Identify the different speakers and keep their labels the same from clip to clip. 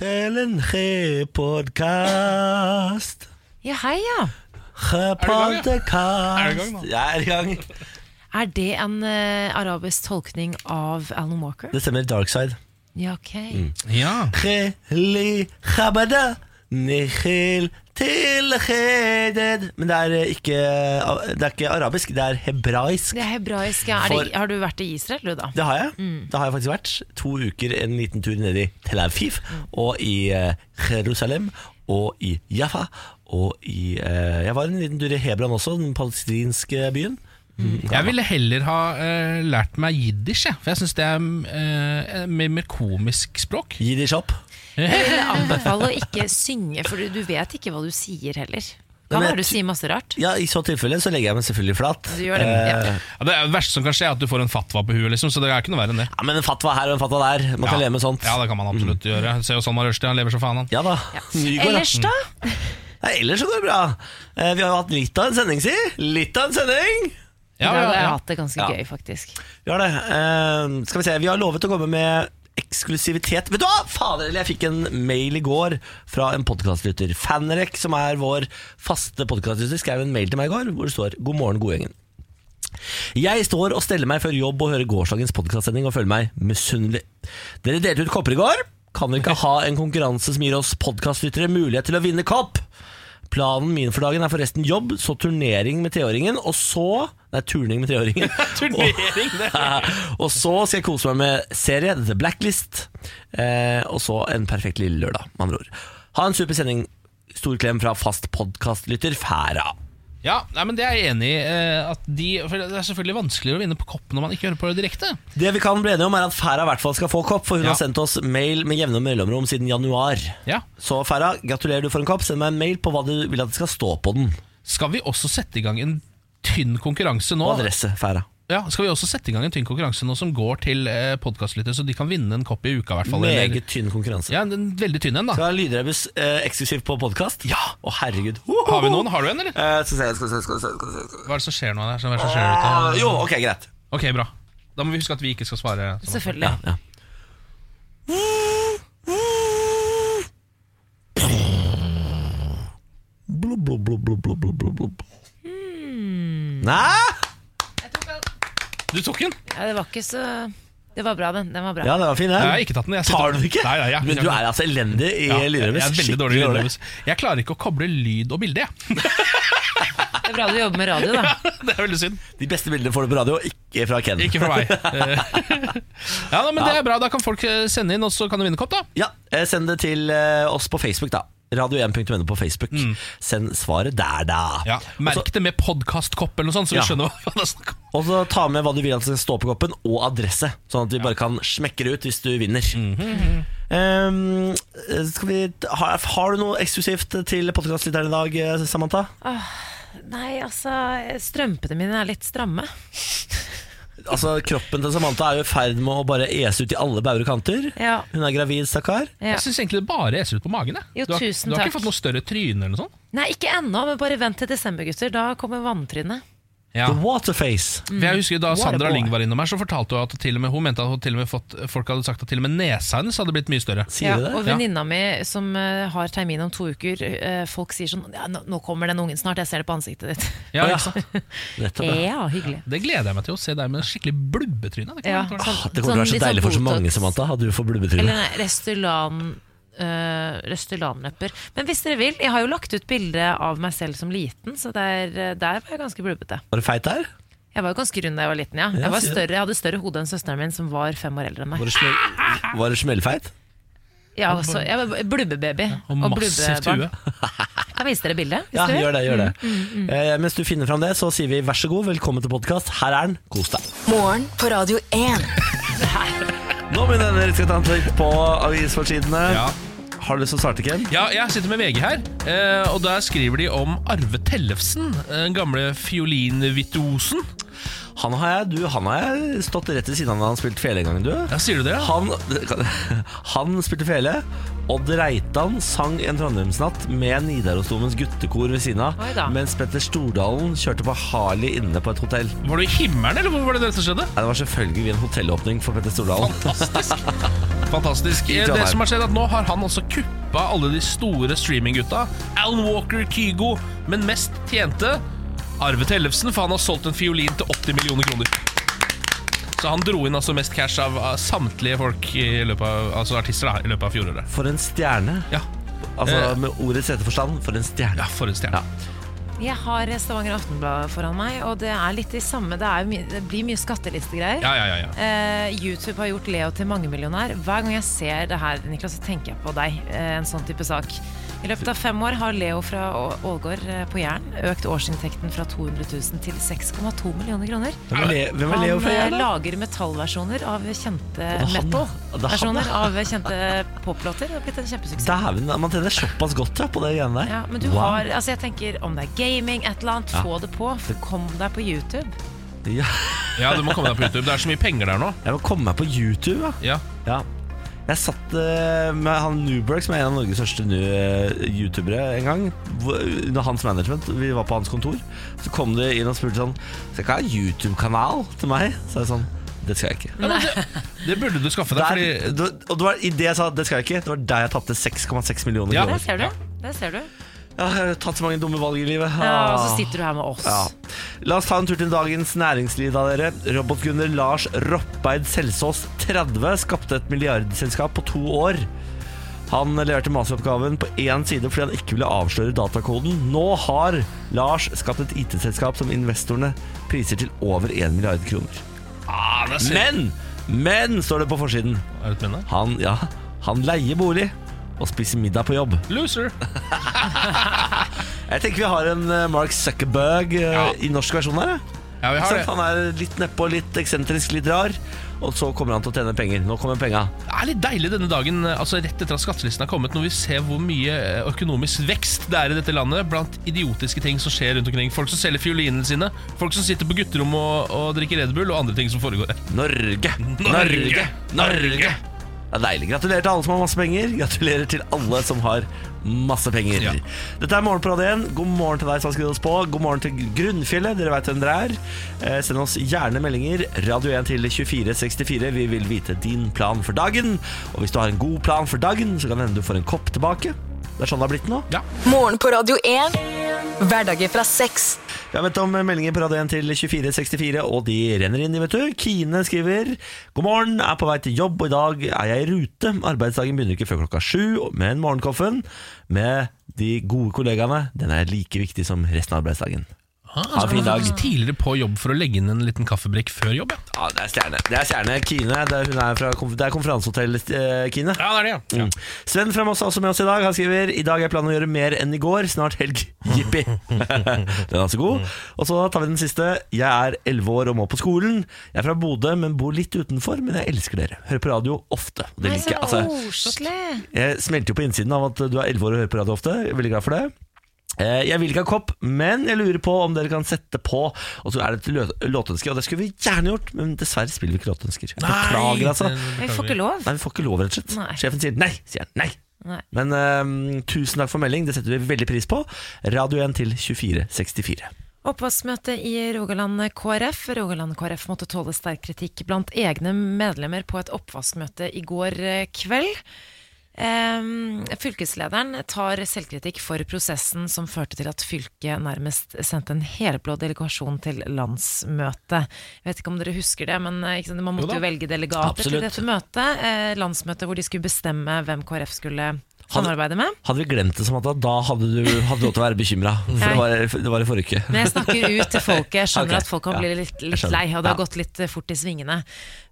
Speaker 1: Helen G-podkast.
Speaker 2: Ja, hei, ja.
Speaker 1: Er
Speaker 3: Er du i gang nå?
Speaker 1: Jeg er i gang.
Speaker 2: Er det en eh, arabisk tolkning av Alan Walker?
Speaker 1: Det stemmer. Darkside.
Speaker 2: Ja, ok.
Speaker 1: Mm.
Speaker 3: Ja.
Speaker 1: Kheli khabada, nihil tilhedet. Men det er eh, ikke, det er ikke arabisk, det er hebraisk.
Speaker 2: Det er hebraisk. Ja. Er det,
Speaker 1: For-
Speaker 2: har du vært i Israel, du, da?
Speaker 1: Det har jeg.
Speaker 2: Mm.
Speaker 1: Det har jeg faktisk vært. To uker, en liten tur ned i Tel Aviv,
Speaker 2: Mm.
Speaker 1: og i eh, Jerusalem, og i Jaffa, og i eh, Jeg var en liten tur i Hebron også, den palestinske byen.
Speaker 2: Mm.
Speaker 1: Mm.
Speaker 3: Jeg ville heller ha eh, lært meg jiddisch, jeg. for jeg syns det er eh, et mer, mer komisk språk.
Speaker 1: Jiddisch opp.
Speaker 2: Jeg vil anbefale å ikke synge, for du, du vet ikke hva du sier heller.
Speaker 1: Nei,
Speaker 2: Kan
Speaker 1: men
Speaker 2: være
Speaker 1: jeg
Speaker 2: du sier masse rart.
Speaker 1: Ja, I så tilfelle så legger jeg meg selvfølgelig flat.
Speaker 2: Du gjør det, ja.
Speaker 1: Eh,
Speaker 3: Ja, det, er det verste som kan skje, er at du får en fatwa på huet, liksom, så det er ikke noe verre enn det.
Speaker 1: ja, Men en fatwa her og en fatwa der. Man kan leve med sånt. Mm.
Speaker 3: Ja, det kan man absolutt gjøre. Se jo Salman Rushdie, han lever så faen, han.
Speaker 1: Ja da.
Speaker 2: Ja.
Speaker 1: Nygaard, da.
Speaker 2: Ellers, da?
Speaker 1: Nei, ellers så går det bra. Eh, vi har jo hatt litt av en sending, si. Litt av en sending!
Speaker 2: I dag
Speaker 3: Ja, ja,
Speaker 2: har jeg
Speaker 3: ja.
Speaker 2: hatt det ganske
Speaker 1: Ja.
Speaker 2: gøy, faktisk.
Speaker 1: Vi har det. Eh, skal vi se, vi har lovet å komme med eksklusivitet. Vet du hva? Fader, eller jeg fikk en mail i går fra en podkastlytter. Fanrek, som er vår faste podkastlytter, skrev en mail til meg i går hvor det står 'God morgen, godgjengen'. Jeg står og steller meg før jobb og hører gårsdagens podkastsending og føler meg misunnelig. Dere delte ut kopper i går. Kan vi ikke ha en konkurranse som gir oss podkastlyttere mulighet til å vinne kopp? Planen min for dagen er forresten jobb, så turnering med treåringen, og så Nei, turning med treåringen.
Speaker 3: Turnering, det.
Speaker 1: Og så skal jeg kose meg med serie The Blacklist. Eh, og så en perfekt lille lørdag, med andre ord. Ha en super sending. Stor klem fra fast podkastlytter Færa.
Speaker 3: Ja, nei, men det er jeg enig i. eh, at de, for det er selvfølgelig vanskeligere å vinne på kopp når man ikke hører på det direkte.
Speaker 1: Det vi kan bli enige om, er at Færa i hvert fall skal få kopp, for hun
Speaker 3: Ja.
Speaker 1: har sendt oss mail med jevne mellomrom siden januar.
Speaker 3: Ja.
Speaker 1: Så Færa, gratulerer du for en kopp. Send meg en mail på hva du vil at det skal stå på den.
Speaker 3: Skal vi også sette i gang en tynn konkurranse nå?
Speaker 1: Og adresse, Færa.
Speaker 3: Ja, skal vi også sette i gang en tynn konkurranse nå som går til eh, podcastlyttere, så de kan vinne en kopp i uka i hvert fall? eller-
Speaker 1: Meget tynn konkurranse.
Speaker 3: Ja, en veldig tynn en, da.
Speaker 1: Skal ha lydrebus eh, eksklusivt på podkast? Ja! Å, herregud.
Speaker 3: Har vi noen? Har du en, eller?
Speaker 1: Eh, skal vi se, skal vi se, skal vi se, skal vi se, skal vi se.
Speaker 3: Hva er det som skjer nå der? Hva er det som skjer ute?
Speaker 1: Ah, jo, ok, greit.
Speaker 3: Ok, bra. Da må vi huske at vi ikke skal svare. sånn.
Speaker 2: Selvfølgelig.
Speaker 1: ja. Blub, blub, blub, blub, blub, blub, blub, blub.
Speaker 2: Hmm.
Speaker 1: Nei?
Speaker 3: Du tok den!
Speaker 2: Ja, det var ikke så Det var bra, den. Den var bra.
Speaker 1: Ja, det var fin,
Speaker 3: Nei,
Speaker 1: den.
Speaker 3: Jeg har ikke tatt den. Jeg sitter-
Speaker 1: Tar du den ikke?
Speaker 3: Nei, nei, jeg-
Speaker 1: Men du er altså elendig i
Speaker 3: Ja,
Speaker 1: ja,
Speaker 3: jeg er veldig dårlig i lydløs. Jeg klarer ikke å koble lyd og bilde, jeg.
Speaker 2: Det er bra du jobber med radio, da.
Speaker 3: Det er veldig synd.
Speaker 1: De beste bildene får du på radio, ikke fra Ken.
Speaker 3: Ikke for meg. Ja, da, men det er bra. Da kan folk eh, sende inn, og så kan du vinne kopp, da.
Speaker 1: Ja, eh, Send det til eh, oss på Facebook, da. Radio1.no på Facebook. Send svaret der, da.
Speaker 3: Mm. Ja, Merk det med podkastkopp eller noe sånt, så vi
Speaker 1: Ja.
Speaker 3: skjønner hva det er snakk om.
Speaker 1: Og så ta med hva du vil at det skal stå på koppen, og adresse. Sånn at vi bare kan smekke det ut hvis du vinner.
Speaker 3: Mhm.
Speaker 1: Eh, skal vi, har, har du noe eksklusivt til podkastlytteren i dag, eh, Samantha?
Speaker 2: Nei, altså, strømpene mine er litt stramme.
Speaker 1: Altså, Kroppen til Samantha er jo i ferd med å bare ese ut i alle bauger og kanter.
Speaker 2: Ja.
Speaker 1: Hun er gravid, stakkar.
Speaker 2: Ja.
Speaker 3: Jeg syns egentlig det bare eser ut på magen. jeg.
Speaker 2: Jo,
Speaker 3: du har,
Speaker 2: tusen
Speaker 3: du har
Speaker 2: takk.
Speaker 3: ikke fått noe større tryne eller noe sånt?
Speaker 2: Nei, ikke ennå, men bare vent til desember, gutter. Da kommer vanntrynet.
Speaker 3: Ja.
Speaker 1: The Waterface.
Speaker 3: For Jeg husker Da
Speaker 2: What a Mm.
Speaker 3: Sandra
Speaker 2: boy.
Speaker 3: Lyng var innom her, så fortalte hun at til og med, hun mente at hun til og med fått, folk hadde sagt at til og med nesa hennes hadde blitt mye større.
Speaker 1: Sier du det?
Speaker 2: og
Speaker 3: Ja.
Speaker 2: venninna mi som eh, har termin om to uker, eh, folk sier sånn ja, nå, 'Nå kommer den ungen snart, jeg ser det på ansiktet ditt'. Liksom.
Speaker 3: Ja,
Speaker 1: Å, ja.
Speaker 3: ikke sant?
Speaker 1: Nettopp, ja.
Speaker 2: Ja, hyggelig.
Speaker 3: Det gleder jeg meg til å se deg med skikkelig blubbetryne. Det,
Speaker 2: Ja,
Speaker 3: kan
Speaker 2: sånn-
Speaker 3: være artig.
Speaker 1: Ah, Det kommer til å være så
Speaker 2: litt sånn
Speaker 1: deilig for så
Speaker 2: Botox.
Speaker 1: mange, Samantha. Hadde du fått
Speaker 2: Eller
Speaker 1: blubbetryne?
Speaker 2: nei, Restylan. Uh, Røstelanlepper. Men hvis dere vil, jeg har jo lagt ut bilde av meg selv som liten, så der, eh, der var jeg ganske blubbete.
Speaker 1: Var du feit der?
Speaker 2: Jeg var jo ganske rund da jeg var liten, ja.
Speaker 1: Ja,
Speaker 2: Jeg, var
Speaker 1: sier
Speaker 2: større, jeg hadde større hode enn søsteren min, som var fem år eldre enn meg.
Speaker 1: Var du, smell, var du smellfeit?
Speaker 2: Ja, altså, jeg var blubbebaby.
Speaker 3: Og massivt
Speaker 2: blubbebarn.
Speaker 3: hue.
Speaker 2: Kan vise dere bildet. hvis
Speaker 1: Ja,
Speaker 2: dere vil.
Speaker 1: gjør det. gjør det
Speaker 2: Mm,
Speaker 1: eh, Mens du finner fram det, så sier vi vær så god, velkommen til podkast. Her er den, kos deg.
Speaker 4: Morgen på Radio 1.
Speaker 1: Nå mine venner, skal vi ta en titt på avisforsidene.
Speaker 3: Ja.
Speaker 1: Har du lyst til å starte, Ken?
Speaker 3: Ja, jeg sitter med VG her, eh, og der skriver de om Arve Tellefsen, den gamle fiolinvirtuosen.
Speaker 1: Han har jeg, du, han har jeg stått rett ved siden av da han spilte fele en gang, du.
Speaker 3: Ja, sier du det? ja?
Speaker 1: Han, han spilte fele. Odd Reitan sang en Trondheimsnatt med Nidarosdomens guttekor ved siden av,
Speaker 2: Oi da.
Speaker 1: mens Petter Stordalen kjørte på Harley inne på et hotell.
Speaker 3: Var du i himmelen, eller hvor var det dette skjedde?
Speaker 1: Nei, det var selvfølgelig en hotellåpning for Petter Stordalen.
Speaker 3: Fantastisk. fantastisk.
Speaker 1: I
Speaker 3: Eh,
Speaker 1: Trondheim.
Speaker 3: Det som har skjedd er at Nå har han også kuppa alle de store streaminggutta. Alan Walker, Kygo, men mest tjente Arve Tellefsen, for han har solgt en fiolin til 80 millioner kroner. Så han dro inn altså mest cash av av samtlige folk i løpet av, altså artister da, i løpet av fjoråret.
Speaker 1: For en stjerne.
Speaker 3: Ja,
Speaker 1: Altså
Speaker 3: Eh.
Speaker 1: Med ordets rette forstand, for en stjerne.
Speaker 3: ja for en stjerne.
Speaker 1: Ja.
Speaker 2: Jeg har Stavanger Aftenblad foran meg, og det er litt de samme. Det, er, jo mye- det blir mye skattelistegreier.
Speaker 3: Ja, ja, ja, ja.
Speaker 5: Uh,
Speaker 2: Eh, YouTube har gjort Leo til mangemillionær. Hver gang jeg ser det her, Niklas, så tenker jeg på deg. eh, en sånn type sak. I løpet av fem år har Leo fra Å- Ålgård eh, på Jæren økt årsinntekten fra 200 000 til 6,2 millioner kroner.
Speaker 1: Hvem er, Le- hvem er Leo
Speaker 2: Han
Speaker 1: fra
Speaker 2: eh,
Speaker 1: Jæren? da?
Speaker 2: lager metallversjoner av kjente
Speaker 1: er han, ja. Det er han,
Speaker 2: metal-versjoner av kjente poplåter. Det har blitt en kjempesuksess.
Speaker 1: Dæven, man tjener såpass godt ja, på det greiene der.
Speaker 2: Ja, men du
Speaker 1: Wow.
Speaker 2: har, altså jeg tenker Om det er gaming, et eller annet,
Speaker 1: Ja.
Speaker 2: få det på. Kom deg på YouTube.
Speaker 1: ja,
Speaker 3: ja, du må komme deg på YouTube. Det er så mye penger der nå.
Speaker 1: Jeg må komme meg på YouTube, ja.
Speaker 3: Ja,
Speaker 1: Ja. Jeg satt eh, med han Newberg, som er en av Norges største nu- eh, youtubere en gang. hvor- Under hans management, vi var på hans kontor. Så kom de inn og spurte sånn Skal ikke ha en YouTube-kanal til meg? Så jeg sånn Det skal jeg ikke.
Speaker 3: ja men det, det burde du skaffe deg,
Speaker 1: Der,
Speaker 3: fordi
Speaker 1: du, og det var i det jeg sa det skal jeg ikke, det var der jeg tapte 6,6 millioner
Speaker 3: Ja.
Speaker 2: Der
Speaker 1: kroner.
Speaker 2: ser du.
Speaker 3: Ja.
Speaker 2: Der ser du.
Speaker 1: Ja, jeg har tatt så mange dumme valg i livet.
Speaker 2: Ja, og så
Speaker 1: Ah.
Speaker 2: sitter du her med oss.
Speaker 1: Ja. La oss ta en tur til dagens næringsliv da, dere. Robotgunner Lars Roppeid Selsås 30 skapte et milliardselskap på to år. Han leverte masteroppgaven på én side fordi han ikke ville avsløre datakoden. Nå har Lars skapt et IT-selskap som investorene priser til over 1 milliard kroner.
Speaker 3: ah, det er synd.
Speaker 1: Men, men, står det på forsiden.
Speaker 3: Er det et minne?
Speaker 1: Han, ja, han leier bolig og spiser middag på jobb.
Speaker 3: Loser.
Speaker 1: Jeg tenker vi har en eh, Mark Zuckerberg eh,
Speaker 3: Ja.
Speaker 1: i norsk versjon her. Ja.
Speaker 3: Ja, vi
Speaker 1: Ikke
Speaker 3: har
Speaker 1: sant?
Speaker 3: det.
Speaker 1: Han er litt nedpå, litt eksentrisk, litt rar. Og så kommer han til å tjene penger. Nå kommer penga.
Speaker 3: Det er litt deilig denne dagen, altså rett etter at skattelisten har kommet, når vi ser hvor mye eh, økonomisk vekst det er i dette landet blant idiotiske ting som skjer rundt omkring. Folk som selger fiolinene sine, folk som sitter på gutterommet og, og drikker Red Bull, og andre ting som foregår her.
Speaker 1: Norge! Norge! Norge! Det er deilig. Gratulerer til alle som har masse penger. Gratulerer til alle som har masse penger.
Speaker 3: Ja.
Speaker 1: Dette er Morgen på Radio 1. God morgen til deg som har skrevet oss på. God morgen til Grunnfjellet. Dere veit hvem dere er. Eh, send oss gjerne meldinger. Radio 1 til 2464. Vi vil vite din plan for dagen. Og hvis du har en god plan for dagen, så kan det hende du får en kopp tilbake. Det er sånn det har blitt nå.
Speaker 3: Ja.
Speaker 4: Morgen på Radio 1. Hverdager fra seks.
Speaker 1: Vi har bedt om meldinger på radioen til 2464, og de renner inn, de vet du. Kine skriver God morgen, er på vei til jobb, og i dag er jeg i rute. Arbeidsdagen begynner ikke før klokka sju, men morgenkoffen med de gode kollegaene, den er like viktig som resten av arbeidsdagen.
Speaker 3: Ah,
Speaker 1: en fin dag.
Speaker 3: Tidligere på jobb for å legge inn en liten kaffebrikk før jobb, ja.
Speaker 1: Ja, det er stjerne. Det er stjerne. Kine, det er, hun er fra, konf- det er konferansehotellet, eh, Kine.
Speaker 3: Ja, det er det, ja.
Speaker 1: Mm. Sven fra Moss er også med oss i dag. Han skriver I dag er planen å gjøre mer enn i går. Snart helg. Jippi. den er altså god. Og så tar vi den siste. Jeg er 11 år og må på skolen. Jeg er fra Bodø, men bor litt utenfor. Men jeg elsker dere. Hører på radio ofte. Det
Speaker 2: Nei, så
Speaker 1: liker jeg. Altså,
Speaker 2: koselig.
Speaker 1: jeg smelter jo på innsiden av at du er 11 år og hører på radio ofte. Jeg er veldig glad for det. Eh, Jeg vil ikke ha kopp, men jeg lurer på om dere kan sette på Og så er det et lø- låtønske, og det skulle vi gjerne gjort, men dessverre spiller vi ikke låtønsker. Beklager, altså.
Speaker 2: Vi får ikke lov.
Speaker 1: Nei, vi får ikke lov, rett og slett.
Speaker 2: Nei.
Speaker 1: Sjefen sier nei, sier jeg nei.
Speaker 2: Nei.
Speaker 1: Men ehm, tusen takk for melding, det setter vi veldig pris på. Radio 1 til 2464.
Speaker 2: Oppvaskmøte i Rogaland KrF. Rogaland KrF måtte tåle sterk kritikk blant egne medlemmer på et oppvaskmøte i går eh, kveld. Ehm, fylkeslederen tar selvkritikk for prosessen som førte til at fylket nærmest sendte en helblå delegasjon til landsmøte. Jeg vet ikke om dere husker det, men eh, ikke sant, man
Speaker 3: Jo da.
Speaker 2: måtte jo velge delegater
Speaker 1: Absolutt.
Speaker 2: til dette møtet. Eh, landsmøtet hvor de skulle bestemme hvem KrF skulle samarbeide med.
Speaker 1: Hadde vi glemt det som at da- da hadde du hadde du lov til å være bekymra? For
Speaker 2: Nei.
Speaker 1: det var, det var i forrige uke.
Speaker 2: Men jeg snakker ut til folket. Jeg skjønner
Speaker 1: Ok,
Speaker 2: at folk kan
Speaker 1: ja.
Speaker 2: bli litt,
Speaker 1: Jeg
Speaker 2: litt
Speaker 1: skjønner.
Speaker 2: lei, og det har
Speaker 1: Ja.
Speaker 2: gått litt eh, fort i svingene.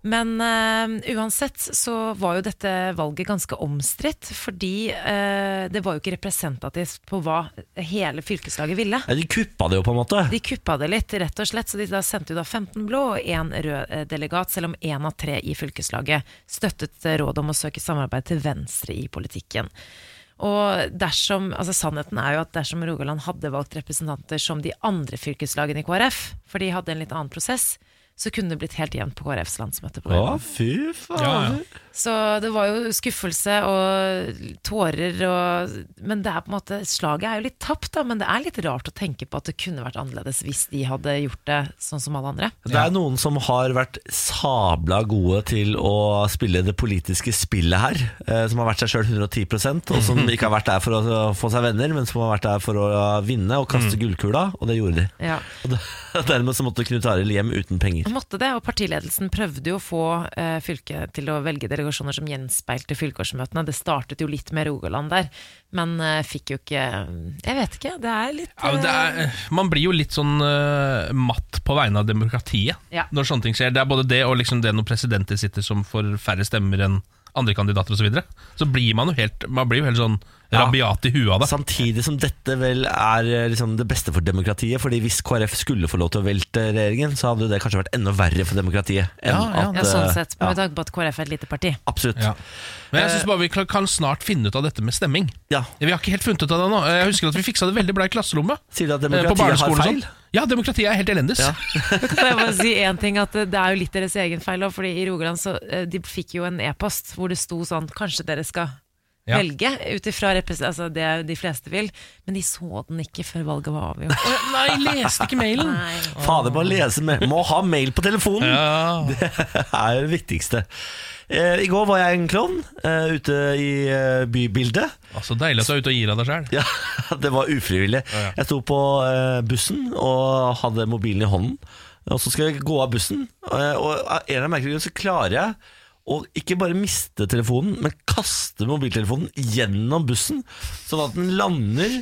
Speaker 2: Men eh, uansett så var jo dette valget ganske omstridt, fordi eh, det var jo ikke representativt på hva hele fylkeslaget ville.
Speaker 1: Nei, de kuppa det jo, på en måte.
Speaker 2: De kuppa det litt, rett og slett, så de da sendte jo da 15 blå og én rød eh, delegat, selv om én av tre i fylkeslaget støttet eh, rådet om å søke samarbeid til venstre i politikken. Og dersom, altså Sannheten er jo at dersom Rogaland hadde valgt representanter som de andre fylkeslagene i KrF, for de hadde en litt annen prosess, så kunne det blitt helt jevnt på KrFs landsmøte. på
Speaker 1: Å,
Speaker 2: lørdag.
Speaker 1: fy
Speaker 3: Ja, ja.
Speaker 1: faen.
Speaker 2: Så det var jo skuffelse og tårer og Men det er på en måte Slaget er jo litt tapt, da, men det er litt rart å tenke på at det kunne vært annerledes hvis de hadde gjort det sånn som alle andre.
Speaker 1: Det er noen som har vært sabla gode til å spille det politiske spillet her. eh, Som har vært seg sjøl 110 og som ikke har vært der for å få seg venner, men som har vært der for å vinne og kaste gullkula, og det gjorde de.
Speaker 2: Ja.
Speaker 1: Og da- Dermed så måtte Knut Arild hjem uten penger.
Speaker 2: Han måtte det, og partiledelsen prøvde jo å få eh, fylket til å velge delegasjoner som gjenspeilte fylkesårsmøtene. Det startet jo litt med Rogaland der, men eh, fikk jo ikke Jeg vet ikke, det er litt eh,
Speaker 3: Ja, men det er, eh, man blir jo litt sånn eh, matt på vegne av demokratiet
Speaker 2: Ja.
Speaker 3: når sånne ting skjer. Det er både det og liksom det når presidenter sitter som får færre stemmer enn andre kandidater osv. Så, videre. så blir man jo helt Man blir jo helt sånn
Speaker 1: Ja.
Speaker 3: rabiat i huet av det.
Speaker 1: Samtidig som dette vel er eh, liksom det beste for demokratiet. Fordi hvis KrF skulle få lov til å velte regjeringen, så hadde det kanskje vært enda verre for demokratiet. Enn
Speaker 3: Ja, ja.
Speaker 1: at,
Speaker 2: eh, ja, sånn
Speaker 1: eh,
Speaker 2: sett, med tanke på at KrF er et lite parti.
Speaker 1: Absolutt.
Speaker 3: Ja. Men jeg syns bare vi kla- kan snart finne ut av dette med stemming.
Speaker 1: Eh. Ja.
Speaker 3: Vi har ikke helt funnet ut av det nå. Jeg husker at vi fiksa det veldig bra i klasserommet.
Speaker 1: Sier du at
Speaker 3: eh, På
Speaker 1: demokratiet har
Speaker 3: barneskolen og
Speaker 1: feil?
Speaker 3: sånn. Ja, demokratiet er helt elendes.
Speaker 1: Ja.
Speaker 2: Kan jeg bare si en ting at Det det er jo litt deres egen feil òg, Fordi i Rogaland så, eh, de fikk jo en e-post hvor det sto sånn Kanskje dere skal
Speaker 3: Ja.
Speaker 2: velge ut ifra repres- altså det de fleste vil. Men de så den ikke før valget var avgjort.
Speaker 3: Å, Nei, leste ikke mailen!
Speaker 1: Fader, bare lese med Må ha mail på telefonen!
Speaker 3: Ja.
Speaker 1: Det er det viktigste. Eh, I går var jeg en klovn eh, ute i eh, bybildet.
Speaker 3: Altså, deilig at du er ute og gir av deg sjæl.
Speaker 1: Ja, Det var ufrivillig.
Speaker 3: ja.
Speaker 1: Jeg sto på eh, bussen og hadde mobilen i hånden. Og så skal jeg gå av bussen, eh, og av en eller annen merkelig grunn så klarer jeg å ikke bare miste telefonen, men kaste mobiltelefonen gjennom bussen. Sånn at den lander,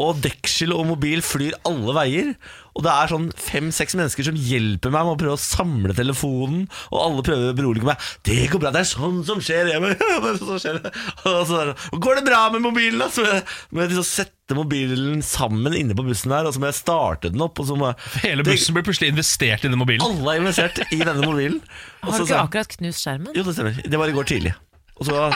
Speaker 1: og deksel og mobil flyr alle veier. Og det er sånn fem-seks mennesker som hjelper meg med å prøve å samle telefonen, og alle prøver å berolige meg. 'Det går bra, det er sånn som skjer.' Jeg bare, «Ja, det er sånn som skjer. Og så er det, går det bra med mobilen, da? Så må jeg, må jeg liksom sette mobilen sammen inne på bussen her, og så må jeg starte den opp, og så må jeg
Speaker 3: Hele bussen blir plutselig investert i den mobilen.
Speaker 1: Alle er investert i denne mobilen. Og
Speaker 2: Har
Speaker 1: så
Speaker 2: du
Speaker 1: sa
Speaker 2: ikke
Speaker 1: jeg-
Speaker 2: akkurat knust skjermen?
Speaker 1: Jo, det stemmer. Det var i går tidlig. Og så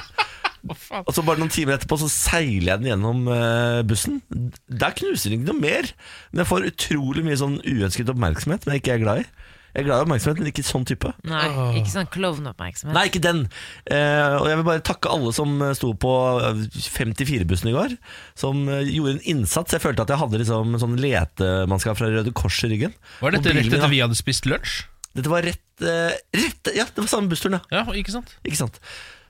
Speaker 1: og så bare noen timer etterpå så seiler jeg den gjennom eh, bussen. Der knuser den ikke noe mer. Men jeg får utrolig mye sånn uønsket oppmerksomhet som jeg ikke er glad i. Jeg er glad i oppmerksomhet, men ikke sånn type.
Speaker 2: Nei, ikke sånn klovneoppmerksomhet.
Speaker 1: Nei, ikke den. Eh, og jeg vil bare takke alle som eh, sto på eh, 54-bussen i går. Som eh, gjorde en innsats. Jeg følte at jeg hadde liksom en sånn letemannskap fra Røde Kors i ryggen.
Speaker 3: Var dette
Speaker 1: Og bilen
Speaker 3: rett
Speaker 1: min, da.
Speaker 3: etter vi hadde spist lunsj?
Speaker 1: Dette var rett, eh, rett Ja, det var samme bussturen, ja.
Speaker 3: Ja, ikke sant?
Speaker 1: Ikke sant?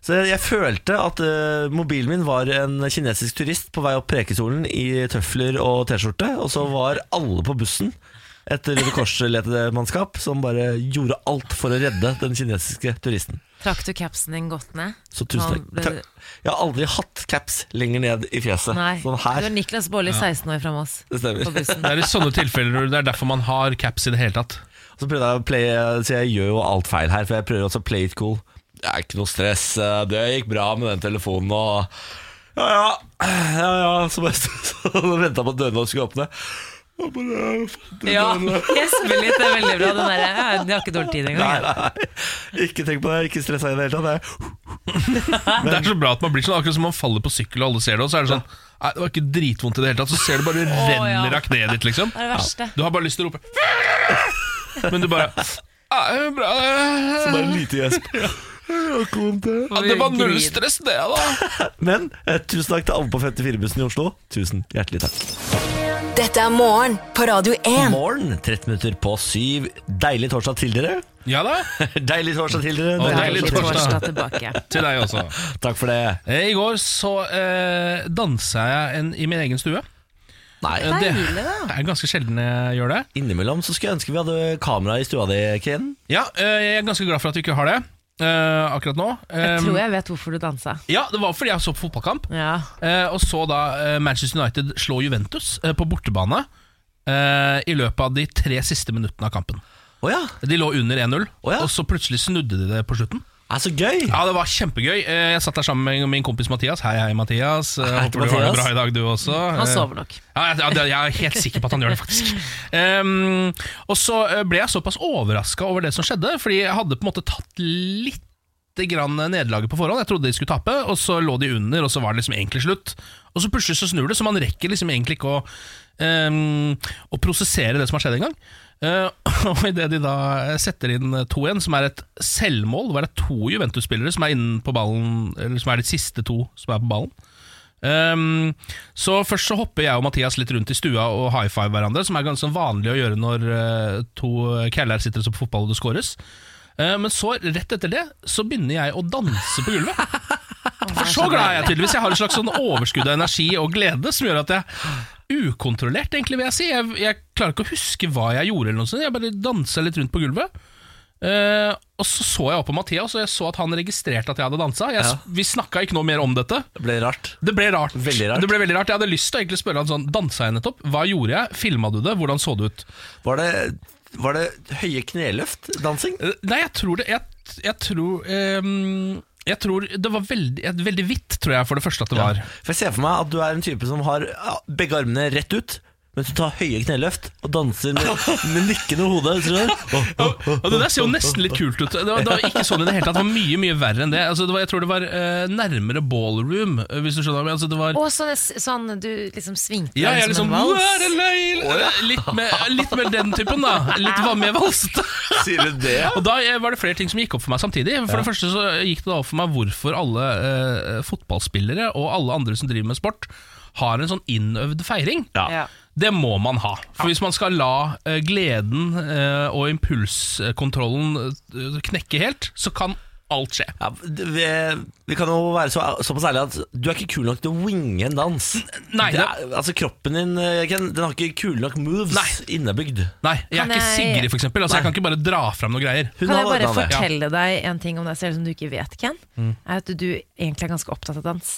Speaker 1: Så jeg, jeg følte at eh, mobilen min var en kinesisk turist på vei opp Preikestolen i tøfler og T-skjorte, og så var alle på bussen et Røde Kors-letemannskap som bare gjorde alt for å redde den kinesiske turisten.
Speaker 2: Trakk du capsen din godt ned?
Speaker 1: Så tusen
Speaker 2: Sånn ble
Speaker 1: takk.
Speaker 2: det-
Speaker 1: takk. Jeg har aldri hatt caps lenger ned i fjeset.
Speaker 2: Nei.
Speaker 1: Sånn
Speaker 2: Du er
Speaker 1: her.
Speaker 2: Niklas Baarli, 16 år fra Moss,
Speaker 1: Det
Speaker 2: på
Speaker 1: stemmer.
Speaker 2: bussen.
Speaker 3: Det er i sånne tilfeller Det er derfor man har caps i det hele tatt.
Speaker 1: Så prøvde jeg å play, så jeg gjør jo alt feil her, for jeg prøver også å play it cool. Det er ikke noe stress, eh, det gikk bra med den telefonen og Ja, ja, ja, ja Så bare venta jeg på at dørene skulle åpne. Og bare,
Speaker 2: Ja, gjesper litt, det er veldig bra. Den der, ja, jeg har ikke dårlig tid engang.
Speaker 1: Nei,
Speaker 2: jeg.
Speaker 1: nei, ikke tenk på det, ikke stressa i det hele tatt. jeg.
Speaker 3: Det er så bra at man blir sånn Akkurat som man faller på sykkel og alle ser det, og så er det sånn Nei, det var ikke dritvondt i det hele tatt, så ser du bare renner av kneet ditt, liksom.
Speaker 2: Det er det verste.
Speaker 3: Du har bare lyst til å rope Men du bare «Ja, det er bra.
Speaker 1: Så bare en lite gjesp. Jeg har ikke vondt, jeg.
Speaker 3: Ja, Det var null stress, det, da.
Speaker 1: Men eh, tusen takk til alle på 54-bussen i Oslo. Tusen hjertelig takk.
Speaker 4: Dette er morgen på Radio 1.
Speaker 1: Morgen, 13 minutter på syv. Deilig torsdag til dere.
Speaker 3: Ja da.
Speaker 1: Deilig torsdag til dere.
Speaker 3: Å,
Speaker 2: Det er
Speaker 3: deilig
Speaker 2: litt
Speaker 3: torsdag.
Speaker 2: torsdag tilbake.
Speaker 3: Til deg også.
Speaker 1: Takk for det.
Speaker 3: Eh, I går så eh, dansa jeg en, i min egen stue.
Speaker 1: Nei.
Speaker 3: Eh, Det er ganske sjelden jeg gjør det.
Speaker 1: Innimellom så skulle jeg ønske vi hadde kamera i stua di, Ken.
Speaker 3: Ja, eh, jeg er ganske glad for at vi ikke har det eh, akkurat nå.
Speaker 2: Jeg
Speaker 3: Eh,
Speaker 2: tror jeg vet hvorfor du dansa.
Speaker 3: Ja, det var fordi jeg så på fotballkamp,
Speaker 2: Ja.
Speaker 3: eh, og så da eh, Manchester United slå Juventus eh, på bortebane eh, i løpet av de tre siste minuttene av kampen.
Speaker 1: Å ja.
Speaker 3: De lå under 1-0,
Speaker 1: Å ja.
Speaker 3: og så plutselig snudde de det på slutten.
Speaker 1: Er så gøy!
Speaker 3: Ja, Det var kjempegøy. Eh, Jeg satt der sammen med min kompis Mathias. Hei, hei, Mathias. Eh,
Speaker 1: Hei til
Speaker 3: Håper du har det
Speaker 1: Mathias.
Speaker 3: bra i dag, du også.
Speaker 2: Han
Speaker 3: Eh,
Speaker 2: sover nok.
Speaker 3: Ja, jeg, ja, jeg er helt sikker på at han gjør det, faktisk. Ehm, og så eh, ble jeg såpass overraska over det som skjedde, fordi jeg hadde på en måte tatt litt grann nederlaget på forhånd. Jeg trodde de skulle tape, og så lå de under, og så var det liksom egentlig slutt. Og så plutselig så snur det, så man rekker liksom egentlig ikke å, ehm, å prosessere det som har skjedd engang. Eh, Og idet de da setter inn 2-1, som er et selvmål hvor det er to Juventus-spillere som er inne på ballen Eller som er de siste to som er på ballen. Ehm, så først så hopper jeg og Mathias litt rundt i stua og high five hverandre, som er ganske vanlig å gjøre når eh, to kæller sitter og ser på fotball og det scores. Eh, men så, rett etter det, så begynner jeg å danse på gulvet. For så glad er jeg tydeligvis. Jeg har et slags sånn overskudd av energi og glede som gjør at jeg Ukontrollert, egentlig, vil jeg si. Jeg, jeg klarer ikke å huske hva jeg gjorde. eller noe sånt. Jeg bare dansa litt rundt på gulvet. Eh, og så så jeg opp på Mathias, og jeg så at han registrerte at jeg hadde dansa. Jeg,
Speaker 1: Ja.
Speaker 3: Vi snakka ikke noe mer om dette.
Speaker 1: Det ble rart.
Speaker 3: Det ble rart.
Speaker 1: Veldig rart.
Speaker 3: Det ble veldig rart. Jeg hadde lyst til å egentlig spørre han sånn Dansa jeg nettopp? Hva gjorde jeg? Filma du det? Hvordan så det ut?
Speaker 1: Var det, var det høye kneløft-dansing?
Speaker 3: Eh, Nei, jeg tror det Jeg, jeg tror ehm, Jeg tror det var veldig, et veldig hvitt, tror jeg, for det første at det var.
Speaker 1: For Jeg ser for meg at du er en type som har ja, begge armene rett ut, mens du tar høye kneløft og danser med, med nikkende hode. Tror du? Åh,
Speaker 3: Ja,
Speaker 1: åh, åh.
Speaker 3: og det der ser jo nesten litt kult ut. Det var, det var ikke sånn i det hele tatt. Det var mye mye verre enn det. Altså, det var, jeg tror det var eh, nærmere ballroom, eh, hvis du skjønner. hva jeg mener. Altså, det var,
Speaker 2: Og sånn, sånn du liksom svingte
Speaker 3: ja,
Speaker 2: den
Speaker 3: jeg liksom
Speaker 2: som en
Speaker 3: "Where
Speaker 2: vals.
Speaker 3: the lail-" eh, litt, med, litt med den typen, da. Litt var med valsete.
Speaker 1: Sier du det?
Speaker 3: Og da eh, var det flere ting som gikk opp for meg samtidig. For det første så gikk det da opp for meg hvorfor alle eh, fotballspillere og alle andre som driver med sport, har en sånn innøvd feiring.
Speaker 2: Ja.
Speaker 3: Det må man ha. For hvis man skal la eh, gleden eh, og impulskontrollen eh, knekke helt, så kan alt skje.
Speaker 1: Ja, det- vi, vi kan jo være så, såpass ærlige at du er ikke kul nok til å winge en dans.
Speaker 3: nei,
Speaker 1: det er, altså Kroppen din eh, Ken, Den har ikke kule nok moves
Speaker 3: Nei.
Speaker 1: innebygd.
Speaker 3: Nei, jeg er
Speaker 2: Kan
Speaker 3: ikke
Speaker 2: jeg-
Speaker 3: Sigrid, for eksempel. Altså, jeg
Speaker 1: Nei.
Speaker 3: kan ikke bare dra fram noen greier.
Speaker 1: Hun
Speaker 2: Kan jeg
Speaker 1: hadde
Speaker 2: bare
Speaker 1: ordnet det.
Speaker 2: fortelle deg en ting om deg selv som du ikke vet, Ken?
Speaker 3: Mm.
Speaker 2: Er at du egentlig er ganske opptatt av dans.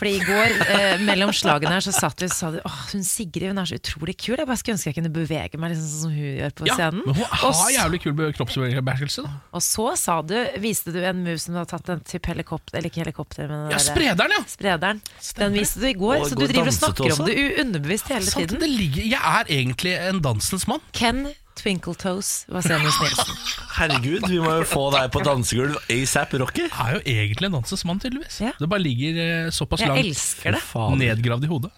Speaker 2: Fordi i går, eh, mellom slagene her, så satt vi og sa du, åh, hun Sigrid hun er så utrolig kul. Jeg bare skulle ønske jeg kunne bevege meg liksom sånn som hun gjør på
Speaker 3: Ja,
Speaker 2: scenen.
Speaker 3: men hun
Speaker 2: Og
Speaker 3: har
Speaker 2: s-
Speaker 3: jævlig kul be- kroppsbevegelse. da.
Speaker 2: Og så sa du, viste du en move som du har tatt en type helikopter, eller ikke helikopter, men den
Speaker 3: Ja,
Speaker 2: derre-
Speaker 3: Sprederen, ja!
Speaker 2: sprederen. Den viste du i går,
Speaker 1: Og i
Speaker 2: så
Speaker 1: går
Speaker 2: du driver og
Speaker 1: danset du
Speaker 2: snakker om
Speaker 1: også.
Speaker 2: det u- underbevisst hele
Speaker 3: Sant,
Speaker 2: tiden.
Speaker 3: det ligger, jeg er egentlig en dansens mann.
Speaker 2: Ken Twinkle Toes var Senus Nilsen.
Speaker 1: Herregud, vi må jo få deg på dansegulv asap, Rocky.
Speaker 3: Jeg er jo egentlig en dansens mann, tydeligvis.
Speaker 2: Ja.
Speaker 3: Det bare ligger eh, såpass
Speaker 2: Jeg
Speaker 3: langt
Speaker 2: elsker det.
Speaker 1: Faen.
Speaker 3: nedgravd i hodet.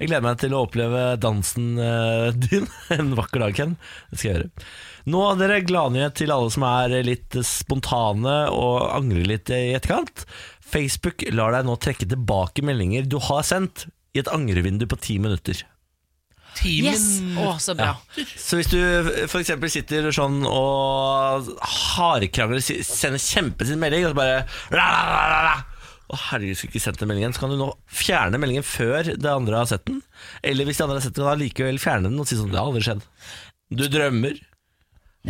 Speaker 1: Jeg gleder meg til å oppleve dansen eh, din en vakker dag, Ken. Det skal jeg gjøre. Nå har dere gladnyhet til alle som er litt spontane og angrer litt i etterkant. Facebook lar deg nå trekke tilbake meldinger du har sendt i et angrevindu på ti minutter.
Speaker 3: Ti
Speaker 2: Yes!
Speaker 3: min-
Speaker 2: Å, så bra.
Speaker 1: Så hvis du f.eks. sitter sånn og hardkrangler, si- sender kjempesint melding, og så bare la, la, la, la, la. Å herregud, skulle ikke sendt den meldingen. Så kan du nå fjerne meldingen før det andre har sett den. Eller hvis de andre har sett den, kan du allikevel fjerne den og si sånn Det har aldri skjedd. Du drømmer.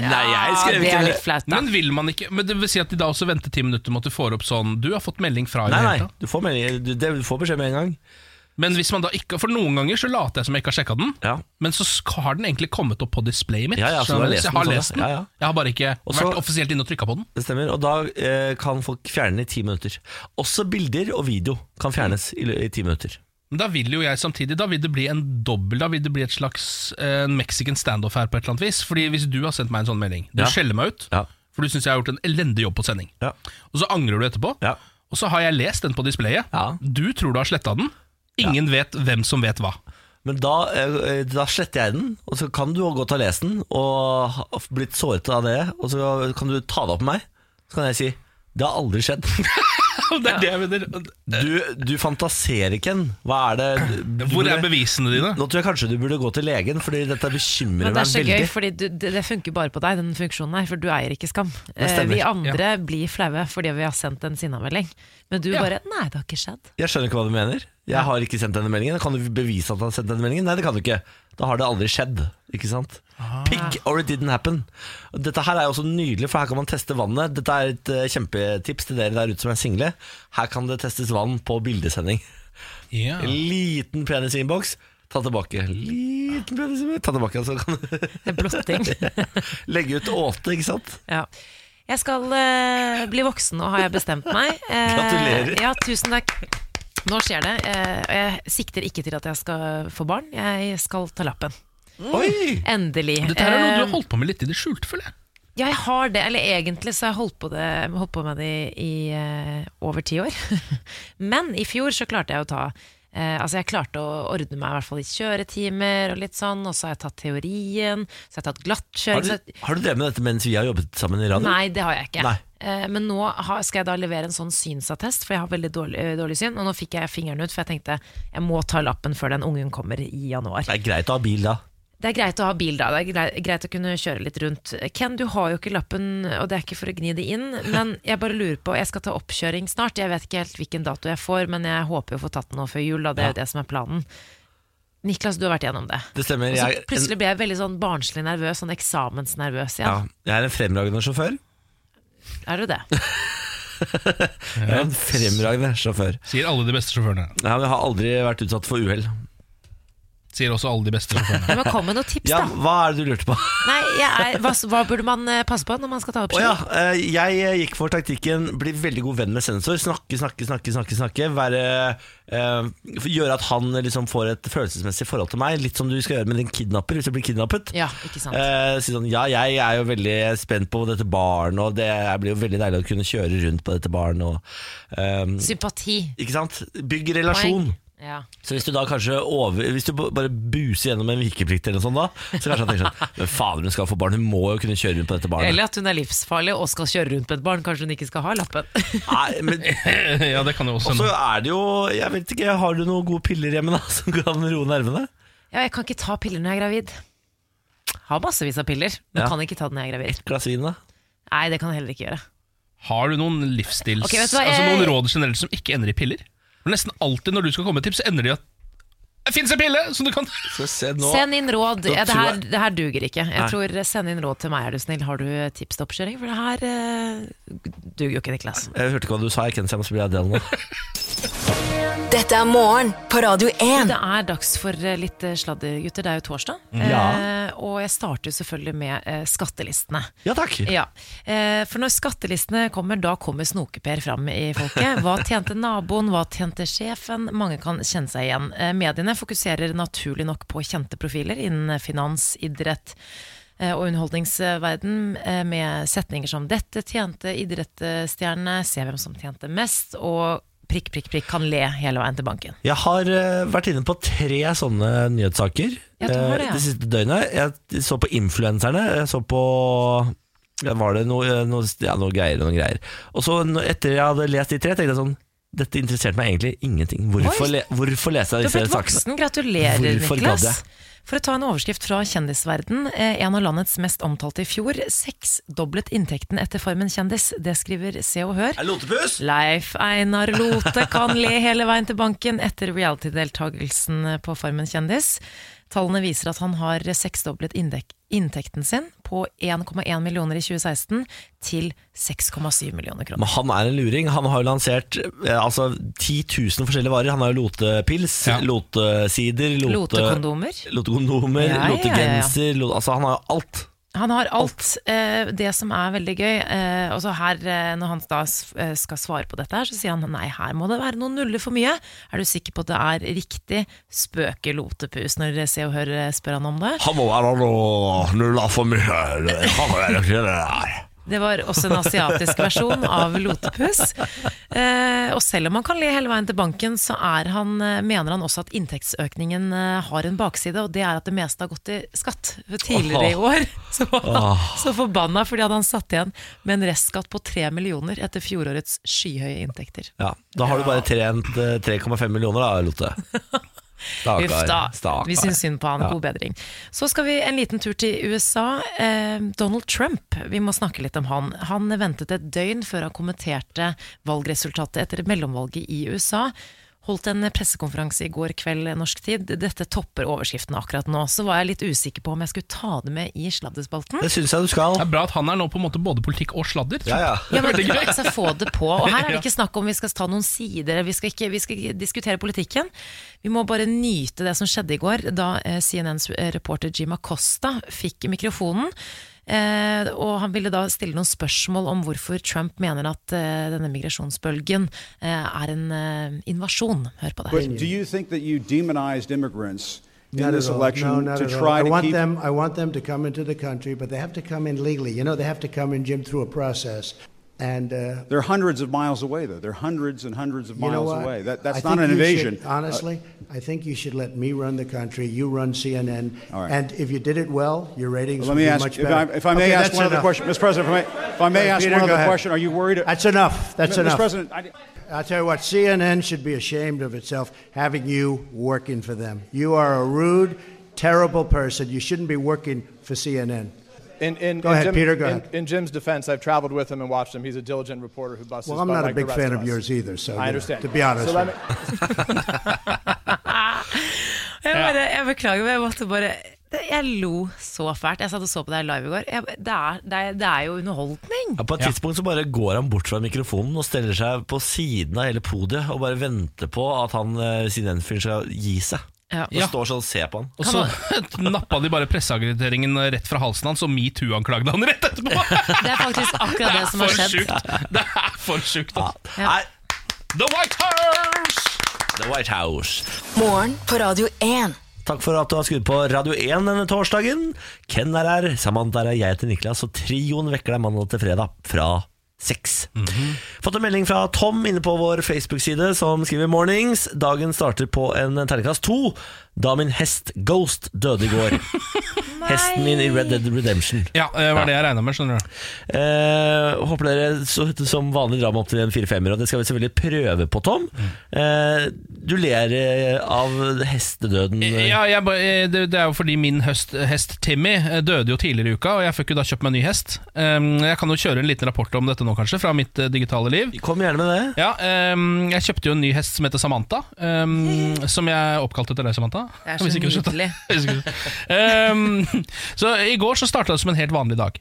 Speaker 1: Nei, jeg skrev
Speaker 2: det
Speaker 1: ikke
Speaker 2: er
Speaker 1: det.
Speaker 2: litt flaut, da.
Speaker 3: Men vil man ikke Men det vil si at de da også venter ti minutter med at du får opp sånn Du har fått melding fra i
Speaker 1: Nei,
Speaker 3: det
Speaker 1: nei,
Speaker 3: hele tatt.
Speaker 1: du får, melding, du, det, du får beskjed med en gang.
Speaker 3: Men hvis man da ikke For noen ganger så later jeg som jeg ikke har sjekka den,
Speaker 1: Ja.
Speaker 3: men så sk- har den egentlig kommet opp på displayet mitt.
Speaker 1: Ja, ja, så
Speaker 3: Skjønner
Speaker 1: du har
Speaker 3: du?
Speaker 1: lest
Speaker 3: jeg har
Speaker 1: den,
Speaker 3: lest
Speaker 1: sånn,
Speaker 3: den.
Speaker 1: ja. Ja, ja.
Speaker 3: Jeg har bare ikke
Speaker 1: Og så-
Speaker 3: vært offisielt inne og trykka på den.
Speaker 1: Det stemmer. Og da eh, kan folk fjerne den i ti minutter. Også bilder og video kan fjernes i, lø- i ti minutter.
Speaker 3: Men da vil jo jeg samtidig Da vil det bli en dobbel Da vil det bli et slags eh, Mexican standoff her på et eller annet vis. Fordi hvis du har sendt meg en sånn melding Du
Speaker 1: Ja.
Speaker 3: skjeller meg ut,
Speaker 1: Ja.
Speaker 3: for du syns jeg har gjort en elendig jobb på sending.
Speaker 1: Ja.
Speaker 3: Og så angrer du etterpå.
Speaker 1: Ja.
Speaker 3: Og så har jeg lest den på displayet.
Speaker 1: Ja.
Speaker 3: Du tror du har sletta den. Ingen vet hvem som vet hva.
Speaker 1: Men da, eh, da sletter jeg den, og så kan du jo godt ha lest den og ha blitt såret av det, og så kan du ta det opp med meg. Så kan jeg si det har aldri skjedd.
Speaker 3: Det er det jeg mener.
Speaker 1: Du, du fantaserer ikke en. Hva er det du- du
Speaker 3: Hvor er
Speaker 1: burde-
Speaker 3: bevisene dine?
Speaker 1: Nå tror jeg kanskje du burde gå til legen, fordi dette bekymrer
Speaker 2: Men det
Speaker 1: meg
Speaker 2: er så gøy,
Speaker 1: veldig.
Speaker 2: fordi du, det, det funker bare på deg, den funksjonen her, for du eier ikke skam. Eh,
Speaker 1: stemmer.
Speaker 2: vi andre blir flaue fordi vi har sendt en sinnamelding, men du
Speaker 3: Ja.
Speaker 2: bare Nei, det har ikke skjedd.
Speaker 1: Jeg skjønner ikke hva du mener. Jeg har ikke sendt denne meldingen. Kan du bevise at han har sendt denne meldingen? Nei, det kan du ikke. Da har det aldri skjedd. Ikke sant? Pig or it didn't happen. Dette her er jo også nydelig, for her kan man teste vannet. Dette er et eh, kjempetips til dere der ute som er single. Her kan det testes vann på bildesending.
Speaker 3: Ja.
Speaker 1: Liten penis i innboks. Ta tilbake. Liten penis i innboks. Ta tilbake, så kan du
Speaker 2: Det er blotting.
Speaker 1: legge ut åte, ikke sant?
Speaker 2: ja. Jeg skal eh, bli voksen nå, har jeg bestemt meg. Eh,
Speaker 1: Gratulerer.
Speaker 2: Ja, tusen takk. Nå skjer det. eh, og jeg sikter ikke til at jeg skal få barn, jeg skal ta lappen.
Speaker 1: Oi!
Speaker 2: Endelig.
Speaker 3: Dette her er
Speaker 2: Eh,
Speaker 3: noe du har holdt på med litt i det skjulte, føler jeg.
Speaker 2: Ja, jeg har det. Eller egentlig så har jeg holdt på, det, holdt på med det i, i eh, over ti år. Men i fjor så klarte jeg å ta Eh, altså jeg klarte å ordne meg i hvert fall i kjøretimer og litt sånn, og så har jeg tatt teorien, så har jeg tatt
Speaker 1: Har
Speaker 2: glattkjøring.
Speaker 1: du,
Speaker 2: så-
Speaker 1: har du drevet med dette mens vi har jobbet sammen i radio?
Speaker 2: Nei, det har jeg ikke.
Speaker 1: Nei.
Speaker 2: Eh, Men nå har, skal jeg da levere en sånn synsattest, for jeg har veldig dårlig, eh, dårlig syn. Og nå fikk jeg fingeren ut, for jeg tenkte jeg må ta lappen før den ungen kommer i januar.
Speaker 1: Det er greit å ha bil da.
Speaker 2: Det er greit å ha bil da, det er grei- greit å kunne kjøre litt rundt. Ken, du har jo ikke lappen, og det er ikke for å gni det inn, men jeg bare lurer på, jeg skal ta oppkjøring snart, jeg vet ikke helt hvilken dato jeg får, men jeg håper jo å få tatt den nå før jul, da, det er jo det som er planen. Niklas, du har vært gjennom det.
Speaker 1: Det stemmer.
Speaker 2: Og så
Speaker 1: Jeg, en,
Speaker 2: plutselig ble jeg veldig sånn barnslig nervøs, sånn eksamensnervøs
Speaker 1: ja,
Speaker 2: igjen.
Speaker 1: jeg er en fremragende sjåfør.
Speaker 2: Er du det?
Speaker 1: Jeg er en fremragende sjåfør.
Speaker 3: Sier alle de beste sjåførene.
Speaker 1: Nei, men jeg har aldri vært utsatt for uhell.
Speaker 3: Sier også alle de beste sjåførene.
Speaker 2: Ja, men kom med noen tips,
Speaker 1: Ja,
Speaker 2: da.
Speaker 1: hva er det du lurte på? Å
Speaker 2: Nei, jeg er, hva, hva burde man eh, passe på når man skal ta opp
Speaker 1: ja,
Speaker 2: ski?
Speaker 1: eh, jeg eh, gikk for taktikken bli veldig god venn med sensor. Snakke, snakke, snakke, snakke. snakke Være, eh, Gjøre at han liksom får et følelsesmessig forhold til meg. Litt som du skal gjøre med din kidnapper hvis du blir kidnappet.
Speaker 2: Ja, ikke sant.
Speaker 1: Eh, si sånn, ja, jeg er jo veldig spent på dette barnet, og det blir jo veldig deilig å kunne kjøre rundt på dette barnet. Og, eh,
Speaker 2: Sympati.
Speaker 1: ikke sant? Bygg relasjon.
Speaker 2: Poeng. Ja.
Speaker 1: Så hvis du da kanskje over, Hvis du bare buser gjennom en vikeplikt eller noe sånt da, så kanskje han tenker sånn Men fader, hun skal få barn, hun må jo kunne kjøre rundt på dette barnet.
Speaker 2: Eller at hun er livsfarlig og skal kjøre rundt med et barn. Kanskje hun ikke skal ha lappen.
Speaker 1: Nei, men
Speaker 3: ja, det kan jo også
Speaker 1: Og så
Speaker 3: hende.
Speaker 1: er det jo Jeg vet ikke, har du noen gode piller hjemme da som kan roe nervene?
Speaker 2: Ja, jeg kan ikke ta piller når jeg er gravid. Har massevis av piller, men
Speaker 1: Ja.
Speaker 2: kan ikke ta den når jeg er gravid.
Speaker 1: Glass vin, da?
Speaker 2: Nei, det kan jeg heller ikke gjøre.
Speaker 3: Har du noen livsstils...
Speaker 2: Ok, vet du hva,
Speaker 3: Altså
Speaker 2: jeg-
Speaker 3: noen råd generelt som ikke ender i piller? For Nesten alltid når du skal komme med tips, så ender de i at det fins en pille som du kan
Speaker 1: Skal vi se nå
Speaker 2: Send inn råd.
Speaker 1: Da
Speaker 2: Ja, det,
Speaker 1: tror
Speaker 2: her,
Speaker 1: jeg-
Speaker 2: det her duger ikke. Jeg
Speaker 1: Nei.
Speaker 2: tror eh, Send inn råd til meg, er du snill. Har du eh, tips til oppkjøring? For det her eh, duger jo ikke, Niklas.
Speaker 1: Jeg hørte ikke hva du sa, jeg kjenner seg, jeg må bli Adele nå.
Speaker 4: Dette er morgen på Radio 1.
Speaker 2: Det er dags for eh, litt eh, sladder, gutter. Det er jo torsdag.
Speaker 1: Mm. Ja.
Speaker 2: Eh, og jeg starter jo selvfølgelig med eh, skattelistene.
Speaker 1: Ja takk.
Speaker 2: Ja, eh, For når skattelistene kommer, da kommer Snoke-Per fram i folket. Hva tjente naboen, hva tjente sjefen? Mange kan kjenne seg igjen. Eh, Mediene fokuserer naturlig nok på kjente profiler innen finans, idrett eh, og underholdningsverden eh, med setninger som 'dette tjente idrettsstjernene', 'se hvem som tjente mest', og prikk, prikk, prikk kan le hele veien til banken.
Speaker 1: Jeg har eh, vært inne på tre sånne nyhetssaker
Speaker 2: Ja, du har det,
Speaker 1: eh,
Speaker 2: ja.
Speaker 1: det siste døgnet. Jeg så på influenserne, jeg så på ja, Var det noe, eh, noe, ja, noe greier og noen greier. Og så no- etter jeg hadde lest de tre, tenkte jeg sånn Dette interesserte meg egentlig ingenting. Hvorfor,
Speaker 2: Oi.
Speaker 1: le, hvorfor leser
Speaker 2: Du har
Speaker 1: jeg disse
Speaker 2: blitt
Speaker 1: sakene?
Speaker 2: voksen, gratulerer
Speaker 1: Hvorfor gadd
Speaker 2: Niklas.
Speaker 1: jeg?
Speaker 2: For å ta en overskrift fra kjendisverden, eh, en av landets mest omtalte i fjor, seksdoblet inntekten etter Farmen kjendis. Det skriver Se og Hør.
Speaker 1: Er det lotepus?
Speaker 2: Leif Einar Lote kan le hele veien til banken etter reality-deltagelsen på Farmen kjendis. Tallene viser at han har seksdoblet inndek- inntekten sin på 1,1 millioner i 2016 til 6,7 millioner kroner.
Speaker 1: Men han er en luring. Han har jo lansert eh, altså, 10 000 forskjellige varer. Han har jo lotepils,
Speaker 3: Ja.
Speaker 1: lotesider, lote,
Speaker 2: Lotekondomer.
Speaker 1: lotekondomer,
Speaker 2: Ja, ja, ja, ja.
Speaker 1: lotegenser lo- Altså, han har jo alt.
Speaker 2: Han har alt. Eh, det som er veldig gøy eh, også her, eh, Når han da s- eh, skal svare på dette, her, så sier han nei, her må det være noen nuller for mye. Er du sikker på at det er riktig? Spøker Lotepus når Se og Hør eh, spør han om det.
Speaker 1: Han må være noe nulla for mye. Han er ikke det der.
Speaker 2: Det var også en asiatisk versjon av Lotepus. Eh, og selv om han kan le hele veien til banken, så er han, eh, mener han også at inntektsøkningen eh, har en bakside, og det er at det meste har gått til skatt. For tidligere i år så var han så forbanna fordi hadde han satt igjen med en restskatt på 3 millioner etter fjorårets skyhøye inntekter.
Speaker 1: Ja, da har du bare trent eh, 3,5 millioner da, Lotte. Stakkar.
Speaker 2: Uff da.
Speaker 1: Stakkar.
Speaker 2: Vi syns synd på han. God bedring. Så skal vi en liten tur til USA. Eh, Donald Trump, vi må snakke litt om han. Han ventet et døgn før han kommenterte valgresultatet etter mellomvalget i USA. Holdt en pressekonferanse i går kveld norsk tid. Dette topper overskriftene akkurat nå. Så var jeg litt usikker på om jeg skulle ta det med i sladdespalten.
Speaker 1: Det syns jeg du skal.
Speaker 3: Det er bra at han er nå på en måte både politikk og sladder.
Speaker 1: Ja, ja.
Speaker 2: Ja, men altså, få det på. Og her er det ikke snakk om vi skal ta noen sider, vi skal ikke, vi skal ikke diskutere politikken. Vi må bare nyte det som skjedde i går, da eh, CNNs reporter Jim Acosta fikk mikrofonen. Eh, og han ville da stille noen spørsmål om hvorfor Trump mener at eh, denne migrasjonsbølgen eh, er en eh, invasjon. Hør på det.
Speaker 6: But do you think that you demonized immigrants in
Speaker 7: Not
Speaker 6: this
Speaker 7: at all.
Speaker 6: election
Speaker 7: No, not
Speaker 6: to
Speaker 7: at all.
Speaker 6: try
Speaker 7: I
Speaker 6: to
Speaker 7: want
Speaker 6: keep
Speaker 7: them. I want them to come into the country, but they have to come in legally. You know, they have to come in, Jim, through a process. And uh,
Speaker 6: They're hundreds of miles away, though. They're hundreds and hundreds of
Speaker 7: you know
Speaker 6: miles
Speaker 7: what?
Speaker 6: away. That,
Speaker 7: I
Speaker 6: that's
Speaker 7: think
Speaker 6: not an
Speaker 7: you should-
Speaker 6: invasion. Uh,
Speaker 7: honestly, I think you should let me run the country. You run CNN.
Speaker 6: All right.
Speaker 7: And if you did it well, your ratings
Speaker 6: let
Speaker 7: would
Speaker 6: me
Speaker 7: be
Speaker 6: ask,
Speaker 7: much
Speaker 6: if
Speaker 7: better.
Speaker 6: I, if I may
Speaker 7: Okay,
Speaker 6: ask
Speaker 7: that's
Speaker 6: one other
Speaker 7: enough.
Speaker 6: question, Mr. President, if I may, if I may ask
Speaker 7: Peter,
Speaker 6: one
Speaker 7: go
Speaker 6: other
Speaker 7: ahead.
Speaker 6: question, are you worried?
Speaker 7: That's enough. That's
Speaker 6: Mr.
Speaker 7: enough.
Speaker 6: President, I,
Speaker 7: I'll tell you what, CNN should be ashamed of itself having you working for them. You are a rude, terrible person. You shouldn't be working for CNN.
Speaker 5: In, in,
Speaker 7: Go
Speaker 5: in
Speaker 7: ahead,
Speaker 5: Jim-
Speaker 7: Peter, go
Speaker 5: in,
Speaker 7: ahead.
Speaker 5: in Jim's defense, I've traveled with him and watched him. He's a diligent reporter who busts.
Speaker 7: Well,
Speaker 5: his
Speaker 7: I'm
Speaker 5: butt
Speaker 7: not a
Speaker 5: like the
Speaker 7: big
Speaker 5: rest
Speaker 7: fan
Speaker 5: of
Speaker 7: of
Speaker 5: us.
Speaker 7: yours either, so
Speaker 5: I
Speaker 7: you know,
Speaker 5: understand.
Speaker 7: to be honest
Speaker 5: So let
Speaker 7: with
Speaker 5: me-
Speaker 2: Jeg, bare, jeg beklager, men jeg måtte bare det- Jeg lo så fælt. Jeg satt og så på deg live i går. Jeg, det, er, det, er, det er jo underholdning.
Speaker 1: Ja, på et tidspunkt så bare går han bort fra mikrofonen og steller seg på siden av hele podiet og bare venter på at han eh, CNN-fyren skal gi seg.
Speaker 2: Ja.
Speaker 1: Og står sånn og ser på han.
Speaker 3: Og så nappa de bare presseagiteringen rett fra halsen hans, og metoo-anklagde han rett etterpå!
Speaker 2: Det er faktisk akkurat det som har
Speaker 3: for
Speaker 2: skjedd.
Speaker 3: sjukt! Det er for sjukt,
Speaker 1: Ja.
Speaker 3: altså.
Speaker 2: Ja.
Speaker 1: Nei,
Speaker 3: The White House!
Speaker 1: The White House.
Speaker 4: Morgen på Radio 1.
Speaker 1: Takk for at du har skrudd på Radio 1 denne torsdagen. Ken er her, Samantha er her, jeg heter Niklas, og trioen vekker deg mandag til fredag fra seks. Fått en melding fra Tom inne på vår Facebook-side, som skriver mornings. Dagen starter på en terningkast to, da min hest Ghost døde i går. Hesten min i Red Dead Redemption.
Speaker 3: Ja, det var det jeg regna med, skjønner du.
Speaker 1: Eh, håper dere så, som vanlig drar meg opp til en 4-5-er, og det skal vi selvfølgelig prøve på, Tom. Eh, du ler eh, av hestedøden.
Speaker 3: Ja, jeg, ba- eh, det, det er jo fordi min høst, hest Timmy eh, døde jo tidligere i uka, og jeg fikk jo da kjøpt meg en ny hest. Um, jeg kan jo kjøre en liten rapport om dette nå, kanskje, fra mitt eh, digitale liv.
Speaker 1: Kom gjerne med det.
Speaker 3: Ja, ehm, jeg kjøpte jo en ny hest som heter Samantha. ehm, som jeg oppkalte etter deg, Samantha.
Speaker 2: Det er så
Speaker 3: Hvis ikke du skjønte.
Speaker 2: nydelig.
Speaker 3: Hvis ikke du skjønte. Ehm, så i går så starta det som en helt vanlig dag.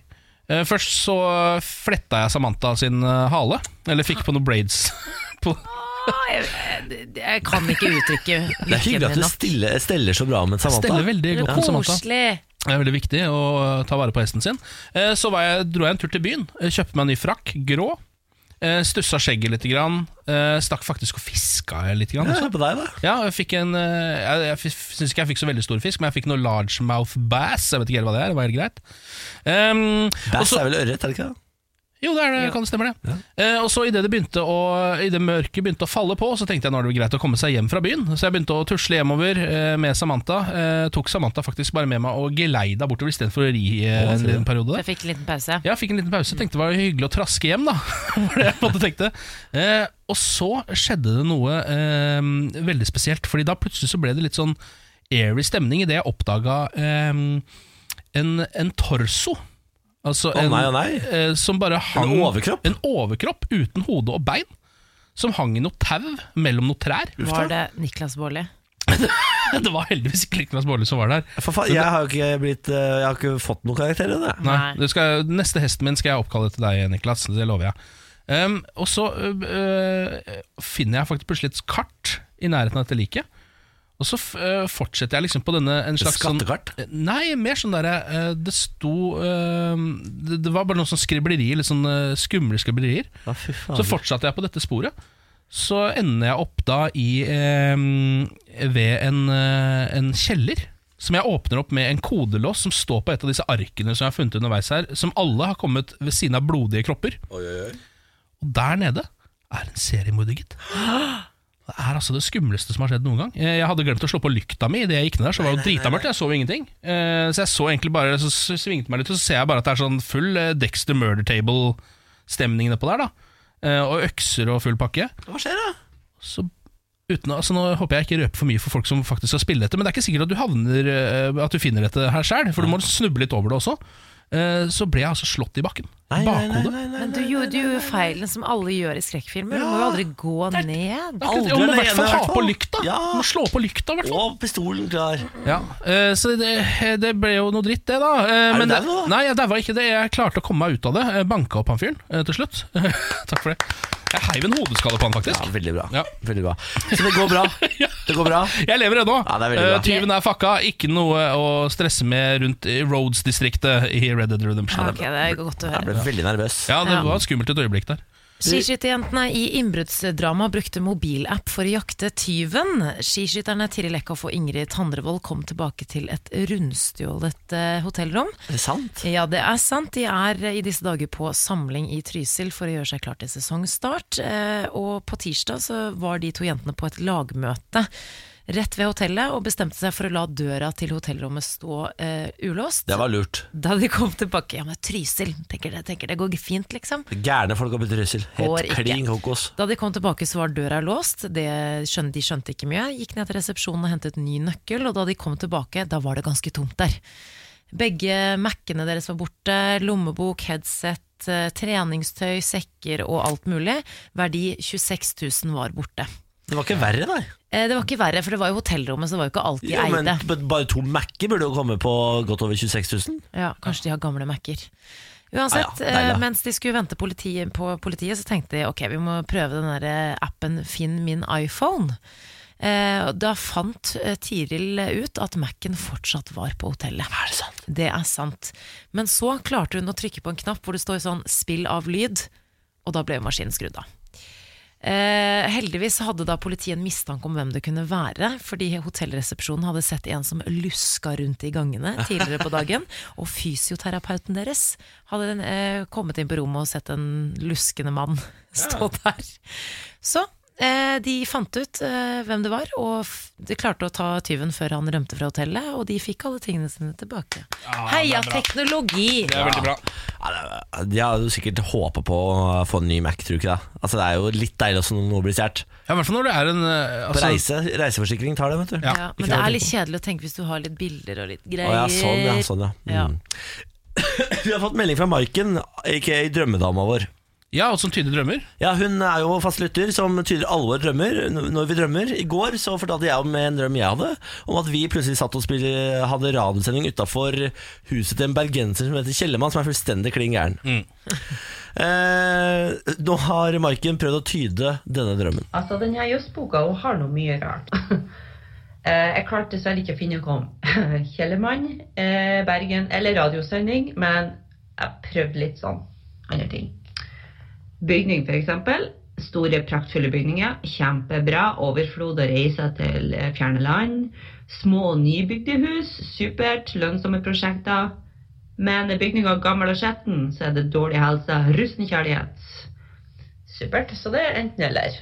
Speaker 3: Eh, først så fletta jeg Samantha sin eh, hale. Eller fikk på noen braids. på,
Speaker 2: Å, Jeg, jeg, jeg kan ikke uttrykke
Speaker 1: Det er hyggelig
Speaker 2: lykken
Speaker 1: at
Speaker 2: min
Speaker 1: du
Speaker 2: nok.
Speaker 1: stiller, steller så bra med Samantha.
Speaker 3: steller veldig
Speaker 2: Det
Speaker 3: godt
Speaker 2: er
Speaker 3: med Samantha.
Speaker 2: koselig.
Speaker 3: Det er veldig viktig å eh, ta vare på hesten sin. Eh, Så var jeg, dro jeg en tur til byen, eh, kjøpte meg en ny frakk, grå. eh, Stussa skjegget litt, grann, eh, stakk faktisk og fiska litt. Grann,
Speaker 1: Ja,
Speaker 3: også.
Speaker 1: se på deg, da.
Speaker 3: Ja, jeg fikk en eh, Jeg, jeg f- syns ikke jeg fikk så veldig stor fisk, men jeg fikk noe largemouth bass. Jeg vet ikke helt hva det er. Det var helt greit. Ehm, og
Speaker 1: Bass
Speaker 3: så-
Speaker 1: er vel ørret, er det ikke det?
Speaker 3: jo, det er det, kan det stemmer det. Eh, og så idet det begynte å I det mørket begynte å falle på, så tenkte jeg nå er det vel greit å komme seg hjem fra byen. Så jeg begynte å tusle hjemover eh, med Samantha. Eh, tok Samantha faktisk bare med meg og geleida bortover istedenfor å ri eh, en liten periode.
Speaker 2: Jeg fikk en liten pause.
Speaker 3: Ja, fikk en liten pause. Tenkte det var hyggelig å traske hjem, da. Var det jeg på en måte tenkte. Eh, og så skjedde det noe eh, veldig spesielt, Fordi da plutselig så ble det litt sånn airy stemning idet jeg oppdaga eh, en, en torso. Altså
Speaker 1: Å, nei, å, nei.
Speaker 3: Eh, som bare hang
Speaker 1: overkropp?
Speaker 3: En overkropp uten hode og bein. Som hang i noe tau mellom noen trær.
Speaker 2: Var det Niklas Baarli?
Speaker 3: Det var heldigvis ikke Niklas Baarli som var der.
Speaker 1: For faen, jeg har jo ikke, blitt, eh, jeg har ikke fått noen karakter i det.
Speaker 3: Nei.
Speaker 2: Nei.
Speaker 3: Du skal, neste hesten min skal jeg oppkalle til deg, Niklas. Det lover jeg. Ehm, og så øh, øh, finner jeg faktisk plutselig et kart i nærheten av dette liket. Og så f- øh, fortsetter jeg liksom på denne en slags sånn-
Speaker 1: skattekart?
Speaker 3: Nei, mer sånn derre øh, Det sto øh, det, det var bare noen sånn skriblerier, litt sånn øh, skumle skriblerier.
Speaker 1: Ja, fy faen.
Speaker 3: Så fortsatte jeg på dette sporet. Så ender jeg opp da i eh, ved en, eh, en kjeller. Som jeg åpner opp med en kodelås som står på et av disse arkene som jeg har funnet underveis her. Som alle har kommet ved siden av blodige kropper. Og der nede er en seriemorder, gitt. Det er altså det skumleste som har skjedd noen gang. Eh, Jeg hadde glemt å slå på lykta mi idet jeg gikk ned der. Så var det jo dritamørkt, jeg så jo ingenting. Eh, Så jeg så egentlig bare Så s- svingte meg litt, og så ser jeg bare at det er sånn full eh, Dexter Murder Table-stemning nedpå der, da. Eh, Og økser og full pakke.
Speaker 1: Hva skjer, da?
Speaker 3: Så uten, å- altså nå håper jeg ikke røper for mye for folk som faktisk skal spille dette, men det er ikke sikkert at du havner eh, At du finner dette her sjøl, for du må snuble litt over det også. Eh, Så ble jeg altså slått i bakken. Bakhodet.
Speaker 2: Men du gjorde du gjorde feilen som alle gjør i skrekkfilmer. Du må jo aldri gå ned.
Speaker 3: Akkurat,
Speaker 1: Aldri
Speaker 3: Jeg må i
Speaker 1: alene,
Speaker 3: hvert fall
Speaker 1: i
Speaker 3: ha
Speaker 1: hvert
Speaker 3: på
Speaker 1: fall.
Speaker 3: lykta!
Speaker 1: Ja.
Speaker 3: Du Må slå på lykta, i hvert fall.
Speaker 1: Og pistolen klar.
Speaker 3: Ja, eh, så det, det ble jo noe dritt, det, da. Eh,
Speaker 1: du
Speaker 3: men det-
Speaker 1: dau nå, da?
Speaker 3: Nei, jeg daua ikke det. Jeg klarte å komme meg ut av det. Jeg Banka opp han fyren eh, til slutt. Takk for det. Jeg heiv en hodeskalle på han, faktisk.
Speaker 1: Ja, veldig bra.
Speaker 3: Ja.
Speaker 1: Veldig bra. Så det går bra. Det går bra.
Speaker 3: Jeg lever ennå.
Speaker 1: Ja, det er veldig bra.
Speaker 3: Eh, Tyven er fucka. Ikke noe å stresse med rundt i Roads-distriktet i Red Dead Redemption.
Speaker 2: Ok, det er godt å
Speaker 1: Jeg
Speaker 2: høre.
Speaker 1: ble veldig nervøs.
Speaker 3: Ja, det
Speaker 2: Ja.
Speaker 3: var skummelt et øyeblikk der.
Speaker 2: Skiskytterjentene i innbruddsdrama brukte mobilapp for å jakte tyven. Skiskytterne Tiril Eckhoff og Ingrid Tandrevold kom tilbake til et rundstjålet eh, hotellrom.
Speaker 1: Er det sant?
Speaker 2: Ja, det er sant. De er eh, i disse dager på samling i Trysil for å gjøre seg klar til sesongstart. Eh, Og på tirsdag så var de to jentene på et lagmøte rett ved hotellet og bestemte seg for å la døra til hotellrommet stå eh, ulåst.
Speaker 1: Det var lurt.
Speaker 2: Da de kom tilbake Ja, men Trysil, tenker det, tenker det går fint, liksom.
Speaker 1: Gærne folk har blitt røssel.
Speaker 2: Går
Speaker 1: Helt
Speaker 2: ikke.
Speaker 1: klin kokos.
Speaker 2: Da de kom tilbake, så var døra låst. Det skjønte, de skjønte ikke mye. Gikk ned til resepsjonen og hentet ny nøkkel, og da de kom tilbake, da var det ganske tomt der. Begge Mac-ene deres var borte. Lommebok, headset, eh, treningstøy, sekker og alt mulig. Verdi 26 000 var borte.
Speaker 1: Det var ikke verre, nei.
Speaker 2: Eh, Det var ikke verre, for det var jo hotellrommet, så det var jo ikke alt de
Speaker 1: Jo, men
Speaker 2: eide.
Speaker 1: b- bare to Mac-er burde jo komme på godt over 26 000.
Speaker 2: Ja, kanskje de har gamle Mac-er. Uansett,
Speaker 1: Ja, ja, deilig.
Speaker 2: eh, mens de skulle vente politiet, på politiet, så tenkte de ok, vi må prøve den der eh, appen Finn min iPhone. Eh, og da fant eh, Tiril ut at Mac-en fortsatt var på hotellet. Er det sant? Det er sant. Men så klarte hun å trykke på en knapp hvor det står sånn 'spill av lyd', og da ble maskinen skrudd av. Eh, heldigvis hadde da politiet en mistanke om hvem det kunne være, fordi hotellresepsjonen hadde sett en som luska rundt i gangene tidligere på dagen. Og fysioterapeuten deres hadde den, eh, kommet inn på rommet og sett en luskende mann stå der. Så eh, de fant ut eh, hvem det var, og f de klarte å ta tyven før han rømte fra hotellet. Og de fikk alle tingene sine tilbake. Heia teknologi!
Speaker 3: Det er veldig bra.
Speaker 1: Ja, det- De hadde jo sikkert håpa på å få en ny Mac, tror du ikke det? Altså, det er jo litt deilig også når noe blir stjålet.
Speaker 3: Ja, I hvert fall når det er en eh,
Speaker 1: På
Speaker 3: altså,
Speaker 1: reise, reiseforsikring tar det, vet du.
Speaker 3: Ja,
Speaker 2: Ja, men det er litt kjedelig å tenke hvis du har litt bilder og litt
Speaker 1: Å
Speaker 2: greier.
Speaker 1: ja, sånn ja. Sånn, ja.
Speaker 2: Ja.
Speaker 1: Mm. Vi har fått melding fra Maiken, aka drømmedama vår.
Speaker 3: Ja, og som tydelige drømmer.
Speaker 1: Ja, Hun er jo fast lytter som tyder alvor drømmer n- når vi drømmer. I går så fortalte jeg om en drøm jeg hadde, om at vi plutselig satt og spille, hadde radiosending utafor huset til en bergenser som heter Kjellemann, som er fullstendig klin gæren.
Speaker 3: Mm.
Speaker 1: Eh, nå har Maiken prøvd å tyde denne drømmen.
Speaker 8: Altså, denne jøssboka hun har noe mye rart. Eh, Jeg klarte dessverre ikke å finne noe om Kjellermann, eh, Bergen eller radiosending, men jeg prøvde litt sånn andre ting. Bygning, f.eks. Store, praktfulle bygninger. Kjempebra. Overflod og reiser til eh, fjerne land. Små, nybygde hus. Supert. Lønnsomme prosjekter. Men bygninger gammel og skjetten, så er det dårlig helse. Rusten kjærlighet. Supert. Så det er enten eller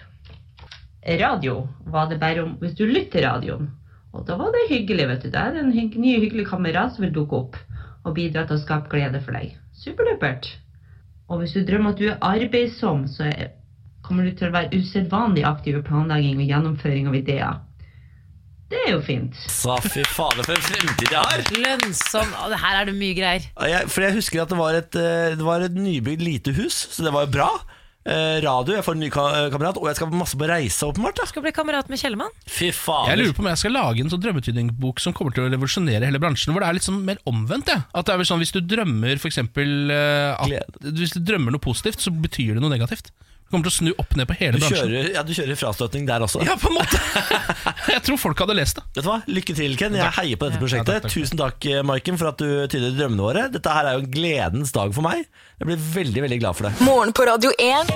Speaker 8: radio var det bare om hvis du lytter radioen. Og da var det hyggelig, vet du. Da er det en hygg, ny hyggelig kamerat som vil dukke opp og bidra til å skape glede for deg. Superdupert. Og hvis du drømmer at du er arbeidsom, så er, kommer du til å være usedvanlig aktiv i planlegging og gjennomføring av ideer. Det er jo fint.
Speaker 1: Så fy fader, for en fremtid jeg har!
Speaker 2: Lønnsom Å, det Her er det mye greier.
Speaker 1: Ja, Jeg, for jeg husker at det var et, eh, det var et nybygd lite hus, så det var jo bra. Eh, radio, jeg får en ny ka eh, kamerat, og jeg skal masse på reise, åpenbart. da
Speaker 2: Skal bli kamerat med Kjellemann.
Speaker 1: Fy fader.
Speaker 3: Jeg lurer på om jeg skal lage en sånn drømmetydningbok som kommer til å revolusjonere hele bransjen, hvor det er litt sånn mer omvendt. Ja. At det er vel sånn Hvis du drømmer for eksempel, eh, at, Hvis du drømmer noe positivt, så betyr det noe negativt. Du kommer til å snu opp ned på hele
Speaker 1: du
Speaker 3: bransjen.
Speaker 1: kjører, ja, du kjører frastøtning der også.
Speaker 3: Ja, på en måte! jeg tror folk hadde lest det.
Speaker 1: Vet du hva? Lykke til, Ken. Jeg heier på dette prosjektet.
Speaker 3: Ja, takk, takk.
Speaker 1: Tusen takk, eh, Maiken, for at du tyder drømmene våre. Dette her er jo en gledens dag for meg. Jeg blir veldig veldig glad for det.
Speaker 4: Morgen på Radio 1.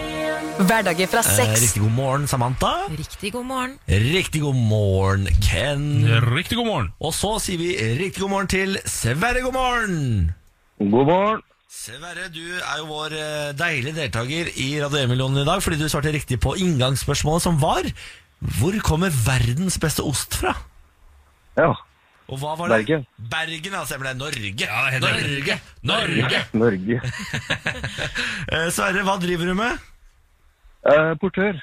Speaker 4: Hverdager fra
Speaker 1: Eh,
Speaker 4: seks.
Speaker 1: riktig god morgen, Samantha.
Speaker 2: Riktig god morgen.
Speaker 1: Riktig god morgen, Ken.
Speaker 3: Riktig god morgen.
Speaker 1: Og så sier vi riktig god morgen til Sverre. God morgen!
Speaker 9: God morgen.
Speaker 1: Sverre, du er jo vår eh, deilige deltaker i Radio 1-millionen i dag, fordi du svarte riktig på inngangsspørsmålet som var Hvor kommer verdens beste ost fra?
Speaker 9: Ja,
Speaker 1: Og hva var det?
Speaker 9: Bergen.
Speaker 1: Bergen, altså. Men det er Norge.
Speaker 3: det er helt
Speaker 1: Norge! Norge!
Speaker 9: Norge.
Speaker 1: Eh, Sverre, hva driver du med?
Speaker 9: Eh, portør.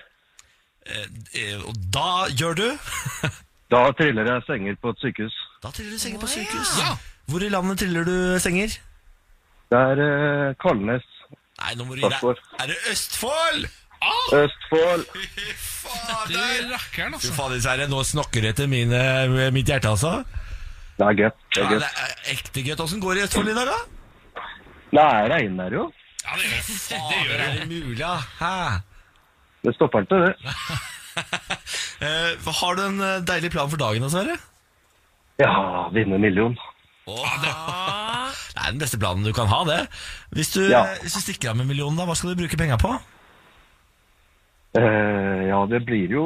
Speaker 1: Eh, og da gjør du
Speaker 9: Da triller jeg senger på et sykehus.
Speaker 1: Da triller du senger på sykehus.
Speaker 3: Ja.
Speaker 1: Hvor i landet triller du senger?
Speaker 9: Det er eh, Kalnes,
Speaker 1: Nei, nå må du gi deg.
Speaker 9: Østfold.
Speaker 1: Er det Østfold? Ah,
Speaker 9: Østfold.
Speaker 1: Fy
Speaker 3: Ah, Det
Speaker 1: fader!
Speaker 3: rakkeren,
Speaker 1: Fy
Speaker 3: altså.
Speaker 1: fader, Sverre, nå snakker det til mine, mitt hjerte, altså.
Speaker 9: Det er gøtt. Det
Speaker 1: Ja,
Speaker 9: er
Speaker 1: det
Speaker 9: gøtt.
Speaker 1: er ekte gøtt. Åssen går det i Østfold i dag, da?
Speaker 9: Det er regnvær, jo.
Speaker 3: Ja, det, det
Speaker 1: Fader,
Speaker 3: gjør
Speaker 1: er
Speaker 3: jeg.
Speaker 1: det mulig, ja? Hæ?
Speaker 9: Det stopper ikke, det.
Speaker 1: Eh, har du en eh, deilig plan for dagen, da, Sverre?
Speaker 9: Ja, vinne en million.
Speaker 1: Åh, det det er den beste planen du kan ha, det. Hvis du,
Speaker 9: Ja.
Speaker 1: eh, hvis du stikker av med millionen, da, hva skal du bruke penga på?
Speaker 9: Eh, ja, det blir jo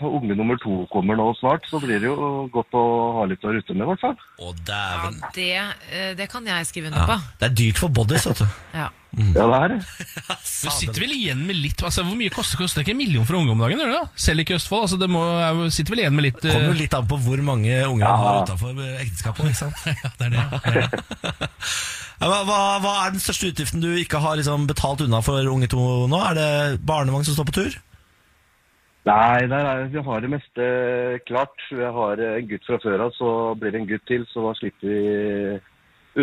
Speaker 9: Unge nummer to kommer nå snart, så blir det jo godt å ha litt å rutte med, i hvert fall.
Speaker 1: Å,
Speaker 2: Ja,
Speaker 1: dæven.
Speaker 2: det, eh, det kan jeg skrive under
Speaker 1: Ja.
Speaker 2: på.
Speaker 1: Det er dyrt for bodies, vet du. Mm.
Speaker 2: Ja.
Speaker 9: Ja, det er det.
Speaker 3: Du sitter vel igjen med litt altså, Hvor mye koster, koster det ikke en million for unge om dagen? Gjør det? da? Selv ikke i Østfold. Altså, det må, jeg sitter vel igjen med litt eh,
Speaker 1: Kommer jo litt an på hvor mange unger man har utenfor ekteskapet. Ikke sant? ja, det er det. Ja, Hva, hva, hva er den største utgiften du ikke har liksom, betalt unna for unge to nå? Er det barnevogn som står på tur?
Speaker 9: Nei, der er, vi har det meste klart. Jeg har en gutt fra før av, så blir det en gutt til, så da slipper vi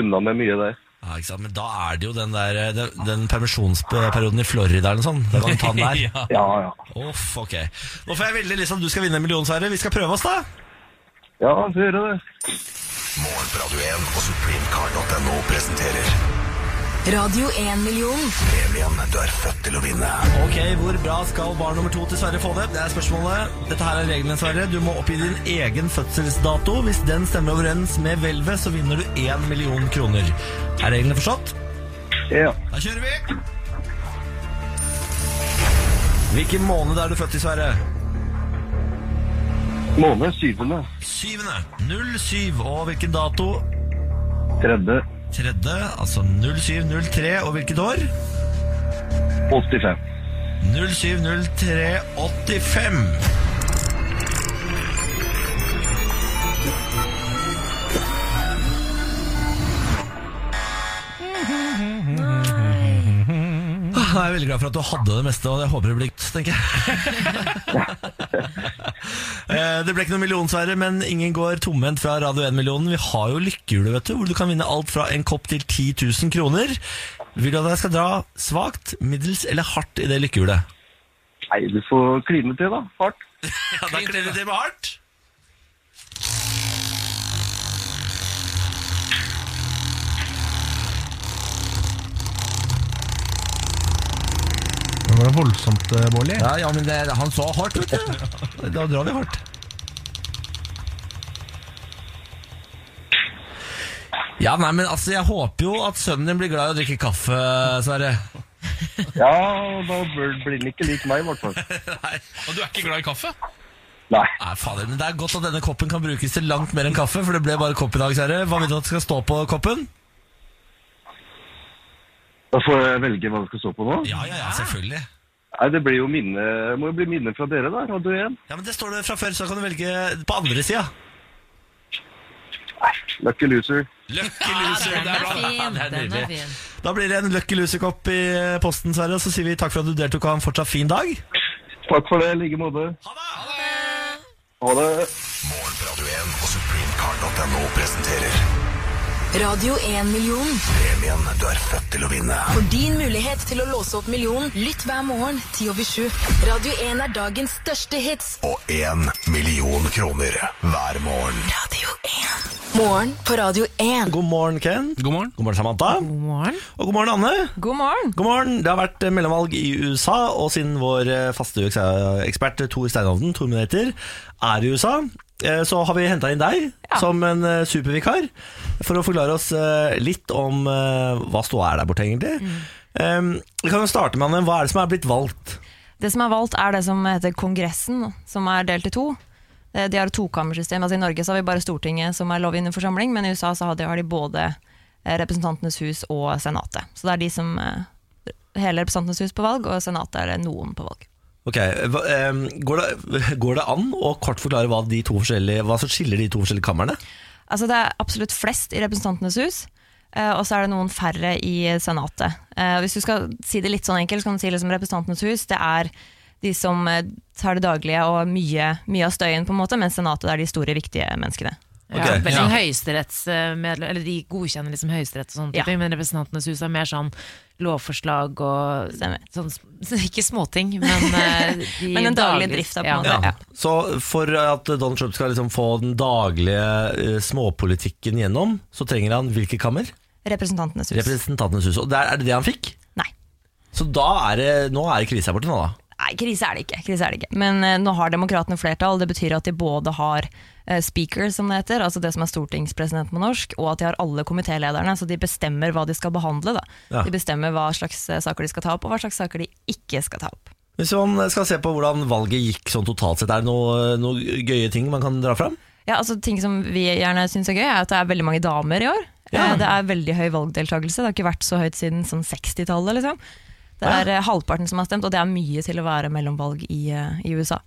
Speaker 9: unna med mye der.
Speaker 1: Ja, ikke sant? Men da er det jo den, der, eh, den, den permisjonsperioden i Florida eller noe sånt. Da kan du ta den der.
Speaker 3: ja.
Speaker 9: Ja, ja.
Speaker 1: Uff, ok. Nå får jeg veldig lyst til at du skal vinne en million, Sverre. Vi skal prøve oss, da.
Speaker 9: Ja, så gjør det det.
Speaker 10: Morgen på Radio 1 og supremecar.no presenterer
Speaker 4: Radio 1-million.
Speaker 10: premien du er født til å vinne.
Speaker 1: Ok, Hvor bra skal barn nummer to til Sverre få det? Det er spørsmålet. Dette her er reglene, Sverre. Du må oppgi din egen fødselsdato. Hvis den stemmer overens med hvelvet, så vinner du én million kroner. Er reglene forstått?
Speaker 9: Ja.
Speaker 1: Da kjører vi! Hvilken måned er du født i, Sverre?
Speaker 9: Måned syvende.
Speaker 1: Syvende. 07. Og hvilken dato?
Speaker 9: Tredje.
Speaker 1: Tredje. Altså 0703. Og hvilket år?
Speaker 9: 85.
Speaker 1: 070385. Ah, Jeg er veldig glad for at du hadde det meste, og jeg håper det blir godt, tenker jeg. Eh, det ble ikke noen million, Sverre, men ingen går tomhendt fra Radio 1-millionen. Vi har jo lykkehjulet, vet du, hvor du kan vinne alt fra en kopp til 10 000 kroner. Vil du at jeg skal dra svakt, middels eller hardt i det lykkehjulet?
Speaker 9: Nei, du får kline til, da. Hardt.
Speaker 1: Ja, da kler det til med hardt.
Speaker 3: Det var voldsomt, eh, Bårli.
Speaker 1: Ja, ja, men det, han sa hardt, vet du. Da drar vi hardt. Ja, nei, men altså, Jeg håper jo at sønnen din blir glad i å drikke kaffe, Sverre.
Speaker 9: Ja, da bør- blir den ikke lik meg, i hvert fall.
Speaker 1: Nei,
Speaker 3: Og du er ikke glad i kaffe?
Speaker 9: Nei.
Speaker 1: nei fader, men Det er godt at denne koppen kan brukes til langt mer enn kaffe, for det ble bare kopp i dag, Sverre. Hva vil du at skal stå på koppen?
Speaker 9: Da får jeg velge hva det skal stå på nå.
Speaker 1: Ja, ja, ja, selvfølgelig.
Speaker 9: Nei, det blir jo minne, må jo bli minne fra dere, da. Radio 1.
Speaker 1: Ja, men Det står det fra før, så da kan du velge på andre sida.
Speaker 9: Lucky loser.
Speaker 3: Lucky loser.
Speaker 2: Den
Speaker 3: det er
Speaker 2: er
Speaker 3: bra.
Speaker 2: fin.
Speaker 1: det er
Speaker 2: Den
Speaker 1: nydelig.
Speaker 2: er fin.
Speaker 1: Da blir det en Lucky Loser-kopp i posten, Sverre. Og så sier vi takk for at du deltok, og ha en fortsatt fin dag.
Speaker 9: Takk for det, i like måte. Ha det.
Speaker 10: Morgen på Radio 1 og supremecar.no presenterer
Speaker 4: Radio 1-million.
Speaker 10: premien du er født til å vinne.
Speaker 4: For din mulighet til å låse opp millionen, lytt hver morgen 10 over 7. Radio 1 er dagens største hits.
Speaker 10: Og én million kroner hver morgen.
Speaker 4: Radio 1. Morgen på Radio 1.
Speaker 1: God morgen, Ken.
Speaker 3: God morgen.
Speaker 1: God morgen, Samantha.
Speaker 2: God morgen.
Speaker 1: Og god morgen, Anne.
Speaker 2: God morgen.
Speaker 1: God morgen. Det har vært eh, mellomvalg i USA, og siden vår eh, faste USA-ekspert Tor eh, Steinhovden, Tor Minutter, er i USA, eh, så har vi henta inn deg som en eh, supervikar for å forklare oss eh, litt om eh, hva ståa er der borte, egentlig.
Speaker 2: Mm.
Speaker 1: Eh, Vi kan jo starte med, Anne, hva er det som er blitt valgt?
Speaker 11: Det som er valgt er det som heter Kongressen, som er delt i to. Eh, De har et tokammersystem. Altså I Norge så har vi bare Stortinget som er lovgivende forsamling, men i USA så har de, har de både eh, Representantenes hus og Senatet. Så det er de som eh, Hele Representantenes hus på valg, og Senatet er det noen på valg.
Speaker 1: Ok, hva, eh, går, det, går det an å kort forklare hva, de to forskjellige, hva som skiller de to forskjellige kamrene?
Speaker 11: Altså det er absolutt flest i Representantenes hus, eh, og så er det noen færre i Senatet. Eh, og Hvis du skal si det litt sånn enkelt, så kan du si liksom Representantenes hus det er de som eh, tar det daglige og mye, mye av støyen, på en måte, mens Senatet er de store, viktige menneskene.
Speaker 1: Ok.
Speaker 2: Ja, vel
Speaker 3: Ja.
Speaker 2: som høyesterettsmedlem, eller De godkjenner liksom høyesterett og sånne
Speaker 11: Ja.
Speaker 2: type, men Representantenes hus er mer sånn lovforslag og
Speaker 11: Stemmer.
Speaker 2: sånn, Ikke småting, men eh, de
Speaker 11: Men den daglige
Speaker 2: daglig-
Speaker 11: drifta, på en
Speaker 2: ja.
Speaker 11: måte.
Speaker 1: Ja.
Speaker 11: Ja.
Speaker 1: Så for at Donald Trump skal liksom få den daglige eh, småpolitikken gjennom, så trenger han hvilke kammer?
Speaker 11: Representantenes hus.
Speaker 1: Representantenes hus. Og der er det det han fikk?
Speaker 11: Nei.
Speaker 1: Så da er det, nå er det krise her borte nå, da.
Speaker 11: Nei, krise er det ikke. Krise er det ikke. Men eh, nå har demokratene flertall. Det betyr at de både har eh, speaker, som det heter, altså det som er stortingspresident på norsk, og at de har alle komitélederne, så de bestemmer hva de skal behandle. Da.
Speaker 1: Ja.
Speaker 11: De bestemmer hva slags eh, saker de skal ta opp, og hva slags saker de ikke skal ta opp.
Speaker 1: Hvis man skal se på hvordan valget gikk sånn totalt sett, er det noe- noen gøye ting man kan dra fram?
Speaker 11: Ja, altså Ting som vi gjerne syns er gøy, er at det er veldig mange damer i år. Eh, Det er veldig høy valgdeltakelse. Det har ikke vært så høyt siden sånn 60-tallet. liksom. Det er eh, halvparten som har stemt, og det er mye til å være mellomvalg i, eh, i USA.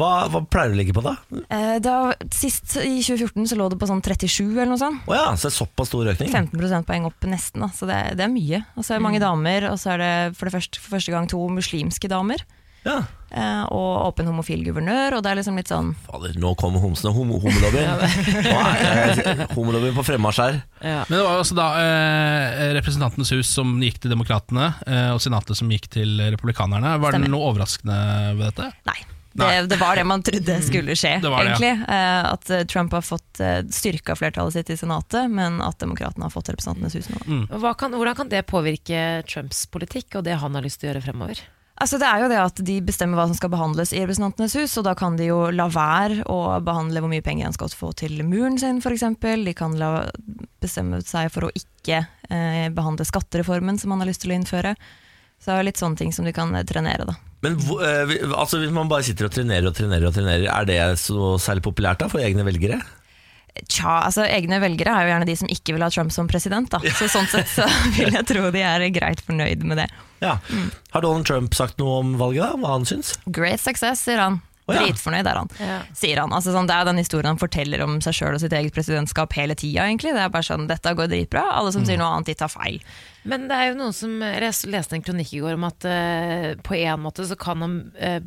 Speaker 1: Hva, hva pleier du å ligge på da?
Speaker 11: Eh, Da, sist i 2014 så lå det på sånn 37 eller noe sånt.
Speaker 1: Å ja, så det er såpass stor økning?
Speaker 11: 15 prosentpoeng opp nesten, da. så det, er- det er mye. Og så er det
Speaker 3: Mm.
Speaker 11: mange damer, og så er det for, det første, for første gang to muslimske damer. Eh, og åpen homofil guvernør, og det er liksom litt sånn
Speaker 1: Fader, nå kommer homsene. Hom homolobbyen. Nå er det homolobbyen på fremmarsj her.
Speaker 3: Men det var jo altså da eh, Representantenes hus som gikk til Demokratene, eh, og Senatet som gikk til Republikanerne. Var
Speaker 11: Stemmer.
Speaker 3: det noe overraskende ved dette?
Speaker 11: Nei. Det, det var det man trodde skulle skje,
Speaker 3: Mm. Det var det, ja.
Speaker 11: egentlig. Eh, At eh, Trump har fått eh, styrka flertallet sitt i Senatet, men at demokratene har fått Representantenes hus nå.
Speaker 3: Mm.
Speaker 2: Og Hva kan, hvordan kan det påvirke Trumps politikk og det han har lyst til å gjøre fremover?
Speaker 11: Altså, det er jo det at de bestemmer hva som skal behandles i Representantenes hus, og da kan de jo la være å behandle hvor mye penger han skal få til muren sin, f.eks. De kan la, bestemme seg for å ikke eh, behandle skattereformen som han har lyst til å innføre. Så det er jo litt sånne ting som de kan eh, trenere, da.
Speaker 1: Men hvor- eh, vi- altså, hvis man bare sitter og trenerer og trenerer, og trenerer er det så særlig populært da for egne velgere?
Speaker 11: Tja, altså egne velgere er jo gjerne de som ikke vil ha Trump som president, da. Så sånn sett så vil jeg tro de er greit fornøyd med det.
Speaker 1: Ja. Har Donald Trump sagt noe om valget, da? Hva han syns?
Speaker 11: Great success, sier han. Dritfornøyd er han, sier han. Altså, sånn, det er den historien han forteller om seg sjøl og sitt eget presidentskap hele tida, egentlig. Det er bare sånn, dette går dritbra, alle som
Speaker 1: Mm.
Speaker 11: sier noe annet, de tar feil.
Speaker 2: Men det er jo noen som Jeg les- leste en kronikk i går om at eh, på en måte så kan han eh,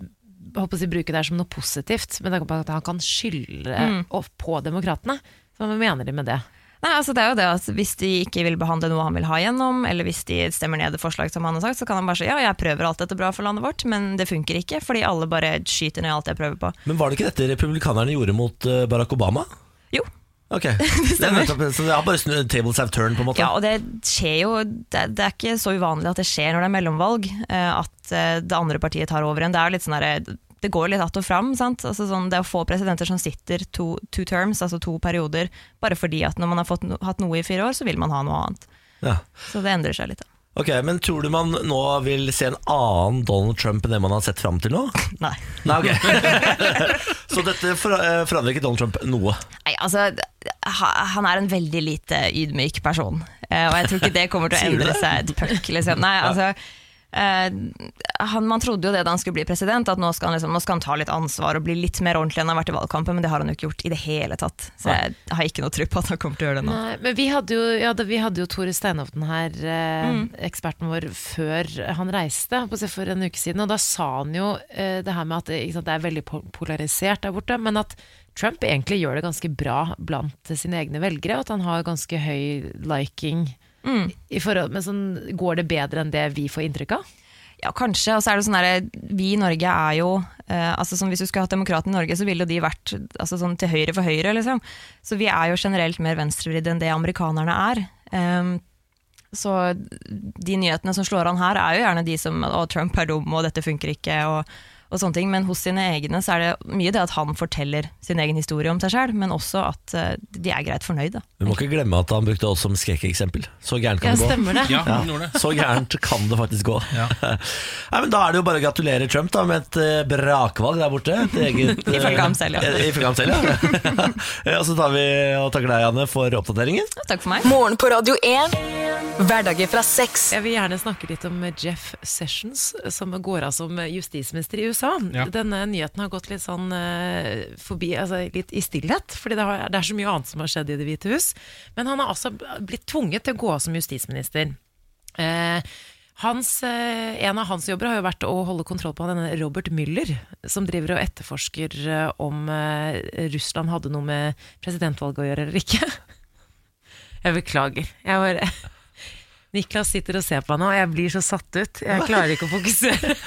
Speaker 2: håper å si, bruke det her som noe positivt, men det er bare at han kan skylde
Speaker 11: Mm.
Speaker 2: opp på demokratene. Så hva mener de med det?
Speaker 11: Nei, altså det er jo det at Hvis de ikke vil behandle noe han vil ha gjennom, eller hvis de stemmer ned et forslag som han har sagt, så kan han bare si ja, jeg prøver alt dette bra for landet vårt, men det funker ikke, fordi alle bare skyter ned alt jeg prøver på.
Speaker 1: Men var det ikke dette republikanerne gjorde mot eh, Barack Obama?
Speaker 11: Jo.
Speaker 1: Ok, det stemmer. Så det har bare snu tables have turned, på en måte?
Speaker 11: Ja, og det skjer jo det, det er ikke så uvanlig at det skjer når det er mellomvalg, eh, at eh, det andre partiet tar over en. Det er jo litt sånn derre- det går litt att og fram. sant? Altså sånn, det er få presidenter som sitter to, two terms, altså to perioder, bare fordi at når man har fått no, hatt noe i fire år, så vil man ha noe annet.
Speaker 1: Ja.
Speaker 11: Så det endrer seg litt. da.
Speaker 1: Ok, Men tror du man nå vil se en annen Donald Trump enn det man har sett fram til nå?
Speaker 11: Nei.
Speaker 1: Nei, ok Så dette for, eh, forandrer ikke Donald Trump noe?
Speaker 11: Nei, altså, ha- Han er en veldig lite ydmyk person, eh, og jeg tror ikke det kommer til å
Speaker 1: Sier du
Speaker 11: endre
Speaker 1: det?
Speaker 11: seg et puck. Liksom. Nei,
Speaker 1: Ja.
Speaker 11: altså, eh, han, man trodde jo det da han skulle bli president, at nå skal, han liksom, nå skal han ta litt ansvar og bli litt mer ordentlig enn han har vært i valgkampen, men det har han jo ikke gjort i det hele tatt. Så jeg har ikke noe tro på at han kommer til å gjøre det nå.
Speaker 2: Nei, men vi hadde jo, ja, da, vi hadde jo Tore Steinhovden her, eh,
Speaker 11: Mm.
Speaker 2: eksperten vår, før han reiste, holdt på å si, for en uke siden. Og da sa han jo eh, det her med at eh, ikke sant, det er veldig po- polarisert der borte, men at Trump egentlig gjør det ganske bra blant sine egne velgere, og at han har ganske høy liking.
Speaker 11: Mm.
Speaker 2: I forhold, men sånn, går det bedre enn det eh, vi får inntrykk av?
Speaker 11: Ja, kanskje. Og så er det sånn der, vi i Norge er jo eh, altså sånn, Hvis du skulle hatt demokraten i Norge, så ville jo de vært altså sånn, til høyre for høyre. Liksom. Så vi er jo generelt mer venstrevridde enn det amerikanerne er. Ehm, så de nyhetene som slår an her, er jo gjerne de som Å, Trump er dum, og dette funker ikke, og, og sånne ting. Men hos sine egne så er det mye det at han forteller sin egen historie om seg sjøl, men også at eh, de er greit fornøyd, da.
Speaker 1: Vi må ikke glemme at han brukte oss som skrekkeksempel. Så gærent
Speaker 11: Ja,
Speaker 1: kan det gå.
Speaker 11: stemmer det. Ja, han gjorde det.
Speaker 1: Så gærent kan det faktisk gå. Nei, men Da er det jo bare å gratulere Trump da med et eh, brakvalg der borte. Et eget, eh,
Speaker 11: Ifølge ham selv, ja.
Speaker 1: eh, Ifølge ham selv, ja. ja. Og så tar vi og takker deg, Anne, for oppdateringen.
Speaker 11: Takk for meg.
Speaker 4: Morgen på Radio 1. Hverdager fra seks.
Speaker 2: Jeg vil gjerne snakke litt om Jeff Sessions, som går av som justisminister i USA.
Speaker 12: Ja.
Speaker 2: Denne nyheten har gått litt sånn eh, forbi, altså litt i stillhet, fordi det, har, det er så mye annet som har skjedd i Det hvite hus. Men han har altså blitt tvunget til å gå av som justisminister. Eh, hans, eh, en av hans jobber har jo vært å holde kontroll på denne Robert Müller, som driver og etterforsker eh, om eh, Russland hadde noe med presidentvalget å gjøre eller ikke. Jeg beklager. Jeg bare Niklas sitter og ser på meg nå, og jeg blir så satt ut. Jeg klarer ikke å fokusere.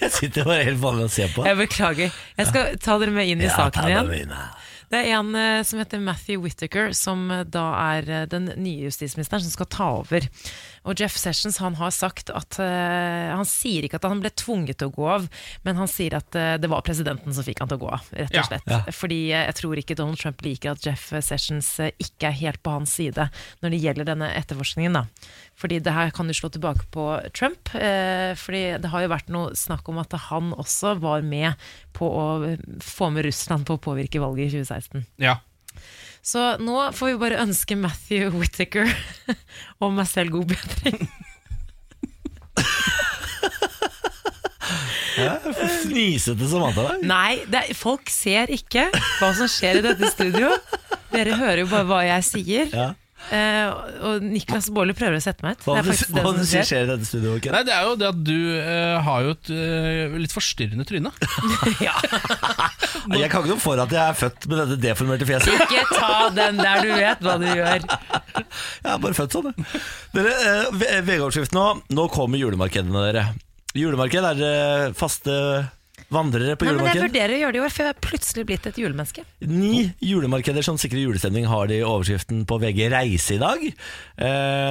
Speaker 1: Jeg sitter jeg bare helt vanlig og ser på.
Speaker 2: Jeg beklager. Jeg skal ta dere med inn i
Speaker 1: Ja, ta
Speaker 2: saken
Speaker 1: det
Speaker 2: igjen.
Speaker 1: med inn, ja.
Speaker 2: Det er en eh, som heter Matthew Whittaker, som eh, da er eh, den nye justisministeren som skal ta over. Og Jeff Sessions han har sagt at eh, Han sier ikke at han ble tvunget til å gå av, men han sier at eh, det var presidenten som fikk han til å gå av, rett
Speaker 12: Ja.
Speaker 2: og slett.
Speaker 12: Ja.
Speaker 2: Fordi eh, jeg tror ikke Donald Trump liker at Jeff Sessions eh, ikke er helt på hans side når det gjelder denne etterforskningen. da. Fordi det her kan jo slå tilbake på Trump. Eh, fordi det har jo vært noe snakk om at han også var med på å eh, få med Russland på å påvirke valget i 2016.
Speaker 3: Ja.
Speaker 2: Så nå får vi bare ønske Matthew Whittaker og meg selv god bedring.
Speaker 1: Ja, Fnisete Samantha der.
Speaker 2: Nei, det er, folk ser ikke hva som skjer i dette studio. Dere hører jo bare hva jeg sier.
Speaker 1: Ja.
Speaker 2: Eh, og Niklas Baarli prøver å sette meg ut.
Speaker 1: Hva
Speaker 2: Det
Speaker 1: er
Speaker 2: er
Speaker 1: det
Speaker 2: faktisk
Speaker 1: hva
Speaker 2: det
Speaker 1: er det
Speaker 2: som
Speaker 1: som
Speaker 2: skjer.
Speaker 1: skjer i dette studioet? Ken?
Speaker 3: Nei, det er jo det at du eh, har jo et eh, litt forstyrrende tryne.
Speaker 1: Jeg kan ikke noe for at jeg er født med dette deformerte fjeset.
Speaker 2: Ikke ta den der, du vet hva du gjør.
Speaker 1: Jeg er bare født sånn, jeg. Dere, eh, ve- VG-oppskrift nå. Nå kommer julemarkedene, dere. Julemarked er dere faste vandrere på
Speaker 2: Nei, men jeg
Speaker 1: julemarked.
Speaker 2: vurderer å gjøre det i år, for jeg er plutselig blitt et julemenneske.
Speaker 1: Ni julemarkeder som sikrer julestemning har de i overskriften på VG Reise i dag. Eh,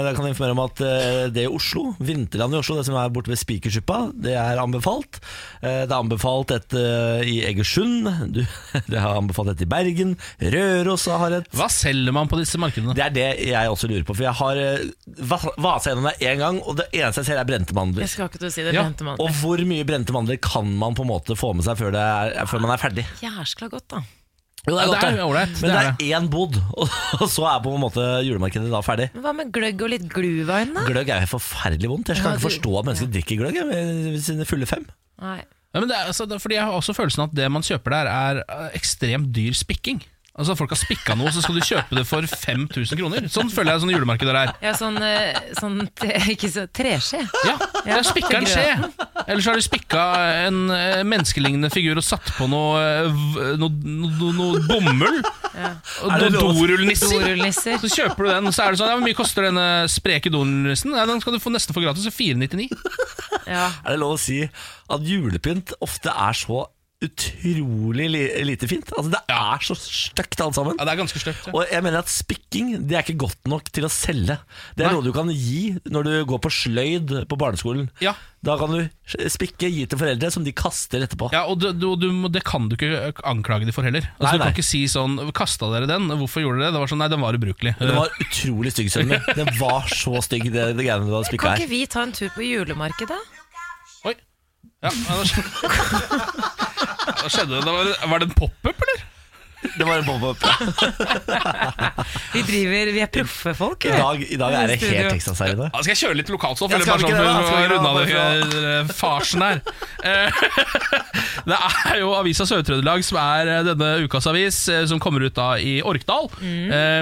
Speaker 1: da kan jeg informere om at eh, det i Oslo, Vinterland i Oslo, det som er borte ved Spikersuppa, det er anbefalt. Eh, det er anbefalt et eh, i Egersund, du, det er anbefalt et i Bergen, Røros har et
Speaker 3: Hva selger man på disse markedene?
Speaker 1: Det er det jeg også lurer på, for jeg har eh, va- vasa gjennom det én gang, og det eneste jeg ser er brente mandler.
Speaker 2: Jeg skal ikke til å si det,
Speaker 1: Ja,
Speaker 2: brente mandler.
Speaker 1: Og hvor mye brente mandler kan man på en måte få med seg før, det er, før man er ferdig?
Speaker 2: Jæskla godt, da.
Speaker 1: Jo, det er
Speaker 3: Ja,
Speaker 1: godt,
Speaker 3: det er
Speaker 1: det.
Speaker 3: ålreit,
Speaker 1: Men
Speaker 3: det
Speaker 1: det
Speaker 3: er
Speaker 1: er én bod, og og så er på en måte julemarkedet da ferdig.
Speaker 2: Men hva med gløgg og litt gluvain, da?
Speaker 1: Gløgg er jo forferdelig vondt. Jeg
Speaker 2: Ja,
Speaker 1: skal ikke
Speaker 2: du-
Speaker 1: forstå at mennesker drikker gløgg jeg, ved sine fulle fem.
Speaker 2: Nei.
Speaker 3: Ja, men det er, altså, det er fordi Jeg har også følelsen at det man kjøper der, er eh, ekstremt dyr spikking. Altså Folk har spikka noe, så skal du kjøpe det for 5000 kroner. Sånn føler jeg sånne julemarkeder er.
Speaker 2: Ja, sånn, eh, sånn te, ikke så, treskje.
Speaker 3: Ja, Det er spikka en skje! Eller så har de spikka en eh, menneskelignende figur og satt på noe, eh, v- noe, noe, noe bomull. Og
Speaker 2: Er det
Speaker 3: noen
Speaker 2: lov?
Speaker 3: dorullnisser.
Speaker 2: Dorullnisser.
Speaker 3: Så kjøper du den, og så er det sånn Ja, hvor mye koster denne spreke dorullnissen? Nei, den skal du få nesten få gratis, så 499.
Speaker 1: Er det lov å si at julepynt ofte er så utrolig li lite fint? Altså Det er så stygt alt sammen.
Speaker 3: Ja, det er ganske støkt,
Speaker 1: Og jeg mener at spikking det er ikke godt nok til å selge. Det er noe du kan gi når du går på sløyd på barneskolen.
Speaker 3: Ja.
Speaker 1: Da kan du spikke, gi til foreldre, som de kaster etterpå.
Speaker 3: Ja, og du, du, du, må- Det kan du ikke anklage de for heller. Altså,
Speaker 1: Nei,
Speaker 3: du kan
Speaker 1: nei.
Speaker 3: ikke si sånn 'Kasta dere den? Hvorfor gjorde dere det?' Det var sånn, Nei, den var ubrukelig.
Speaker 1: Den var utrolig stygg, sønnen min. Den var så stygg, det, det greiene du hadde spikka
Speaker 2: Kan ikke
Speaker 1: her.
Speaker 2: vi ta en tur på julemarkedet?
Speaker 3: Ja, ja, da skj- Hva skjedde det? Var, det- var det en pop-up, eller?
Speaker 1: Det var en pop-up.
Speaker 2: Vi driver, vi er proffe folk.
Speaker 1: I
Speaker 2: vi.
Speaker 1: dag, I dag er det
Speaker 2: Studio.
Speaker 1: helt Texas her inne.
Speaker 3: Ja, skal jeg kjøre litt lokalstoff?
Speaker 1: Ja,
Speaker 3: Eller
Speaker 1: skal
Speaker 3: bare
Speaker 1: vi
Speaker 3: sånn
Speaker 1: ikke det, da?
Speaker 3: for
Speaker 1: Skal
Speaker 3: å
Speaker 1: vi ikke
Speaker 3: runde av
Speaker 1: det,
Speaker 3: eh, farsen her. Eh, Det er jo avisa Sør-Trøndelag som er eh, denne ukas avis, eh, som kommer ut da i Orkdal. Eh,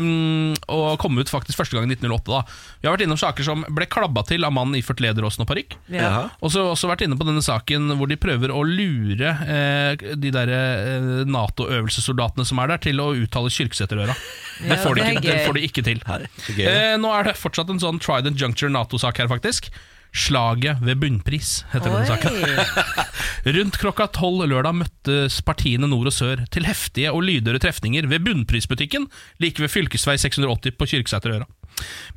Speaker 3: og kom ut faktisk første gang i 1908. da Vi har vært innom saker som ble klabba til av mannen iført lederåsen og parykk.
Speaker 2: Ja.
Speaker 3: Og så har vi også vært inne på denne saken hvor de prøver å lure eh, de der eh, Nato-øvelsessoldatene som er der, til å uttale Kyrksæterøra.
Speaker 2: Ja,
Speaker 3: det, får de
Speaker 2: det er
Speaker 3: ikke- det
Speaker 2: gøy.
Speaker 3: får de ikke til.
Speaker 1: gøy, da.
Speaker 3: Eh, nå er det fortsatt en sånn tried and juncture Nato-sak her, faktisk. Slaget ved bunnpris, heter
Speaker 2: Oi.
Speaker 3: denne saken. Rundt klokka tolv lørdag møttes partiene nord og sør til heftige og lydøre trefninger ved bunnprisbutikken like ved fylkesvei 680 på Kyrksæterøra.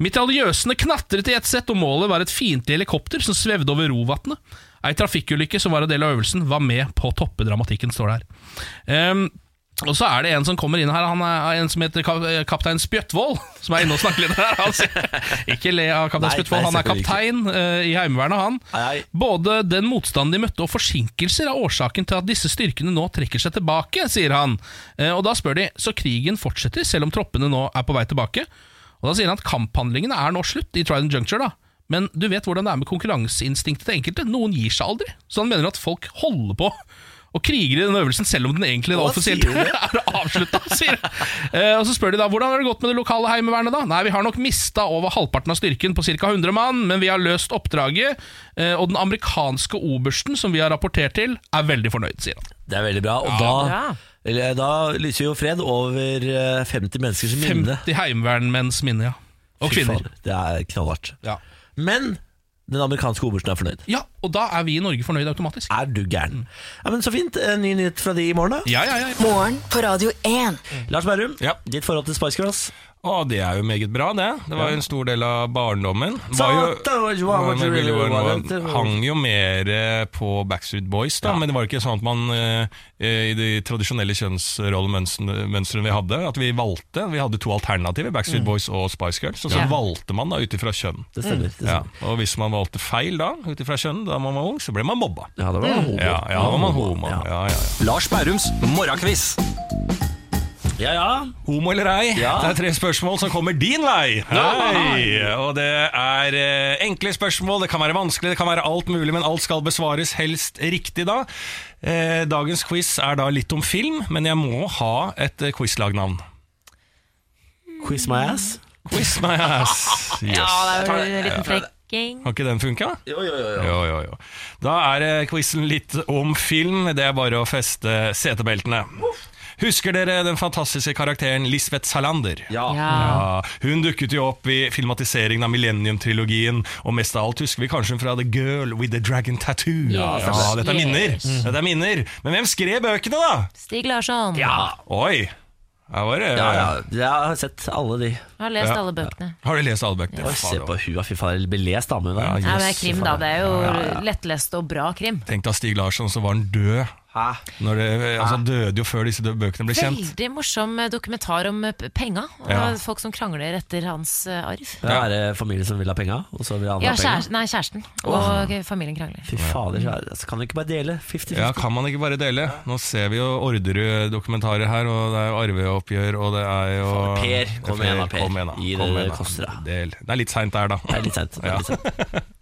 Speaker 3: Mitraljøsene knatret i ett sett, og målet var et fiendtlig helikopter som svevde over rovannet. Ei trafikkulykke som var en del av øvelsen, var med på å toppe dramatikken, står det her. Ehm, og så er det en som kommer inn her, han er en som heter kap- kaptein Spjøttvold, som er inne og snakker litt her. Han sier, ikke le av
Speaker 1: Nei,
Speaker 3: kaptein Spjøttvold,
Speaker 1: nei,
Speaker 3: han er
Speaker 1: selvfølgelig ikke.
Speaker 3: kaptein kaptein eh, i Heimevernet, han. Både den motstanden de møtte og forsinkelser er årsaken til at disse styrkene nå trekker seg tilbake, sier han. Eh, og da spør de så krigen fortsetter selv om troppene nå er på vei tilbake. Og da sier han at kamphandlingene er nå slutt i Trident Juncture, da. Men du vet hvordan det er med konkurranseinstinktet til enkelte. Noen gir seg aldri. Så han mener at folk holder på. Og kriger i den øvelsen selv om den egentlig da
Speaker 1: Hva
Speaker 3: offisielt
Speaker 1: sier du?
Speaker 3: er avslutta, sier han. Eh, Og så spør de da hvordan har det gått med det lokale heimevernet. da? Nei, vi har nok mista over halvparten av styrken på ca. 100 mann, men vi har løst oppdraget. eh, Og den amerikanske obersten som vi har rapportert til, er veldig fornøyd, sier han.
Speaker 1: Det er veldig bra. Og da, eller, da lyser jo fred over eh, 50 menneskers minne.
Speaker 3: 50 heimevernmenns minne, ja. Og
Speaker 1: Fy
Speaker 3: kvinner.
Speaker 1: fader, Det er knallhardt.
Speaker 3: Ja.
Speaker 1: Men den amerikanske obersten er fornøyd.
Speaker 3: Ja, Og da er vi i Norge fornøyd automatisk. Mm.
Speaker 1: Er du gæren. Ja, men Så fint. En ny nyhet fra de i morgen, da.
Speaker 3: Ja, ja, ja.
Speaker 4: Morgen på Radio 1.
Speaker 1: Lars Berrum, ditt forhold til Spice Girls?
Speaker 12: Å, det er jo meget bra, det. Det var jo en stor del av barndommen. Var jo,
Speaker 1: Thought I was what
Speaker 12: var
Speaker 1: you
Speaker 12: veldig
Speaker 1: really
Speaker 12: var-
Speaker 1: wanted.
Speaker 12: hang jo mer eh, på Backstreet Boys, da, men det var ikke sånn at man eh, eh, i de tradisjonelle kjønnsrollemønstrene vi hadde, at vi valgte. Vi hadde to alternativer, Backstreet
Speaker 1: Mm.
Speaker 12: Boys og Spice Girls, og så
Speaker 1: Ja.
Speaker 12: valgte man da ut ifra kjønn.
Speaker 1: Det stemmer, det
Speaker 12: Ja, og hvis man valgte feil da, ut ifra kjønn da man var ung, så ble man mobba.
Speaker 1: Ja, da
Speaker 12: var man homo. Ja, da var man homo. Ja. Ja, ja, Lars Bærums morgenkviss.
Speaker 1: Ja, ja.
Speaker 12: Homo eller ei? Det er tre spørsmål som kommer din vei. Hei. Og det er eh, enkle spørsmål, det kan være vanskelig, det kan være alt mulig, men alt skal besvares helst riktig da. Eh, Dagens quiz er da litt om film, men jeg må ha et eh, quizlagnavn.
Speaker 1: Quiz my ass?
Speaker 12: Quiz my ass. Yes. Har ikke den funka?
Speaker 1: Jo, jo, jo.
Speaker 12: Jo, jo, jo. Da er eh, quizen litt om film. Det er bare å feste setebeltene. Husker dere den fantastiske karakteren Lisbeth Salander? Ja.
Speaker 13: Ja.
Speaker 12: Hun dukket jo opp i filmatiseringen av Millennium-trilogien. Og mest av alt husker vi kanskje hun fra The Girl with the Dragon Tattoo.
Speaker 13: Ja,
Speaker 12: ja, dette er minner.
Speaker 13: yes.
Speaker 12: Dette er minner. Men hvem skrev bøkene, da?
Speaker 2: Stig Larsson.
Speaker 12: Oi! Her var det
Speaker 1: Ja, ja. Jeg har sett alle de.
Speaker 2: Har lest
Speaker 1: Ja.
Speaker 2: alle bøkene.
Speaker 12: Har du lest alle bøkene?
Speaker 1: Oi, se på hua, fy faen. Blir lest, da, men.
Speaker 12: Ja,
Speaker 2: Nei, men det er krim, da. Det er jo
Speaker 12: Ja, ja.
Speaker 2: lettlest og bra krim.
Speaker 12: Tenk deg Stig Larsson, så var han død. Når det, altså, han døde jo før disse dø- bøkene ble kjent.
Speaker 2: Veldig morsom eh, dokumentar om eh, p- penga. Og
Speaker 12: Ja.
Speaker 2: det er folk som krangler etter hans eh, arv.
Speaker 1: Ja, er det familie som vil ha penga, og så vil han
Speaker 2: Ja,
Speaker 1: ha penga?
Speaker 2: kjæresten, nei, kjæresten og
Speaker 12: Åh.
Speaker 2: familien krangler.
Speaker 1: Fy fader, kjære. altså, kan vi ikke bare dele? 50-50?
Speaker 12: Ja, Kan man ikke bare dele? Nå ser vi jo Orderud-dokumentarer her, og det er jo arveoppgjør, og det er jo
Speaker 1: Per, kom igjen da, Per.
Speaker 12: Kom igjen da,
Speaker 1: Gi
Speaker 12: kom
Speaker 1: det
Speaker 12: igjen
Speaker 1: det
Speaker 12: da.
Speaker 1: koster, da.
Speaker 12: Del. Det er litt seint der, da. Det
Speaker 1: er litt sent, det er litt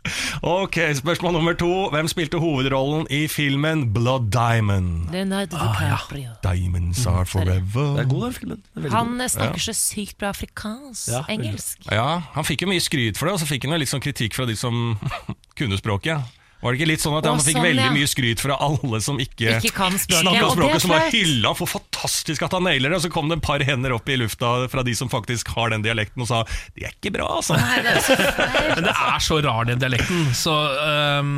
Speaker 12: ok, spørsmål nummer to. Hvem spilte hovedrollen i filmen Blood Diamond?
Speaker 2: Leonardo DiCaprio.
Speaker 12: Diamonds are forever.
Speaker 1: Mm. Det er god, den filmen. Den er veldig
Speaker 2: Han
Speaker 1: god.
Speaker 2: eh, snakker så sykt bra afrikansk.
Speaker 12: Ja, veldig.
Speaker 2: engelsk.
Speaker 12: Ja, han fikk jo mye skryt for det, og så fikk han jo litt sånn kritikk fra de som kunne språket. Var det ikke litt sånn at
Speaker 2: Å,
Speaker 12: han fikk
Speaker 2: sånn,
Speaker 12: veldig
Speaker 2: ja.
Speaker 12: mye skryt fra alle som ikke,
Speaker 2: Ikke kan språket,
Speaker 12: snakka
Speaker 2: og det er
Speaker 12: språket, som var
Speaker 2: flaut.
Speaker 12: hylla for fantastisk at han nailer det, og så kom det et par hender opp i lufta fra de som faktisk har den dialekten, og sa det er ikke bra, altså.
Speaker 3: Men det er så rar den dialekten, så øhm,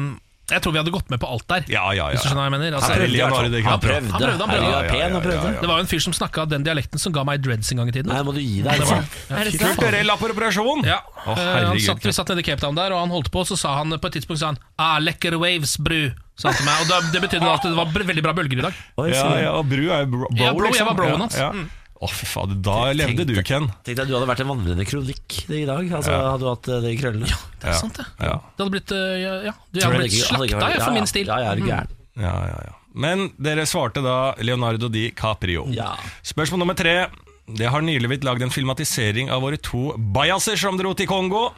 Speaker 3: jeg tror vi hadde gått med på alt der.
Speaker 12: Ja, ja, ja.
Speaker 3: Hvis du skjønner hva jeg mener
Speaker 12: Han prøvde,
Speaker 3: han prøvde,
Speaker 12: i hvert fall.
Speaker 3: han prøvde,
Speaker 12: Han
Speaker 3: han prøvde, han
Speaker 12: prøvde.
Speaker 3: prøvde.
Speaker 12: Ja, ja, ja, ja, ja, ja, ja.
Speaker 3: Det var jo en fyr som snakka den dialekten som ga meg dreads en gang i tiden.
Speaker 1: Nei, må du gi deg,
Speaker 3: var-
Speaker 12: altså. Er det sant? Kulturell appropriasjon!
Speaker 3: Ja.
Speaker 12: Å,
Speaker 3: Eh, han
Speaker 12: herregud.
Speaker 3: satt, vi satt nede i Cape Town der, og han holdt på, og så sa han på et tidspunkt sa han, ah, 'lekker waves, bru'. Sa han til meg, og da, Det betydde at det var br- veldig bra bølger i dag.
Speaker 12: Ja, ja, og Bru er jo bro,
Speaker 3: Ja, bro, jeg
Speaker 12: liksom.
Speaker 3: var broen
Speaker 12: Ja,
Speaker 3: hans.
Speaker 12: ja.
Speaker 3: Mm.
Speaker 12: Å, fy fader, da levde du, Ken.
Speaker 1: Tenk deg, du hadde vært en vandrende kronikk i dag. Altså,
Speaker 12: Ja.
Speaker 1: Hadde du hatt eh, det i krøllene. Ja,
Speaker 3: det er sant, det.
Speaker 12: Ja.
Speaker 3: Det hadde blitt, eh, ja, ja. Du
Speaker 12: Tror
Speaker 3: hadde blitt
Speaker 12: jeg ikke- hadde ikke
Speaker 3: slakta
Speaker 12: vært-
Speaker 3: jeg, for
Speaker 12: ja,
Speaker 3: min stil.
Speaker 12: ja, ja, er du
Speaker 3: Mm.
Speaker 12: gæren? Ja, ja, ja. Men dere svarte da Leonardo Di Caprio. Spørsmål nummer tre. Det har nylig blitt lagd en filmatisering av våre to bajaser som dro til Kongo.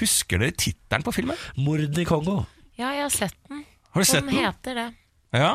Speaker 12: Husker dere tittelen på filmen?
Speaker 1: 'Mord i Kongo'.
Speaker 2: Ja, jeg har sett den.
Speaker 12: Har du sett
Speaker 2: den?
Speaker 12: den?
Speaker 2: heter det.
Speaker 12: Ja.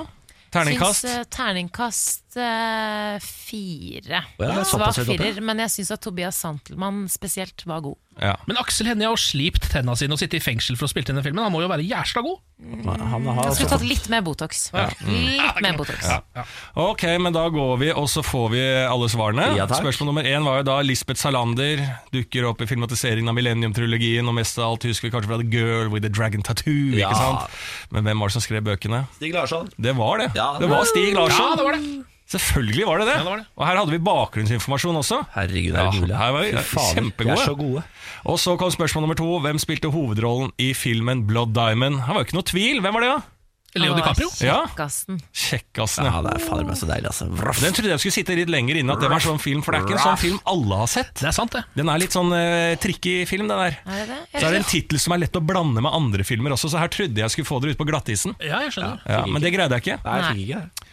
Speaker 12: Terningkast.
Speaker 2: Syns, eh, terningkast eh, fire.
Speaker 3: Å ja, det er
Speaker 2: Svak
Speaker 3: såpass høyt oppe, ja.
Speaker 2: firer, men jeg syns at Tobias Santelmann spesielt var god.
Speaker 3: Men Aksel Hennie har jo slipt tenna sine og sittet i fengsel for å spille inn den filmen. Han må jo være jævla god.
Speaker 2: Mm. Jeg skulle
Speaker 3: altså.
Speaker 2: tatt litt mer Botox.
Speaker 3: Ja.
Speaker 2: Litt mer Botox.
Speaker 12: Ja. Ok, men da går vi, og så får vi alle svarene.
Speaker 1: Ja, takk.
Speaker 12: Spørsmål nummer én var jo da Lisbeth Salander dukker opp i filmatiseringen av Millennium-trilogien, og mest av alt husker vi kanskje fra The Girl with the Dragon Tattoo.
Speaker 1: Ja.
Speaker 12: ikke sant? Men hvem var det som skrev bøkene?
Speaker 1: Stig Larsson.
Speaker 12: Det var det.
Speaker 1: Ja.
Speaker 12: det var Stig Larsson.
Speaker 3: Ja, det var det.
Speaker 12: Selvfølgelig var det det.
Speaker 3: Ja, det var det.
Speaker 12: Og her hadde vi bakgrunnsinformasjon også.
Speaker 1: Herregud,
Speaker 12: Ja,
Speaker 1: er det mulig?
Speaker 12: her var vi
Speaker 1: Fy fader,
Speaker 12: kjempegode.
Speaker 1: de er så gode.
Speaker 12: Og så kom spørsmål nummer to. Hvem spilte hovedrollen i filmen Blood Diamond? Her var jo ikke noe tvil. Hvem var det, da?
Speaker 3: Leo DiCaprio?
Speaker 12: Ja.
Speaker 2: Kjekkassen.
Speaker 12: Kjekkasen,
Speaker 1: Ah, ja. Det er fader meg så deilig, altså. Vroff.
Speaker 12: Den trodde jeg skulle sitte litt lenger inne, at det var en sånn film, for det er ikke en sånn film alle har sett.
Speaker 3: Det er sant, det.
Speaker 12: Den er litt sånn eh, tricky film, den der.
Speaker 2: Er det det?
Speaker 12: Så er det en tittel som er lett å blande med andre filmer også, så her trodde jeg skulle få dere ut på glattisen.
Speaker 3: Ja, jeg skjønner.
Speaker 12: Ja, men det greide jeg ikke.
Speaker 1: Nei, jeg fikk ikke.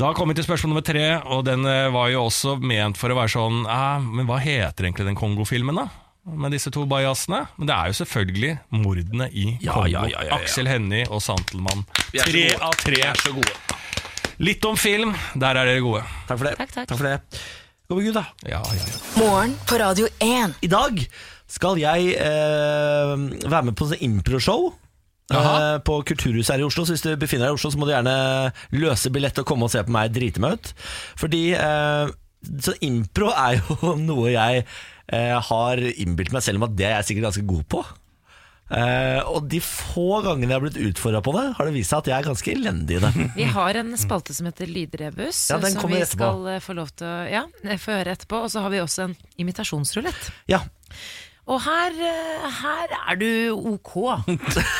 Speaker 12: Da kom vi til spørsmål nummer tre, og den eh, var jo også ment for å være sånn eh, Men hva heter egentlig den Kongo-filmen, da? Med disse to bajasene? Men det er jo selvfølgelig mordene i
Speaker 1: Ja,
Speaker 12: Kongo.
Speaker 1: ja, ja, ja, ja.
Speaker 12: Aksel Hennie og Santelmann.
Speaker 1: Vi er så
Speaker 12: Tre
Speaker 1: gode.
Speaker 12: av tre. Litt om film, der er dere gode.
Speaker 1: Takk for det.
Speaker 4: Takk, takk.
Speaker 1: for det. Gå med Gud, da.
Speaker 12: Ja, ja, ja.
Speaker 4: Morgen på Radio 1.
Speaker 1: I dag skal jeg eh, være med på sånn improshow. eh, På Kulturhuset her i Oslo. Så hvis du befinner deg i Oslo, så må du gjerne løse billett og komme og se på meg drite meg ut. Fordi eh, Så impro er jo noe jeg eh, har innbilt meg selv om at det er jeg sikkert ganske god på. Eh, og de få gangene jeg har blitt utfordra på det, har det vist seg at jeg er ganske elendig i det.
Speaker 2: Vi har en spalte som heter Lydrebus,
Speaker 1: Ja, den
Speaker 2: som
Speaker 1: kommer
Speaker 2: vi
Speaker 1: etterpå.
Speaker 2: skal eh, få lov til å ja, eh, få høre etterpå. Og så har vi også en imitasjonsrulett.
Speaker 1: Ja.
Speaker 2: Og her, eh, her er du ok.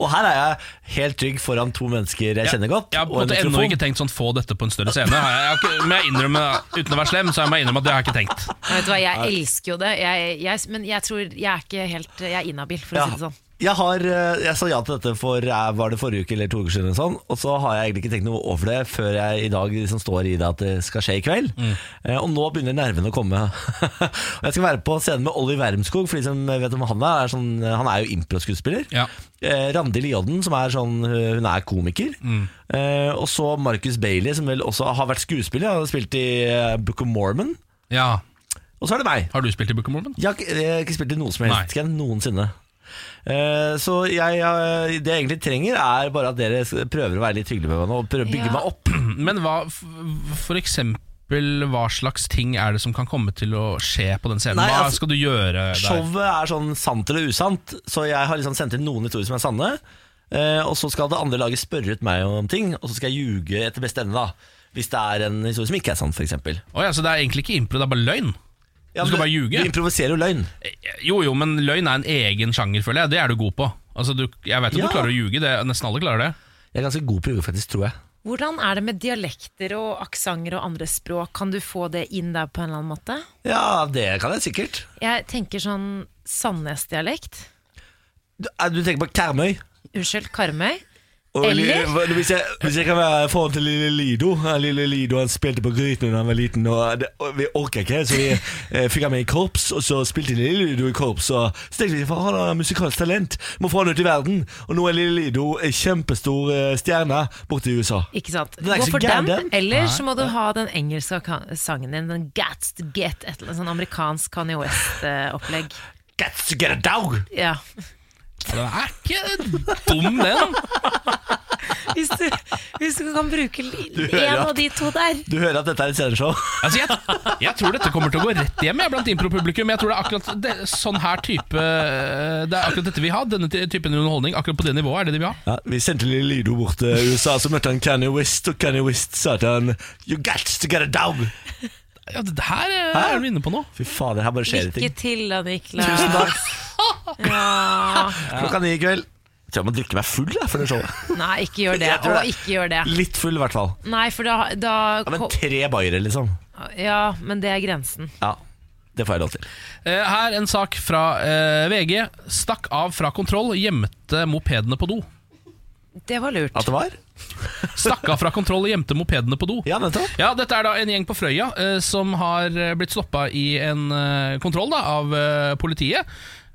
Speaker 1: Og her er jeg helt trygg foran to mennesker jeg kjenner godt.
Speaker 3: Jeg har på en
Speaker 1: og en
Speaker 3: måte ennå
Speaker 1: mikrofon.
Speaker 3: ikke tenkt sånn få dette på en større scene. Jeg, jeg, har ikke- men jeg innrømmer, uten å være slem, så jeg må innrømme at det har jeg ikke tenkt.
Speaker 2: Ja, Vet du hva, Jeg elsker jo det, jeg, jeg, men jeg tror jeg er ikke helt Jeg er inhabil, for å si det sånn.
Speaker 1: Jeg, har, eh, jeg sa ja til dette for eh, var det forrige uke eller to uker siden, eller sånn, og så har jeg egentlig ikke tenkt noe over det før jeg i dag liksom står i det at det skal skje i kveld.
Speaker 3: Mm.
Speaker 1: Eh, Og nå begynner nervene å komme. og jeg skal være på scenen med Olli Wermskog, for de som vet om han er, er sånn, han er jo improskuespiller.
Speaker 3: Ja.
Speaker 1: Eh, Randi Liodden, som er sånn, eh, hun er komiker.
Speaker 3: Mm.
Speaker 1: Eh, og så Marcus Bailey, som vel også har vært skuespiller. Han har spilt i eh, Book of Mormon.
Speaker 3: Ja.
Speaker 1: Og så er det meg.
Speaker 3: Har du spilt i Book of Mormon?
Speaker 1: Jeg har ikke, jeg har ikke spilt i noe som helst Ken, noensinne. Eh, så jeg, jeg, det jeg egentlig trenger, er bare at dere s- prøver å være litt hyggelige med meg nå. Og prøver å bygge
Speaker 3: Ja.
Speaker 1: meg opp.
Speaker 3: Men hva, f- for eksempel, hva slags ting er det som kan komme til å skje på den scenen?
Speaker 1: Nei,
Speaker 3: Hva
Speaker 1: altså,
Speaker 3: skal du gjøre der?
Speaker 1: Showet er sånn sant eller usant, så jeg har liksom sendt inn noen historier som er sanne. eh, og så skal det andre laget spørre ut meg om ting, og så skal jeg ljuge etter beste evne. da Hvis det er en historie som ikke er sann, f.eks.
Speaker 3: Å ja, så det er egentlig ikke impro, det er bare løgn?
Speaker 1: Ja,
Speaker 3: du skal
Speaker 1: men
Speaker 3: bare ljuge? Eh,
Speaker 1: du improviserer jo løgn.
Speaker 3: Jo jo, men løgn er en egen sjanger, føler jeg. Det er du god på. Altså, du, jeg vet at
Speaker 1: Ja.
Speaker 3: du klarer å ljuge, det, nesten alle klarer det.
Speaker 1: Jeg er ganske god på å ljuge, faktisk, tror jeg.
Speaker 2: Hvordan er det med dialekter og aksenter og andre språk? Kan du få det inn der på en eller annen måte?
Speaker 1: Ja, det kan jeg sikkert.
Speaker 2: Jeg tenker sånn Sandnes-dialekt.
Speaker 1: Du, eh, du tenker på Karmøy?
Speaker 2: Unnskyld, Karmøy.
Speaker 1: Og
Speaker 2: Eller-
Speaker 1: li- hva- hvis, jeg, hvis jeg kan være foran til lille Lido Han Lille Lido han spilte på grytene da han var liten, og, det, og vi orka ikke, så vi eh, fikk han med i korps. Og så spilte lille Lido i korps, og så tenkte vi "Faen, han har musikalsk talent, må få han ut i verden. Og nå er lille Lido en kjempestor eh, stjerne borte i USA.
Speaker 2: Ikke sant?
Speaker 1: Den er
Speaker 2: Gå
Speaker 1: ikke så
Speaker 2: for
Speaker 1: gæren,
Speaker 2: den,
Speaker 1: den.
Speaker 2: eller
Speaker 1: Nei,
Speaker 2: så må du ha den engelske ka- sangen din. Den Gats to get, et eller annet sånn amerikansk Kanye West-opplegg.
Speaker 1: Gats to get a dog!
Speaker 2: Ja.
Speaker 3: Den er ikke dum, den.
Speaker 2: Hvis du, hvis du kan bruke li-
Speaker 1: Du hører
Speaker 2: en
Speaker 1: at-
Speaker 2: av de to der.
Speaker 1: Du hører at dette er et sceneshow?
Speaker 3: Altså, jeg, jeg tror dette kommer til å gå rett hjem jeg, blant impro-publikum. Jeg tror det er akkurat det, sånn her type eh, Det er akkurat dette vi har. Denne ty- typen underholdning. Akkurat på det nivået er det det vi har.
Speaker 1: Ja, vi sendte lille Lido bort til USA, så møtte han Kanye West, og Kanye West sa til han You gats to get a dog!
Speaker 3: Ja, det her eh,
Speaker 1: Hæ?
Speaker 3: er du inne på nå.
Speaker 1: Fy fader, her bare skjer det
Speaker 2: Lykke
Speaker 1: ting.
Speaker 2: til da, Niklas.
Speaker 1: Tusen takk.
Speaker 2: Ja.
Speaker 1: Klokka ni i kveld. Jeg tror jeg må drikke meg full jeg, for det showet.
Speaker 2: Nei, ikke gjør det.
Speaker 1: Jeg
Speaker 2: Og
Speaker 1: tror det.
Speaker 2: ikke gjør det.
Speaker 1: Litt full, i hvert fall.
Speaker 2: Nei, for da, da
Speaker 1: Ja, men tre bayere, liksom.
Speaker 2: Ja, men det er grensen.
Speaker 1: Ja, det får jeg lov til.
Speaker 3: Eh, Her en sak fra eh, VG. Stakk av fra kontroll, gjemte mopedene på do.
Speaker 2: Det var lurt.
Speaker 1: At det var?
Speaker 3: Stakk av fra kontroll og gjemte mopedene på do.
Speaker 1: Ja, nettopp.
Speaker 3: Ja, Dette er da en gjeng på Frøya eh, som har eh, blitt stoppa i en eh, kontroll da, av eh, politiet.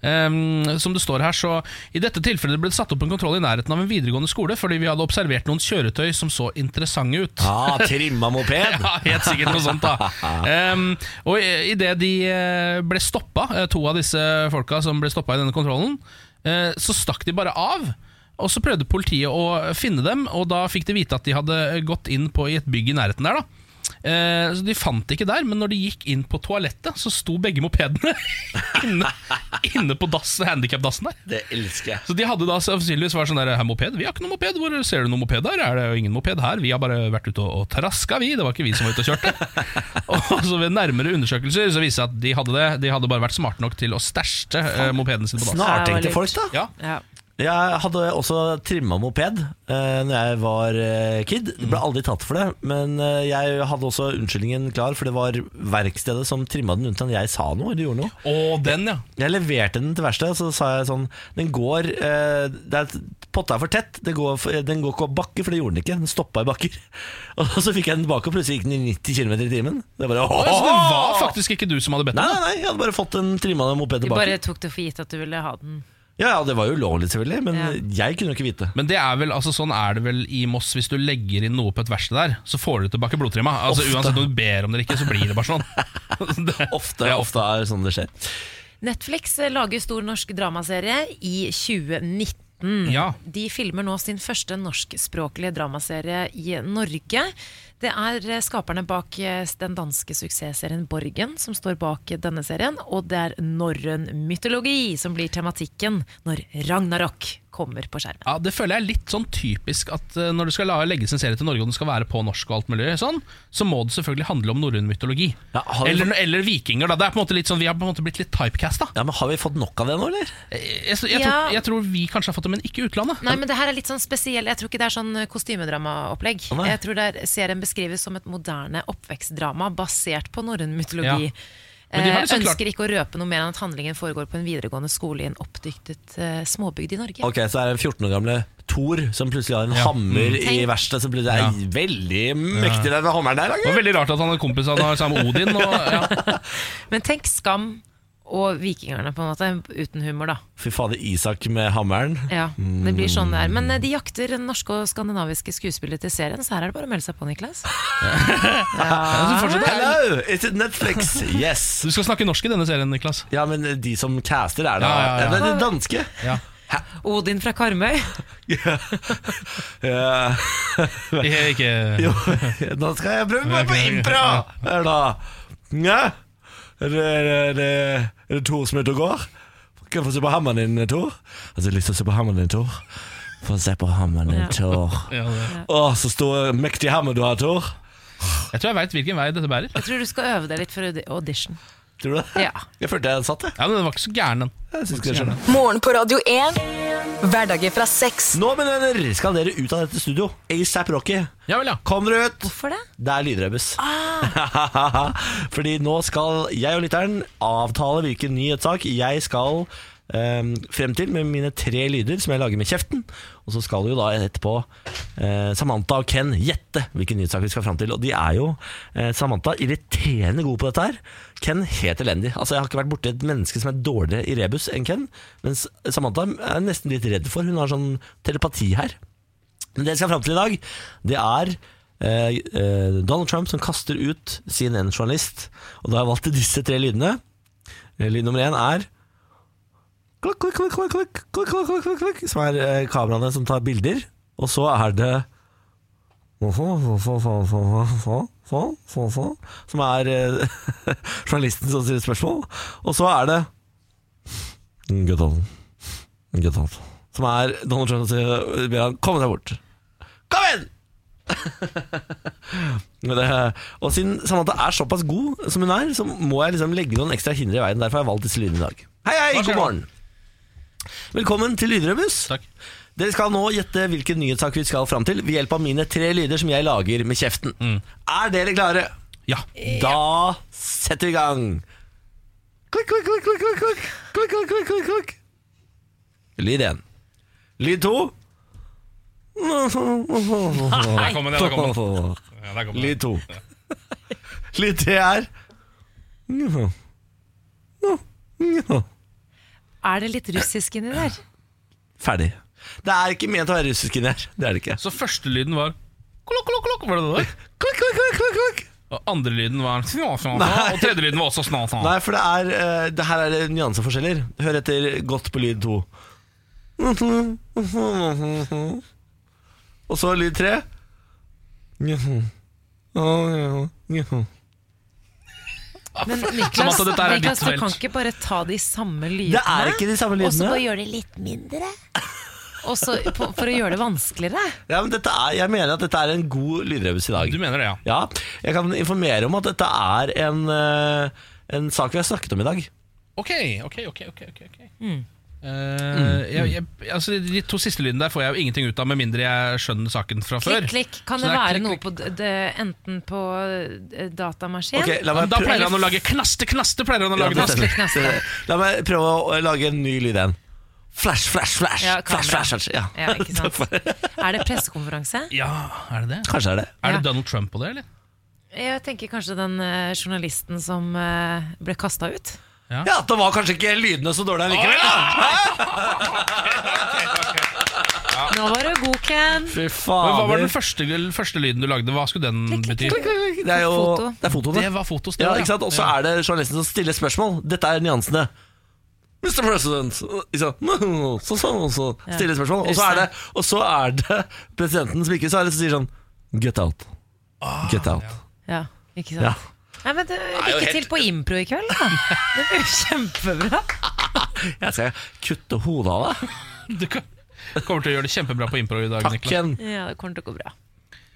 Speaker 3: Ehm, som det står her, så I dette tilfellet ble det satt opp en kontroll i nærheten av en videregående skole fordi vi hadde observert noen kjøretøy som så interessante ut.
Speaker 1: Ah, trimma moped.
Speaker 3: ja, helt sikkert noe sånt, da. Um, og idet de eh, ble stoppa, eh, to av disse folka som ble stoppa i denne kontrollen, eh, så stakk de bare av. Og så prøvde politiet å finne dem, og da fikk de vite at de hadde gått inn på i et bygg i nærheten der. da. Eh, så De fant det ikke der, men når de gikk inn på toalettet, så sto begge mopedene inne, inne på dass, handikapdassen der.
Speaker 1: Det elsker jeg.
Speaker 3: Så de hadde da sannsynligvis vært sånn der Her, moped? Vi har ikke noen moped. Hvor ser du noen moped her? Er det jo ingen moped her? Vi har bare vært ute og, og traska, vi. Det var ikke vi som var ute og kjørte. og så ved nærmere undersøkelser så viste det seg at de hadde det. De hadde bare vært smarte nok til å stæsje eh, mopeden sin på dass.
Speaker 1: Snartenkte folk, da.
Speaker 3: Ja.
Speaker 1: Jeg hadde også trimma moped eh, Når jeg var eh, kid. Det
Speaker 3: Mm.
Speaker 1: ble aldri tatt for det, men eh, jeg hadde også unnskyldningen klar, for det var verkstedet som trimma den uten at jeg sa noe eller gjorde noe.
Speaker 3: Å, den, ja.
Speaker 1: Jeg leverte den til verkstedet, og så sa jeg sånn Den går eh, det er, Potta er for tett, det går, for- den går ikke opp bakke, for det gjorde den ikke. Den stoppa i bakker. Og så fikk jeg den tilbake, og plutselig gikk den i 90 km i timen. Det er bare,
Speaker 3: Å, ja, så det var
Speaker 1: åh!
Speaker 3: faktisk ikke du som hadde bedt
Speaker 1: Nei,
Speaker 3: om
Speaker 1: nei,
Speaker 3: det?
Speaker 1: nei, jeg hadde bare fått en trimma moped
Speaker 2: De bare
Speaker 1: tilbake.
Speaker 2: tok det for gitt at du ville ha den.
Speaker 1: Ja, ja, det var jo ulovlig, selvfølgelig, men jeg kunne jo ikke vite.
Speaker 3: Men det er vel, altså sånn er det vel i Moss. Hvis du legger inn noe på et verksted der, så får du tilbake blodtrimma. Altså,
Speaker 1: Ofte.
Speaker 3: uansett om du ber om det eller ikke, så blir det bare sånn. det,
Speaker 1: Ofte, ofte er det sånn det skjer.
Speaker 2: Netflix eh, lager stor norsk dramaserie i 2019.
Speaker 3: Ja.
Speaker 2: De filmer nå sin første norskspråklige dramaserie i Norge. Det er eh, skaperne bak eh, den danske suksessserien Borgen som står bak eh, denne serien. Og det er norrøn mytologi som blir tematikken når Ragnarok kommer på skjermen.
Speaker 3: Ja, Det føler jeg er litt sånn typisk at eh, når det skal la- legges en serie til Norge, og den skal være på norsk, og alt mulig sånn, så må det selvfølgelig handle om norrøn mytologi.
Speaker 1: har vi
Speaker 3: eller,
Speaker 1: fått-
Speaker 3: eller vikinger, da. Det er på en måte litt sånn, Vi har på en måte blitt litt typecasta.
Speaker 1: Ja, men har vi fått nok av det nå, eller?
Speaker 3: Jeg, jeg, jeg,
Speaker 2: Ja.
Speaker 3: tror, jeg tror vi kanskje har fått det, men ikke utlandet.
Speaker 2: Nei, men det her er litt sånn spesiell Jeg tror ikke det er sånn kostymedramaopplegg.
Speaker 3: Å, nei.
Speaker 2: Jeg tror det er, serien beskrives som et moderne oppvekstdrama basert på norrøn mytologi.
Speaker 3: Ja. Men de har
Speaker 2: Eh,
Speaker 3: liksom klart-
Speaker 2: ønsker ikke å røpe noe mer enn at handlingen foregår på en videregående skole i en oppdyktet eh, småbygd i Norge.
Speaker 1: Ok, så er det en 14 år gamle Thor som plutselig har en
Speaker 3: Ja.
Speaker 1: hammer
Speaker 3: Mm.
Speaker 1: i verkstedet. Som plutselig
Speaker 3: Ja.
Speaker 1: er veldig mektig, den hammeren der.
Speaker 3: Det var veldig rart at han er kompis han har sammen med Odin. Og, ja.
Speaker 2: Men tenk Skam og vikingerne, på en måte. Uten humor, da.
Speaker 1: Fy fader, Isak med hammeren.
Speaker 2: Ja, det blir sånn det er. Men eh, de jakter norske og skandinaviske skuespillere til serien, så her er det bare å melde seg på, Niklas.
Speaker 3: Ja, så fortsatt-
Speaker 1: Hello, it's Netflix. Yes.
Speaker 3: Du skal snakke norsk i denne serien, Niklas.
Speaker 1: Ja, men de som caster, er da
Speaker 3: Ja, ja, ja.
Speaker 1: Det er de danske.
Speaker 3: Ja.
Speaker 2: Odin fra Karmøy.
Speaker 1: Ja.
Speaker 3: ikke
Speaker 1: Jo, nå skal jeg prøve meg på impro! Her da. Nja? Er det, er det, er det Tor som er ute og går? Kan jeg få se på hammeren din, Tor? Altså, jeg har lyst til å se på hammeren din, Tor. Få se på hammeren din,
Speaker 3: Ja.
Speaker 1: Tor.
Speaker 3: Ja, det-
Speaker 1: Å, så stor mektig hammer du har, Tor.
Speaker 3: Jeg tror jeg veit hvilken vei dette bærer.
Speaker 2: Jeg tror du skal øve deg litt for audi- audition.
Speaker 1: Tror du det?
Speaker 2: Ja.
Speaker 1: Jeg følte jeg satt, jeg.
Speaker 3: Ja, men den var ikke så gæren, den.
Speaker 1: Jeg synes ikke jeg skjønner.
Speaker 4: Morgen på Radio 1. Hverdager fra seks.
Speaker 1: Nå, mine venner, skal dere ut av dette studio. ASAP Rocky. Kom dere ut!
Speaker 2: Hvorfor det? Ah.
Speaker 1: Det er lydrebus. Fordi nå skal jeg og lytteren avtale hvilken nyhetssak jeg skal eh, frem til med mine tre lyder som jeg lager med kjeften. Og så skal jo da etterpå eh, Samantha og Ken gjette hvilken nyhetssak vi skal frem til. Og de er jo eh, Samantha irriterende god på dette her. Ken helt elendig. Altså Jeg har ikke vært borti et menneske som er dårligere i rebus enn Ken. Mens Samantha er jeg nesten litt redd for. Hun har sånn telepati her. Men det jeg skal fram til i dag, det er eh, eh, Donald Trump som kaster ut CNN-journalist. Og da har jeg valgt disse tre lydene. Eh, Lyd nummer én er klakk, klakk, klakk, klakk, klakk, klakk, klakk, klakk, klakk, klakk, Som er eh, kameraene som tar bilder. Og så er det Som er eh, journalisten som stiller spørsmål. Og så er det Good on. Good on. Som er Donald Trump som sier ber han komme deg bort. Kom igjen! Men det, og siden Samantha er såpass god som hun er, så må jeg liksom legge noen ekstra hindre i veien. Derfor har jeg valgt disse lydene i dag. Hei, hei, god morgen! Velkommen til Lydrebus. Dere skal nå gjette hvilken nyhetssak vi skal fram til ved hjelp av mine tre lyder som jeg lager med kjeften. Er dere klare?
Speaker 3: Ja.
Speaker 1: Da setter vi i gang. Klikk, klikk, klikk, klikk, klikk, klikk, klikk, klikk, klikk, klikk, klikk. Lyd én. Lyd to.
Speaker 3: Der kom den, der kom den. Ja, der kom den.
Speaker 1: Lyd to. Lyd tre er
Speaker 2: Er det litt russisk inni der?
Speaker 1: Ferdig. Det er ikke ment å være russisk inni her. Det er det ikke.
Speaker 3: Så førstelyden var klokk, klokk, klokk, var det det der?
Speaker 1: Klokk, klokk, klokk, klokk, klokk.
Speaker 3: Og andrelyden var snå, snå, snå,
Speaker 1: Nei.
Speaker 3: og tredjelyden var også snå, snå.
Speaker 1: Nei, for det er eh, det Her er det nyanseforskjeller. Hør etter godt på lyd to. Og så lyd tre.
Speaker 2: Men Niklas,
Speaker 1: Samantha, dette er ditt
Speaker 2: Niklas du
Speaker 1: felt.
Speaker 2: kan ikke bare ta de samme lydene.
Speaker 1: Det er ikke de samme
Speaker 2: Og så
Speaker 1: lydene.
Speaker 2: bare gjøre det litt mindre. Og så på- for å gjøre det vanskeligere.
Speaker 1: Ja, men dette er, jeg mener at dette er en god lydrebus i dag. Du
Speaker 3: mener det, ja.
Speaker 1: ja jeg kan informere om at dette er en, eh, en sak vi har snakket om i dag.
Speaker 3: Ok, ok, ok, ok, ok, ok. Eh, jeg, jeg, altså, de to siste lydene der får jeg jo ingenting ut av, med mindre jeg skjønner saken fra før.
Speaker 2: Klikk, klikk. Kan
Speaker 3: Så
Speaker 2: det
Speaker 3: er
Speaker 2: være
Speaker 3: klikk,
Speaker 2: noe på d- det, enten på eh, datamaskin
Speaker 1: Ok, la meg
Speaker 3: Da
Speaker 1: prø-
Speaker 3: pleier han å lage knaste, knaste pleier han å
Speaker 1: Ja,
Speaker 3: lage
Speaker 1: det
Speaker 3: knaste.
Speaker 1: stemmer. Eh, La meg prøve å lage en ny lyd igjen. Flash, flash, flash.
Speaker 2: Ja, kamera.
Speaker 1: flash, flash, flash. Ja.
Speaker 2: Ja, ikke sant. Er det pressekonferanse?
Speaker 3: Ja, er det det?
Speaker 1: Kanskje er det.
Speaker 3: Er det Donald Trump på det, eller?
Speaker 2: Jeg tenker kanskje den eh, journalisten som eh, ble kasta ut.
Speaker 3: Ja.
Speaker 1: det var kanskje ikke lydene så dårlige likevel, da!
Speaker 2: Nå var du god, Ken.
Speaker 1: Fy
Speaker 3: Men
Speaker 1: faen.
Speaker 3: hva var den første, første lyden du lagde? Hva skulle den bety?
Speaker 1: Det er jo
Speaker 3: Foto.
Speaker 1: Det er fotoene.
Speaker 3: Det var fotos, det
Speaker 1: ja,
Speaker 3: var, ja.
Speaker 1: ikke sant? Og så
Speaker 3: Ja.
Speaker 1: er det journalisten som stiller spørsmål. Dette er nyansene. Mr. President ikke sant? så, så, så,
Speaker 3: Ja.
Speaker 1: Stiller spørsmål. Og så er det, og så er det presidenten som ikke svarer, som sier sånn Get out.
Speaker 3: Ah,
Speaker 1: Get out.
Speaker 2: Ja, ikke sant?
Speaker 1: Ja.
Speaker 2: Nei, men det,
Speaker 1: jo
Speaker 2: Lykke
Speaker 1: helt-
Speaker 2: til på impro i kveld, da. Det blir jo kjempebra.
Speaker 1: Jeg skal kutte hodet av deg.
Speaker 3: Du kan- kommer til å gjøre det kjempebra på impro i dag.
Speaker 1: Takk igjen.
Speaker 2: Ja, det kommer til å gå bra.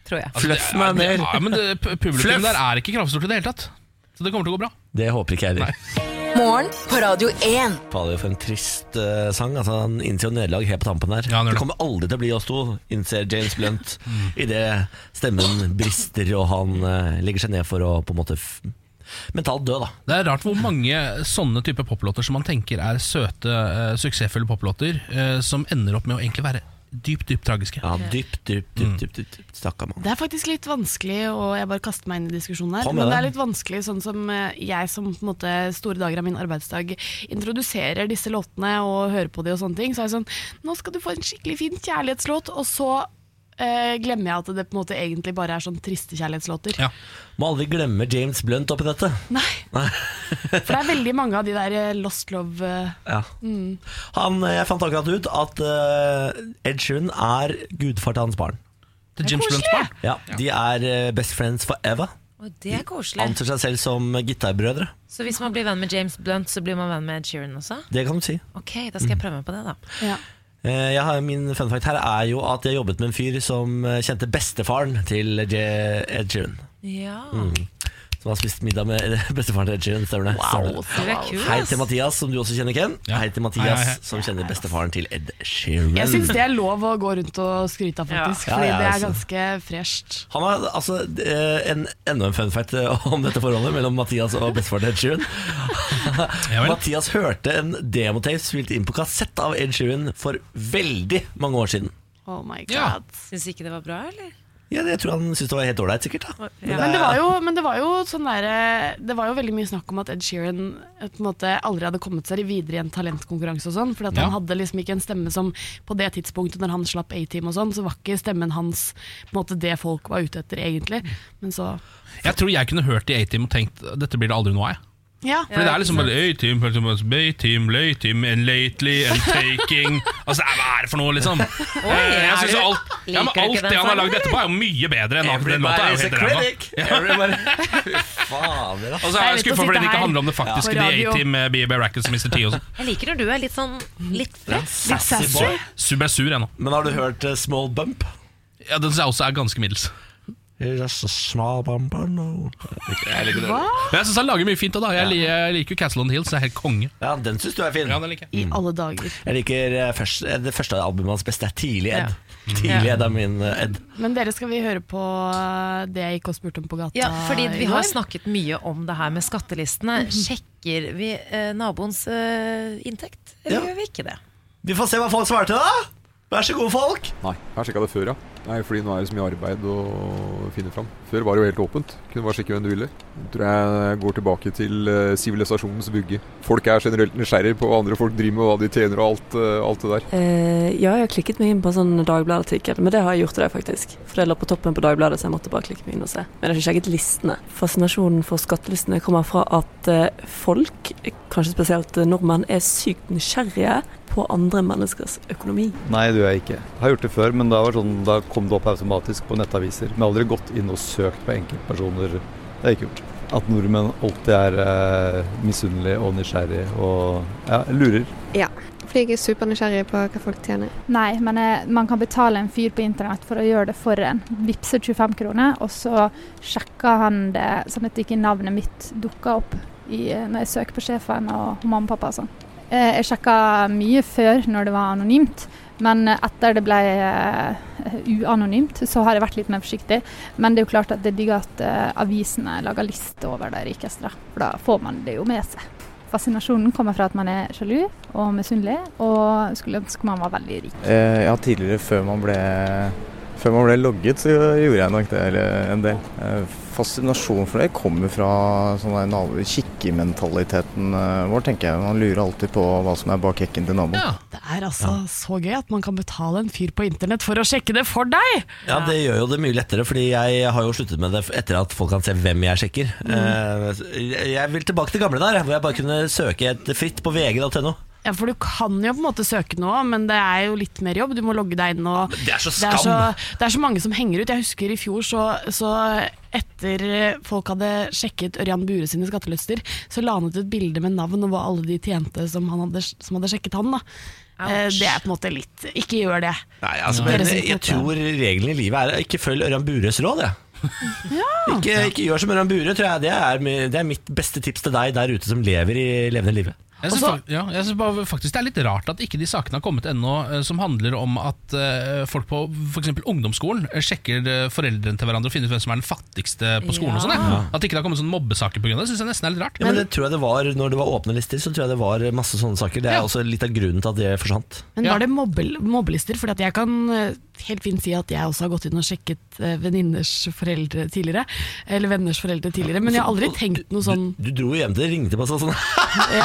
Speaker 2: Tror jeg.
Speaker 3: Altså, det
Speaker 1: Fluff
Speaker 3: er-
Speaker 1: meg mer.
Speaker 3: Ja, men det, pu-
Speaker 1: Fluff.
Speaker 3: publikum der er ikke kravstort i det hele tatt. Så det kommer til å gå bra.
Speaker 1: Det håper ikke jeg heller.
Speaker 4: Morgen på Radio 1.
Speaker 1: Fader, for en trist eh, sang. Altså, han innser jo nederlag helt på tampen her.
Speaker 3: han gjør
Speaker 1: det
Speaker 3: det.
Speaker 1: kommer aldri til å bli oss to, innser James Blunt idet stemmen brister og han eh, legger seg ned for å på en måte f mentalt dø, da.
Speaker 3: Det er rart hvor mange sånne type poplåter som man tenker er søte, eh, suksessfulle poplåter, eh, som ender opp med å egentlig være dypt, dypt tragiske.
Speaker 1: Ja, dypt, dypt, dypt, dypt, dypt, dypt. Stakkar mann.
Speaker 13: Det er faktisk litt vanskelig, og jeg bare kaster meg inn i diskusjonen her.
Speaker 1: Kom med
Speaker 13: Men det er
Speaker 1: det.
Speaker 13: litt vanskelig sånn som eh, jeg som på en måte store dager av min arbeidsdag introduserer disse låtene og hører på de og sånne ting. Så er det sånn Nå skal du få en skikkelig fin kjærlighetslåt, og så eh, glemmer jeg at det på en måte egentlig bare er sånn triste kjærlighetslåter.
Speaker 1: Må aldri glemme James Blunt oppi dette.
Speaker 13: Nei. For det er veldig mange av de der eh, Lost Love eh,
Speaker 1: Ja.
Speaker 13: mm.
Speaker 1: Han, eh, jeg fant akkurat ut at eh, Ed Sheeran er gudfar til hans barn.
Speaker 3: Til James Blunt's barn?
Speaker 1: Ja, De er eh, best friends forever.
Speaker 2: Og det er koselig.
Speaker 1: Anser seg selv som gitarbrødre.
Speaker 2: Så hvis man blir venn med James Blunt, så blir man venn med Ed Sheeran også?
Speaker 1: Det kan du si.
Speaker 2: Ok, da
Speaker 1: Mm.
Speaker 2: skal jeg prøve meg på det, da.
Speaker 1: Eh, Jeg har, min fun fact her er jo at jeg jobbet med en fyr som eh, kjente bestefaren til J- Ed Sheeran.
Speaker 2: Ja.
Speaker 1: Mm. Som har spist middag med bestefaren til Ed Sheeran. Stemmer det?
Speaker 2: Wow,
Speaker 1: Stemmer
Speaker 2: så kul, ass.
Speaker 1: Hei til Mathias, som du også kjenner, Ken. Hei til Mathias,
Speaker 3: Hei, hei, hei.
Speaker 1: som kjenner bestefaren til Ed Sheeran.
Speaker 13: Jeg syns det er lov å gå rundt og skryte av, faktisk.
Speaker 1: Ja.
Speaker 13: Fordi
Speaker 1: Ja, ja,
Speaker 13: det er
Speaker 1: altså.
Speaker 13: ganske fresht.
Speaker 1: Han har altså eh, en, enda en fun fact eh, om dette forholdet mellom Mathias og bestefaren til Ed Sheeran. Mathias hørte en demotape spilt inn på kassett av Ed Sheeran for veldig mange år siden.
Speaker 13: Oh my god.
Speaker 1: Ja.
Speaker 2: Syns ikke det var bra, eller?
Speaker 1: Ja, det- jeg tror han syntes det var helt ålreit, sikkert. da
Speaker 13: Ja, men, det var jo, men det var jo sånn der, Det var jo veldig mye snakk om at Ed Sheeran eh, på en måte aldri hadde kommet seg videre i en talentkonkurranse og sånn. For at
Speaker 14: Ja.
Speaker 13: han hadde liksom ikke en stemme som på det tidspunktet når han slapp A-Team og sånn, så var ikke stemmen hans på en måte det folk var ute etter egentlig. Men så
Speaker 3: Jeg tror jeg kunne hørt i A-Team og tenkt dette blir det aldri noe av. jeg."
Speaker 13: Ja.
Speaker 3: Fordi det er liksom bare A-Team, B-Team, Late-Team, and Lately, and Taking Altså, det er- hva er det for noe, liksom?
Speaker 13: Oi,
Speaker 3: Eh, jeg
Speaker 13: er
Speaker 3: synes
Speaker 13: du-
Speaker 3: jo alt, ja, men
Speaker 13: Liker du
Speaker 3: alt
Speaker 13: ikke den
Speaker 3: det han har
Speaker 13: sangen,
Speaker 3: lagd etterpå, er jo mye bedre enn alt den låta. er jo
Speaker 1: Everybody's a
Speaker 3: helt ræva.
Speaker 1: critic.
Speaker 3: Ja.
Speaker 1: Everybody- Fader,
Speaker 13: altså.
Speaker 3: Og så
Speaker 2: Det er
Speaker 3: er jeg
Speaker 2: lett å
Speaker 3: skuffa fordi
Speaker 2: sitte
Speaker 3: det
Speaker 2: her
Speaker 3: ikke handler om det faktiske.
Speaker 2: på
Speaker 3: The
Speaker 2: radio.
Speaker 3: A-Team, eh, BB Rackets og sånn. Mr. T. Også.
Speaker 2: Jeg liker når du er litt sånn litt fresh.
Speaker 3: Sub er sur ennå.
Speaker 1: Men har du hørt eh, Small Bump?
Speaker 3: Ja, Den synes jeg også er ganske middels.
Speaker 1: Just a small bump I know. Jeg liker det.
Speaker 13: Hva?
Speaker 3: Men jeg syns han lager mye fint. da Jeg, li- jeg liker jo Castle on the Hills. Det er helt konge.
Speaker 1: Ja, Den syns du er fin.
Speaker 3: Ja, den liker
Speaker 13: I
Speaker 3: jeg.
Speaker 13: alle dager.
Speaker 1: Jeg liker eh, først, eh, det første albumet hans best. Det er Tidlig Ed.
Speaker 13: Ja.
Speaker 1: Tidlig
Speaker 13: Ja.
Speaker 1: Ed er min eh, Ed.
Speaker 13: Men dere skal vi høre på eh, det jeg gikk og spurte om på gata
Speaker 2: Ja, fordi vi
Speaker 13: i
Speaker 2: har
Speaker 13: går?
Speaker 2: snakket mye om det her med skattelistene.
Speaker 13: Mhm.
Speaker 2: Sjekker vi eh, naboens eh, inntekt, eller gjør vi ikke det?
Speaker 1: Vi får se hva folk svarte, da! Vær så god, folk!
Speaker 15: Nei, jeg har sjekka det før, ja. Nei, fordi nå er det så mye arbeid å finne fram. Før var det jo helt åpent. Kunne bare sjekke hvem du ville. Jeg tror jeg går tilbake til eh, sivilisasjonens vugge. Folk er generelt nysgjerrig på hva andre folk driver med, og hva de tjener og alt, eh, alt det der.
Speaker 16: Eh, ja, jeg har klikket meg inn på en sånn Dagbladet-artikkel, men det har jeg gjort i dag, faktisk. For det lå på toppen på Dagbladet, så jeg måtte bare klikke meg inn og se. Men jeg har ikke sjekket listene. Fascinasjonen for skattelistene kommer fra at eh, folk, kanskje spesielt eh, nordmenn, er sykt nysgjerrige på andre menneskers økonomi.
Speaker 17: Nei, det gjør jeg ikke. Jeg har gjort det før, men da, var det sånn, da kom det opp automatisk på nettaviser. Men jeg har aldri gått inn og søkt på enkeltpersoner. Det har jeg ikke gjort. At nordmenn alltid er eh, misunnelige og nysgjerrige og ja, lurer.
Speaker 18: Ja, fordi jeg er supernysgjerrig på hva folk tjener.
Speaker 19: Nei, men eh, man kan betale en fyr på internett for å gjøre det for en. Vipser 25 kroner, og så sjekker han det sånn at ikke navnet mitt dukker opp i, eh, når jeg søker på sjefen og mamma og pappa og sånn. Eh, Jeg sjekka mye før når det var anonymt, men eh, etter det ble eh, uanonymt, så har jeg vært litt mer forsiktig. Men det er jo klart at det er digg at eh, avisene lager liste over de rikeste, da. for da får man det jo med seg. Fascinasjonen kommer fra at man er sjalu og misunnelig, og skulle ønske man var veldig rik.
Speaker 20: Eh, ja, tidligere før man ble før man ble logget, så gjorde jeg nok det eller en del. Eh, Fascinasjonen for det kommer fra sånn der nabo- kikkementaliteten eh, vår, tenker jeg. Man lurer alltid på hva som er bak hekken til naboen.
Speaker 13: Det er altså så gøy at man kan betale en fyr på internett for å sjekke det for deg!
Speaker 1: Ja, Det gjør jo det mye lettere, Fordi jeg har jo sluttet med det etter at folk kan se hvem jeg sjekker.
Speaker 13: Mm.
Speaker 1: Eh, Jeg vil tilbake til gamle der, hvor jeg bare kunne søke et fritt på vg.no.
Speaker 13: Ja, for du kan jo på en måte søke noe, men det er jo litt mer jobb. Du må logge deg inn og
Speaker 3: det er så
Speaker 13: Det er så,
Speaker 3: skam.
Speaker 13: det er så mange som henger ut. Jeg husker i fjor, så, så etter folk hadde sjekket Ørjan Bure sine skattelyster, så la han ut et bilde med navn og hva alle de tjente som, han hadde, som hadde sjekket han. Da. Eh, Det er på en måte litt Ikke gjør det.
Speaker 1: Nei, altså,
Speaker 13: Dere
Speaker 1: men
Speaker 13: som
Speaker 1: jeg
Speaker 13: taper.
Speaker 1: tror regelen i livet er å ikke følg Ørjan Bures råd. Jeg. Ikke, ikke gjør som Ørjan Bure. Tror jeg. Det, er, mi- det er mitt beste tips til deg der ute som lever i levende livet.
Speaker 3: Jeg synes, fak- ja, jeg synes bare, faktisk Det er litt rart at ikke de sakene har kommet ennå eh, som handler om at eh, folk på f.eks. ungdomsskolen eh, sjekker eh, foreldrene til hverandre og finner ut hvem som er den fattigste på skolen. og sånn jeg.
Speaker 1: Ja.
Speaker 3: At det ikke har kommet sånne mobbesaker pga. det, syns jeg nesten er litt rart.
Speaker 1: Ja, men det tror jeg det var Når det var åpne lister, så tror jeg det var masse sånne saker. Det er
Speaker 13: Ja.
Speaker 1: også litt av grunnen til at det forsvant.
Speaker 13: Men var det mobbel- mobbelister? For jeg kan eh, helt fint si at jeg også har gått inn og sjekket eh, venninners foreldre tidligere. Eller venners foreldre tidligere. Men jeg har aldri tenkt noe sånn
Speaker 1: Du dro jo hjem til det ringte på og sa sånn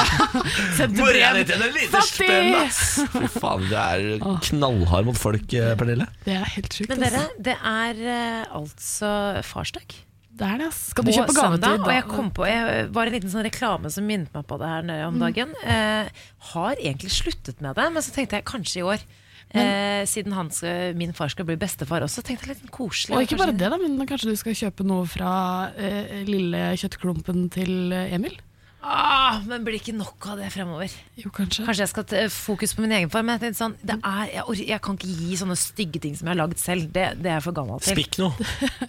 Speaker 13: Sendte
Speaker 1: Hvor er
Speaker 13: brev.
Speaker 1: det til en liten
Speaker 13: Fattig!
Speaker 1: spenn, ass! Fy faen, du er knallhard mot folk, eh, Pernille.
Speaker 13: Det er helt sjukt.
Speaker 2: Men dere,
Speaker 13: altså.
Speaker 2: det er eh, altså farsdag.
Speaker 13: Det er det, ass. Skal du
Speaker 2: På
Speaker 13: kjøpe gave
Speaker 2: søndag,
Speaker 13: til
Speaker 2: Og jeg kom på, jeg var en liten sånn reklame som minnet meg på det her nede om
Speaker 13: Mm.
Speaker 2: dagen. Eh, har egentlig sluttet med det, men så tenkte jeg kanskje i år. eh, siden han skal, min far skal bli bestefar også, tenkte jeg litt sånn koselig.
Speaker 13: Og ikke
Speaker 2: kanskje-
Speaker 13: bare det, da, men kanskje du skal kjøpe noe fra eh, lille kjøttklumpen til eh, Emil?
Speaker 2: Ah, men blir det ikke nok av det fremover?
Speaker 13: Jo, Kanskje
Speaker 2: Kanskje jeg skal ta fokus på min egen far. Men jeg, tenkte sånn, det er, jeg, orker- jeg kan ikke gi sånne stygge ting som jeg har lagd selv. Det, det er jeg for gammel til.
Speaker 1: Spikk noe.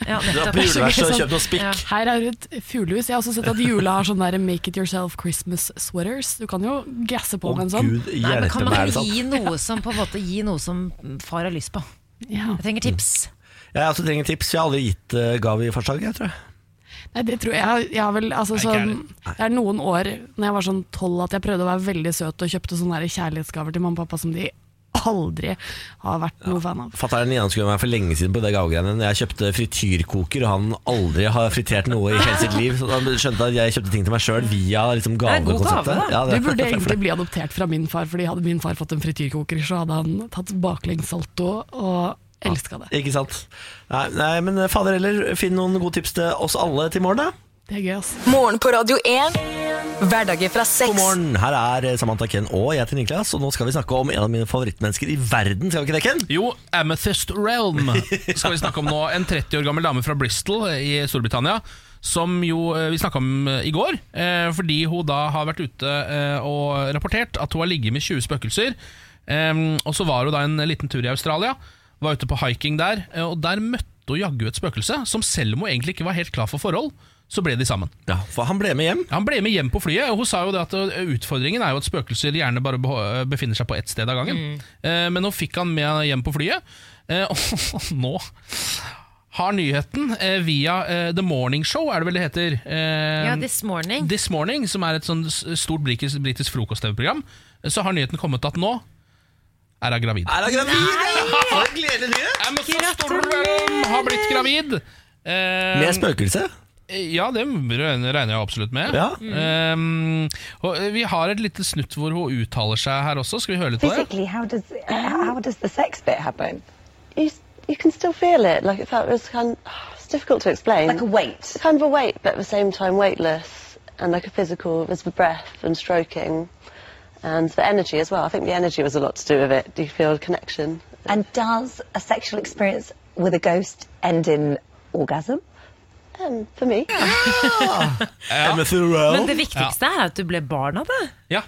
Speaker 2: Ja,
Speaker 1: Du er
Speaker 2: nettopp.
Speaker 1: på juleverkstedet og kjøper noe spikk.
Speaker 13: sånn. Ja. Her er et fuglehus. Jeg har også sett at jula har sånne der make it yourself Christmas sweaters. Du kan jo gasse på
Speaker 1: Å,
Speaker 13: med en sånn.
Speaker 1: Gud,
Speaker 2: Nei, men
Speaker 1: hjelpe
Speaker 2: kan
Speaker 1: meg, er
Speaker 2: man
Speaker 1: det sant?
Speaker 2: gi noe som på en måte Gi noe som far har lyst på?
Speaker 13: Jeg
Speaker 2: trenger tips.
Speaker 1: Jeg også trenger tips. Jeg har aldri gitt eh, gave i farsdag, jeg tror jeg.
Speaker 13: Nei, det tror jeg, jeg har vel, altså,
Speaker 1: Nei,
Speaker 13: sånn,
Speaker 1: ikke
Speaker 13: Det er noen år Når jeg var sånn tolv at jeg prøvde å være veldig søt og kjøpte sånne der kjærlighetsgaver til mamma og pappa som de aldri har vært noe fan av.
Speaker 1: Fatter'n gjennomskuet meg for lenge siden på det gavegreiene. Når Jeg kjøpte frityrkoker, og han aldri har fritert noe i hele sitt liv. Så han skjønte at jeg kjøpte ting til meg sjøl via liksom
Speaker 13: Det er god gave,
Speaker 1: gavekonseptet.
Speaker 13: da.
Speaker 1: Ja, det-
Speaker 13: du burde egentlig bli adoptert fra min far, Fordi hadde min far fått en frityrkoker, så hadde han tatt baklengssalto og elska det.
Speaker 1: Ikke sant. Nei, nei, men eh, fader heller, finn noen gode tips til oss alle til i morgen, da.
Speaker 13: Det er gøy, ass.
Speaker 4: Morgen på Radio 1. Hverdager fra seks.
Speaker 1: morgen. Her er eh, Samantha Ken og jeg heter Niklas, og nå skal vi snakke om en av mine favorittmennesker i verden. Skal vi ikke det, Ken?
Speaker 3: Jo, Amethyst Realm skal vi snakke om nå. En 30 år gammel dame fra Bristol i Storbritannia. Som jo eh, vi snakka om eh, i går, eh, fordi hun da har vært ute eh, og rapportert at hun har ligget med 20 spøkelser. Em, og så var hun da en liten tur i Australia, var ute på hiking der, eh, og der møtte hun jaggu et spøkelse som selv om hun egentlig ikke var helt klar for forhold, så ble de sammen.
Speaker 1: Ja, For han ble med hjem?
Speaker 3: Han ble med hjem på flyet, og hun sa jo det at ø, utfordringen er jo at spøkelser gjerne bare beho- eh, befinner seg på ett sted av gangen. Eh, Men nå fikk han med hjem på flyet, eh, og nå har nyheten eh, via eh, The Morning Show, er det vel det heter? eh,
Speaker 2: Ja, This Morning.
Speaker 3: This Morning, som er et sånn s- stort britisk, britisk frokost-TV-program, eh, så har nyheten kommet at nå er hun gravid.
Speaker 1: Er han gravid? For en gledelig nyhet!
Speaker 3: Gratulerer! Har blitt gravid. Eh,
Speaker 1: Med spøkelse?
Speaker 3: ja, det regner regner jeg absolutt med.
Speaker 1: Ja.
Speaker 3: Um, og vi har et lite snutt hvor hun uttaler seg her også. Skal vi høre litt på det?
Speaker 14: Physically, how does
Speaker 21: Mm-hmm.
Speaker 14: how does the sex bit happen? You you can still feel it. Like it felt it was kind. It's difficult to explain. Like a weight. Kind of a weight, but at the same time weightless, and like a physical. It was the breath and stroking, and the energy as well. I think the energy was a lot to do with it. Do you feel a connection?
Speaker 21: And does a sexual experience with a ghost end in orgasm?
Speaker 14: Um, for me.
Speaker 2: Men det viktigste er at du ble barn av det.
Speaker 3: Ja.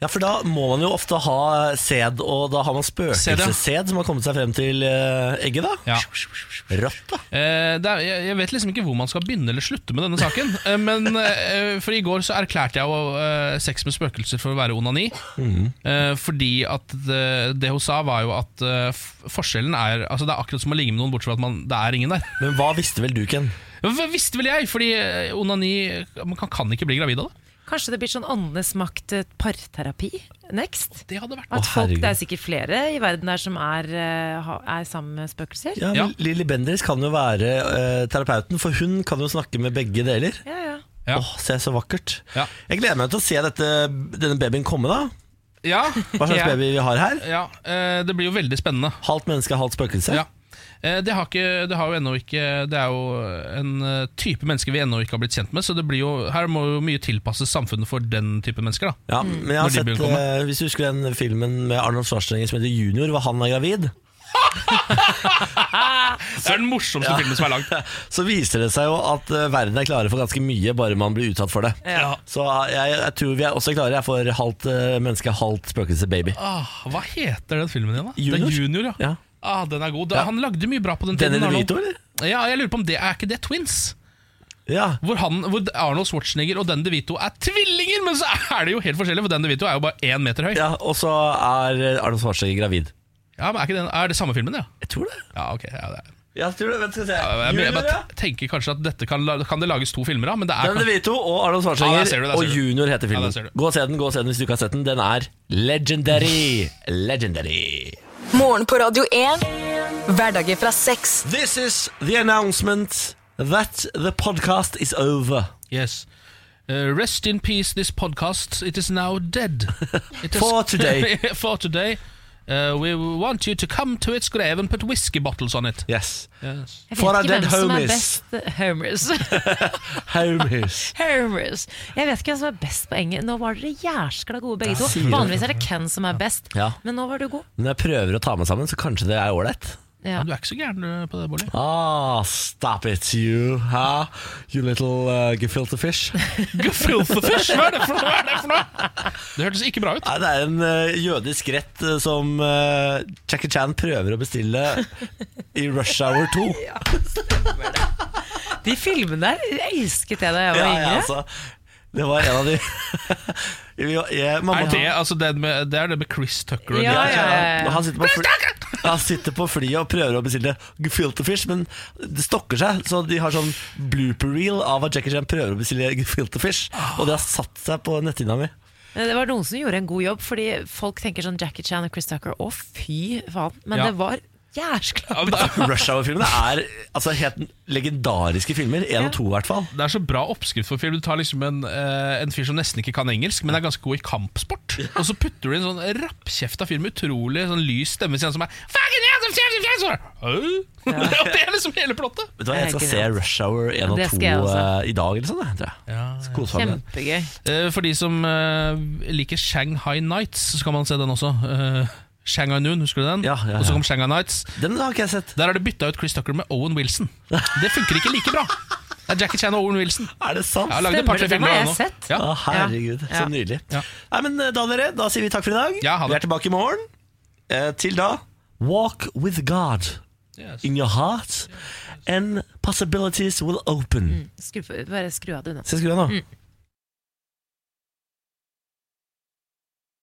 Speaker 1: Ja, for da må man jo ofte ha sæd, og da har man spøkelsessæd som har kommet seg frem til eh, egget, da. Rått, da.
Speaker 3: Eh, det er, jeg, jeg vet liksom ikke hvor man skal begynne eller slutte med denne saken. Eh, men eh, For i går så erklærte jeg jo eh, sex med spøkelser for å være onani.
Speaker 1: Mm.
Speaker 3: Eh, fordi at det, det hun sa, var jo at eh, f- forskjellen er Altså Det er akkurat som å ligge med noen, bortsett fra at man, det er ingen der.
Speaker 1: Men hva visste vel du, Ken?
Speaker 3: Hva visste vel jeg? Fordi eh, onani Man kan, kan ikke bli gravid av det.
Speaker 2: Kanskje det blir sånn åndenes makt eh, parterapi next?
Speaker 3: Det hadde vært
Speaker 1: Å,
Speaker 2: At folk,
Speaker 1: herregud.
Speaker 2: Det er sikkert flere i verden der som er, eh, ha- er sammen med spøkelser.
Speaker 1: Ja, men Lilly Bendriss kan jo være eh, terapeuten, for hun kan jo snakke med begge deler.
Speaker 2: Ja, ja.
Speaker 1: Åh, se så vakkert. Jeg gleder meg til å se dette, denne babyen komme, da.
Speaker 3: Ja
Speaker 1: Hva slags
Speaker 3: jeg-
Speaker 1: baby vi har her?
Speaker 3: Ja, eh, Det blir jo veldig spennende.
Speaker 1: Halvt menneske, halvt spøkelse.
Speaker 3: Ja. Eh, Det, har ikke, det, har jo ennå ikke, det er jo en eh, type mennesker vi ennå ikke har blitt kjent med, så det blir jo, her må jo mye tilpasses samfunnet for den type mennesker. da
Speaker 1: Ja,
Speaker 2: Mm.
Speaker 1: men jeg har
Speaker 3: Når de
Speaker 1: sett,
Speaker 3: begynner å komme.
Speaker 1: eh, Hvis du husker den filmen med Arnold Schwarzenegger som heter Junior, hvor han er gravid eh,
Speaker 3: Det er den morsomste filmen som er lagd.
Speaker 1: Så viser det seg jo at eh, verden er klare for ganske mye, bare man blir utsatt for det.
Speaker 3: Ja.
Speaker 1: Så eh, jeg, jeg tror vi er også klare Jeg får halvt eh, menneske, halvt spøkelse baby.
Speaker 3: Ah, hva heter den filmen igjen, da?
Speaker 1: Junior.
Speaker 3: Det er junior ja. Ah, den er god. Da, Han lagde mye bra på den
Speaker 1: Danny
Speaker 3: tiden. Arnold.
Speaker 1: DeVito, eller?
Speaker 3: Ja, jeg lurer på om det er ikke det Twins? Hvor, han, hvor Arnold Schwarzenegger og Dan DeVito er tvillinger, men så er det jo helt forskjellig, for Dan DeVito er jo bare én meter høy.
Speaker 1: Ja, Og så er eh, Arnold Schwarzenegger gravid.
Speaker 3: Ja, men Er, ikke den, er det samme filmen, ja?
Speaker 1: Jeg tror det.
Speaker 3: Ja, ok ja, det er.
Speaker 1: Jeg tror det, vent skal vi se
Speaker 3: Ja, jeg, jeg bare tenker kanskje at dette kan, la- kan det lages to filmer av, men det er
Speaker 1: Dan DeVito og Arnold Schwarzenegger
Speaker 3: Ja, der ser du, der ser
Speaker 1: og
Speaker 3: du.
Speaker 1: Junior heter
Speaker 3: Ja,
Speaker 1: filmen.
Speaker 3: der ser du.
Speaker 1: gå og se den gå og se den hvis du ikke har sett den. Den er legendary. Legendary.
Speaker 4: Morgen på Radio 1. Hverdager fra seks.
Speaker 1: This is the announcement that the podcast is over.
Speaker 3: Yes. Uh, rest in peace, this podcast. It is now dead. It has-
Speaker 1: For today.
Speaker 3: for today. Uh, we want you to come to its grave and put whiskey bottles on it.
Speaker 1: Yes.
Speaker 3: yes.
Speaker 2: Jeg vet ikke hvem som er best Homies.
Speaker 1: Homies.
Speaker 2: Homies. Jeg vet ikke hvem som er best på engelsk. Nå var dere jærskla gode begge
Speaker 1: Ja,
Speaker 2: to.
Speaker 1: sier du.
Speaker 2: Vanligvis er det Ken som er best,
Speaker 1: Ja.
Speaker 2: men nå var du god.
Speaker 1: Men når jeg prøver å ta meg sammen, så kanskje det er ålreit.
Speaker 2: Ja.
Speaker 3: Du er ikke så gæren du, på det, Bolli.
Speaker 1: Ah, stop it, you, huh? You little uh, gefilte fish.
Speaker 3: Filthy fish, hva er det for noe? Hva er det for noe? Det hørtes ikke bra ut.
Speaker 1: Nei, det er en eh, jødisk rett eh, som eh, Jackie Chan prøver å bestille i Rush Hour 2.
Speaker 2: De filmene der elsket jeg da jeg var
Speaker 1: Ja, ja,
Speaker 2: yngre.
Speaker 1: altså. Det var en av de Vi var- jeg- mamma-
Speaker 3: Er det, altså, det, med, det er det med Chris Tucker og
Speaker 1: Ja,
Speaker 3: de.
Speaker 1: ja, ja. Når Han sitter på, fly, han sitter på flyet og prøver å bestille gefilte fish, men det stokker seg. Så de har sånn blooper reel av at Jackie Chan prøver å bestille gefilte fish, og det har satt seg på netthinna mi.
Speaker 2: Det var noen som gjorde en god jobb, fordi folk tenker sånn Jackie Chan og Chris Tucker, å fy faen. Men
Speaker 1: Ja.
Speaker 2: det var jæskla
Speaker 1: Rush Hour-filmene er altså, helt legendariske filmer. Én og to, i hvert fall.
Speaker 3: Det er så bra oppskrift for film. Du tar liksom en, eh, en fyr som nesten ikke kan engelsk, men er ganske god i kampsport. Og så putter du inn sånn rappkjefta fyr med utrolig sånn lys stemme til en som er Fucking hell, som skjer, som skjer, som skjer!» Hæ? Det er liksom hele plottet.
Speaker 1: Vet du hva, Jeg skal se Rush Hour 1
Speaker 3: Ja,
Speaker 1: og
Speaker 3: det
Speaker 1: 2
Speaker 3: skal jeg også.
Speaker 1: eh, i dag, eller sånn, jeg, tror jeg. Så koser jeg meg med det.
Speaker 2: Kjempegøy.
Speaker 3: Eh, For de som eh, liker Shanghai Nights, så kan man se den også. Eh, Shanghai Noon, husker du den? Og så kom Shanghai Nights.
Speaker 1: Den har ikke jeg sett
Speaker 3: Der har de bytta ut Chris Tucker med Owen Wilson. Det funker ikke like bra. Det er Jackie Chan og Owen Wilson.
Speaker 1: Er det sant?
Speaker 3: Jeg har lagd et par-tre filmer av nå. Ja.
Speaker 1: sånn. Å, herregud, så
Speaker 3: Ja.
Speaker 1: nydelig. Nei, men eh, Da dere, da sier vi takk for i dag. Vi er tilbake i morgen. Eh, til da, walk with God in your heart, and possibilities will open.
Speaker 3: Mm.
Speaker 2: Skru, bare skru av det unna.
Speaker 1: Skal jeg skru av nå?
Speaker 2: Mm.